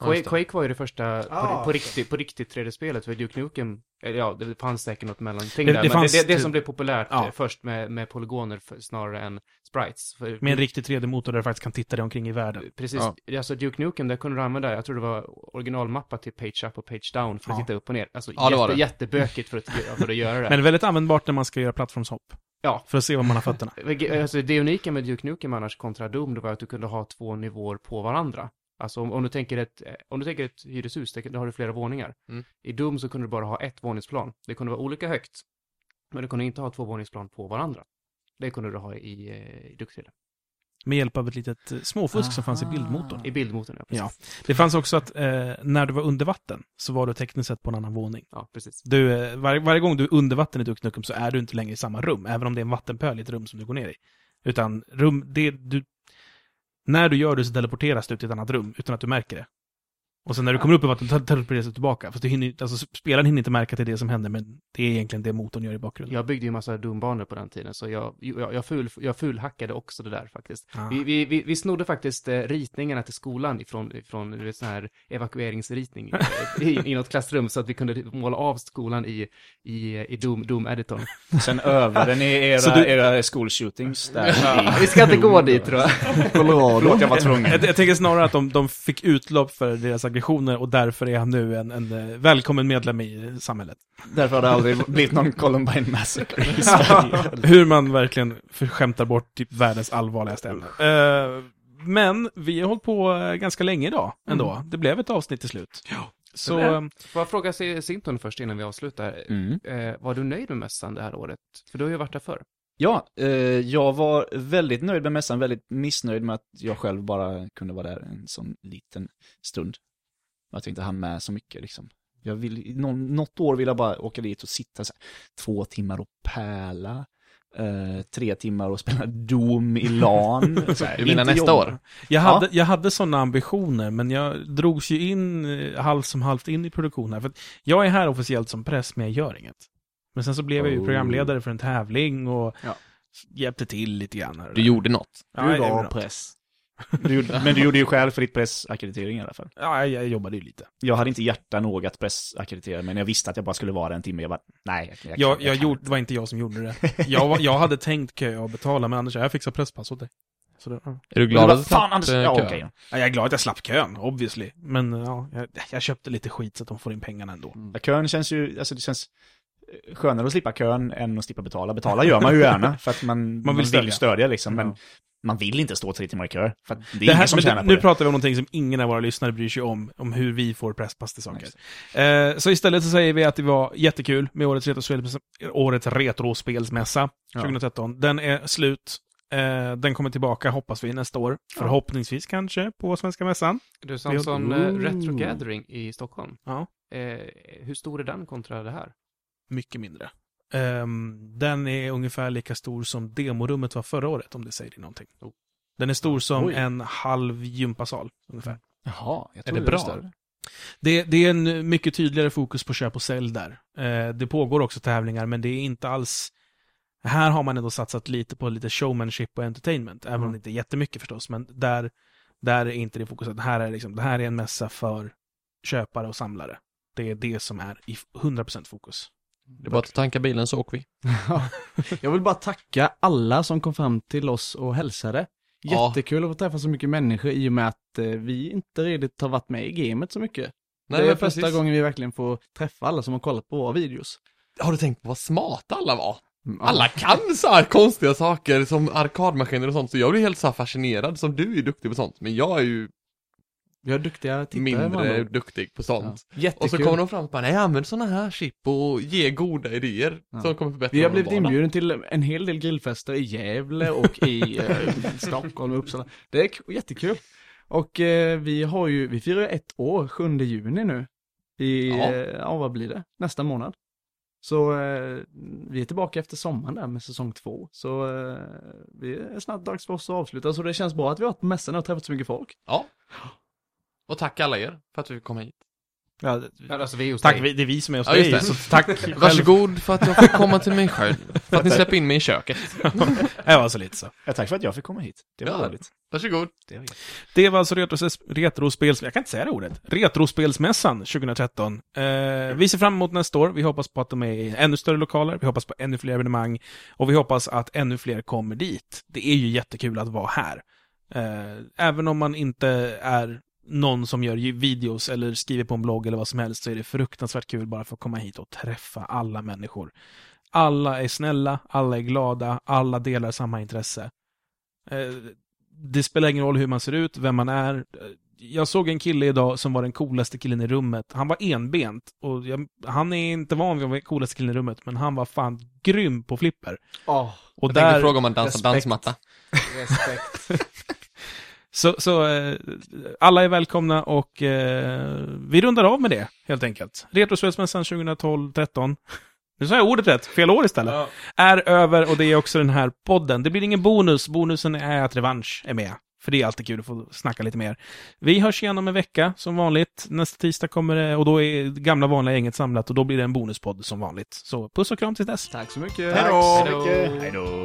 Speaker 5: Ja, just
Speaker 2: Quake,
Speaker 5: det.
Speaker 2: Quake var ju det första på,
Speaker 4: Ah.
Speaker 2: på riktigt, på riktigt 3D-spelet för Duke Nukem. eller Ja, det fanns säkert något mellanting
Speaker 1: Det-
Speaker 2: där.
Speaker 1: det
Speaker 2: Det, men
Speaker 1: fanns
Speaker 2: det, det, det
Speaker 1: typ-
Speaker 2: som blev populärt
Speaker 1: Ja.
Speaker 2: eh, först med, med polygoner för, snarare än sprites. För,
Speaker 5: Mm.
Speaker 1: Med en riktig 3D-motor där du faktiskt kan titta dig omkring i världen.
Speaker 2: Precis, alltså Duke Nukem, där kunde du använda, jag tror det var originalmappa till page up och page down för att
Speaker 1: Ja.
Speaker 2: titta upp och ner. Alltså
Speaker 5: Ja, det var
Speaker 2: jätte, jättebökigt för att, för att göra det.
Speaker 1: Men väldigt användbart när man ska göra plattformshopp.
Speaker 2: Ja.
Speaker 1: För att se var man har fötterna.
Speaker 2: Alltså det unika med Duke Nukem annars kontra Doom, det var att du kunde ha två nivåer på varandra. Alltså om, om du tänker ett, eh, om du tänker ett hyreshus, där kan- då har du flera våningar.
Speaker 5: Mm.
Speaker 2: I Doom så kunde du bara ha ett våningsplan. Det kunde vara olika högt, men du kunde inte ha två våningsplan på varandra. Det kunde du ha i, eh, i Duke 3D.
Speaker 1: Med hjälp av ett litet eh, småfusk som
Speaker 2: Ah.
Speaker 1: fanns i bildmotorn.
Speaker 2: I bildmotorn, ja. Precis.
Speaker 1: Ja. Det fanns också att eh, när du var under vatten så var du tekniskt sett på en annan våning.
Speaker 2: ja, precis.
Speaker 1: Du, eh, varje, varje gång du är under vatten i Duke Nukem så är du inte längre i samma rum, även om det är en vattenpöl i ett rum som du går ner i. Utan rum, det du... När du gör det så teleporteras du till ett annat rum utan att du märker det. Och sen när du kommer upp i vattnet tel- teleporteras du tillbaka. Fast du hinner, ju- alltså, spelaren hinner inte märka till det som händer, men det är egentligen det motorn gör i bakgrunden.
Speaker 2: Jag byggde ju massa dumbanor på den tiden, så jag, jag, jag, ful, jag fulhackade också det där faktiskt.
Speaker 1: Ah.
Speaker 2: Vi, vi, vi, vi snodde faktiskt eh, ritningarna till skolan ifrån, ifrån du vet, sån här evakueringsritning eh, i, i något klassrum, så att vi kunde måla av skolan i, i, i Doom, Doom Editorn.
Speaker 6: Sen övade ni era,
Speaker 1: du-
Speaker 6: era school shootings där. i-
Speaker 2: Vi ska inte gå dit tror jag.
Speaker 6: Förlåt, jag var tvungen.
Speaker 1: Jag, jag tänker snarare att de, de fick utlopp för deras aggressioner och därför är han nu en, en eh, välkommen medlem i eh, samhället.
Speaker 6: Därför har det aldrig blivit någon Columbine Massacre i Sverige.
Speaker 1: Hur man verkligen skämtar bort typ världens allvarligaste ämne. Eh, men vi har hållit på eh, ganska länge idag ändå. Det blev ett avsnitt till slut. Så
Speaker 2: det.
Speaker 1: eh,
Speaker 2: Får jag fråga Se- Sinton först innan vi avslutar?
Speaker 6: Mm.
Speaker 2: Eh, var du nöjd med mässan det här året? För du har ju varit där förr.
Speaker 6: Ja, eh, jag var väldigt nöjd med mässan, väldigt missnöjd med att jag själv bara kunde vara där en sån liten stund. Att jag inte hann med så mycket liksom. Jag vill, nå- något år vill jag bara åka dit och sitta så här, två timmar och pärla. eh, tre timmar och spela Doom i LAN. Så här,
Speaker 5: Du menar
Speaker 6: inte
Speaker 5: nästa
Speaker 6: jobba.
Speaker 5: år?
Speaker 1: Jag
Speaker 6: Ja.
Speaker 1: hade, jag hade sådana ambitioner, men jag drogs ju in eh, halvt som halvt in i produktionen. här, För att jag är här officiellt som press, men jag gör inget. Men sen så blev jag ju
Speaker 6: Oh.
Speaker 1: programledare för en tävling och
Speaker 4: Ja.
Speaker 1: hjälpte till lite grann. här och
Speaker 5: Du
Speaker 1: där.
Speaker 5: gjorde något.
Speaker 1: Ja,
Speaker 6: Du
Speaker 1: jag gjorde
Speaker 6: var
Speaker 1: något.
Speaker 6: press. Du, gjorde- men du gjorde ju själv för ditt pressackreditering i alla fall.
Speaker 1: Ja, jag, jag jobbade ju lite.
Speaker 6: Jag hade inte hjärta nog att pressackreditera men jag visste att jag bara skulle vara där en timme. Jag bara, nej. Jag, jag,
Speaker 1: Jag,
Speaker 6: kan-
Speaker 1: jag
Speaker 6: kan
Speaker 1: gjorde,
Speaker 6: inte.
Speaker 1: det var inte jag som gjorde det. Jag, var- jag hade tänkt köa och betala, men Anders, jag fixar presspass åt dig. Så det, ja.
Speaker 5: Är du
Speaker 6: Men
Speaker 5: glad
Speaker 6: du bara,
Speaker 5: att du
Speaker 6: fan
Speaker 5: slapp,
Speaker 6: Anders,
Speaker 5: eh,
Speaker 6: ja
Speaker 5: kö?
Speaker 6: okej.
Speaker 1: Ja, jag är glad att jag slapp kön, obviously. Men ja, jag, jag köpte lite skit så att de får in pengarna ändå.
Speaker 6: Ja, Kön känns ju, alltså det känns eh, skönare att slippa kön än att slippa betala. Betala gör man ju gärna för att man, man, vill,
Speaker 1: stödja.
Speaker 6: stödja liksom. Men
Speaker 1: Ja.
Speaker 6: man vill inte stå tre timmar i kö. För att det är
Speaker 1: Det här,
Speaker 6: ingen som
Speaker 1: men
Speaker 6: tjänar på
Speaker 1: nu
Speaker 6: det.
Speaker 1: pratar vi om någonting som ingen av våra lyssnare bryr sig om, om hur vi får presspass till saker. Eh, så istället så säger vi att det var jättekul med årets, retrospel, årets retrospelsmässa 2013. Den är slut. Eh, den kommer tillbaka, hoppas vi, nästa år. Förhoppningsvis kanske, på Svenska Mässan.
Speaker 2: Du Samson,
Speaker 4: Ooh.
Speaker 2: eh, Retro Gathering i Stockholm.
Speaker 1: Ja.
Speaker 2: Eh, hur stor är den kontra det här?
Speaker 1: Mycket mindre. Ehm, den är ungefär lika stor som demorummet var förra året, om det säger dig någonting.
Speaker 6: Oh.
Speaker 1: Den är stor som
Speaker 4: Oj.
Speaker 1: en halv gympasal, ungefär.
Speaker 4: Jaha, jag
Speaker 5: Är
Speaker 4: trodde
Speaker 5: det
Speaker 4: det var
Speaker 5: bra?
Speaker 4: större.
Speaker 1: Det, det är en mycket tydligare fokus på köp och sälj där. Eh, det pågår också tävlingar, men det är inte alls... Här har man ändå satsat lite på lite showmanship och entertainment, även om det inte är jättemycket förstås, men där, där är inte det fokuset. Här är liksom, det här är en mässa för köpare och samlare. Det är det som är i 100% fokus.
Speaker 5: Det är bara att tanka bilen så åker vi.
Speaker 4: Jag vill bara tacka alla som kom fram till oss och hälsade.
Speaker 5: Ja.
Speaker 4: Jättekul att få träffa så mycket människor i och med att eh, vi inte riktigt har varit med i gamet så mycket. det är
Speaker 5: men
Speaker 4: första
Speaker 5: precis.
Speaker 4: gången vi verkligen får träffa alla som har kollat på våra videos. Mm,
Speaker 5: Har du tänkt på vad smarta alla var? Alla kan så här konstiga saker som arkadmaskiner och sånt, så jag blir helt så här fascinerad som du är duktig på sånt, men jag är ju
Speaker 4: Vi har duktiga tittare. man.
Speaker 5: mindre
Speaker 4: Jättekul.
Speaker 5: duktig på sånt.
Speaker 4: Jättekul.
Speaker 5: Och så kommer de fram och bara, nej använd såna här chip och ge goda idéer
Speaker 4: Ja.
Speaker 5: som kommer förbättra
Speaker 4: Vi har
Speaker 5: vår
Speaker 4: blivit
Speaker 5: vardag."
Speaker 4: inbjuden till en hel del grillfester i Gävle och i eh, Stockholm och Uppsala. Det är k- jättekul. Och eh, vi har ju, vi firar ju ett år, 7 juni nu. I,
Speaker 5: Ja.
Speaker 4: ja. Eh, ja, vad blir det? Nästa månad. Så eh, vi är tillbaka efter sommaren där med säsong två. Så eh, det är snart dags för oss att avsluta. Så det känns bra att vi har varit på mässan och träffat så mycket folk.
Speaker 5: Ja. Och tack alla er för att vi fick komma hit.
Speaker 2: Ja, Alltså, vi är hos
Speaker 1: tack,
Speaker 2: dig.
Speaker 1: vi- det är vi som är hos
Speaker 5: Ja, just
Speaker 1: dig,
Speaker 5: det.
Speaker 1: så tack. själv.
Speaker 5: Varsågod för att jag fick komma till mig själv. För att ni släpper in mig i köket.
Speaker 1: Det var alltså lite så.
Speaker 6: Ja, tack för att jag fick komma hit. Det var
Speaker 5: Ja.
Speaker 6: roligt.
Speaker 5: Varsågod.
Speaker 1: Det var alltså retros, retrospels... Jag kan inte säga det ordet. Retrospelsmässan 2013. Eh, vi ser fram emot nästa år. Vi hoppas på att de är i ännu större lokaler. Vi hoppas på ännu fler evenemang. Och vi hoppas att ännu fler kommer dit. Det är ju jättekul att vara här. Eh, även om man inte är någon som gör ju videos eller skriver på en blogg eller vad som helst så är det fruktansvärt kul bara för att komma hit och träffa alla människor. Alla är snälla, alla är glada, alla delar samma intresse. Eh, det spelar ingen roll hur man ser ut, vem man är. Eh, Jag såg en kille idag som var den coolaste killen i rummet. Han var enbent och jag, han är inte van vid att vara coolaste killen i rummet, men han var fan grym på flipper. Och
Speaker 5: Jag
Speaker 1: där,
Speaker 5: tänkte fråga om man dansar
Speaker 4: Respekt.
Speaker 5: dansmatta.
Speaker 4: Respekt.
Speaker 1: så, så eh, alla är välkomna och eh, vi rundar av med det helt enkelt. Retrospelsmässan 2012-13. Nu sa jag ordet rätt, fel år istället. Är över och det är också den här podden. Det blir ingen bonus, bonusen är att revansch är med. För det är alltid kul att få snacka lite mer. Vi hörs igen om en vecka som vanligt. Nästa tisdag kommer det och då är det gamla vanliga gänget samlat och då blir det en bonuspodd som vanligt. Så puss och kram tills dess.
Speaker 4: Tack så mycket.
Speaker 6: Tack så mycket. Hej då.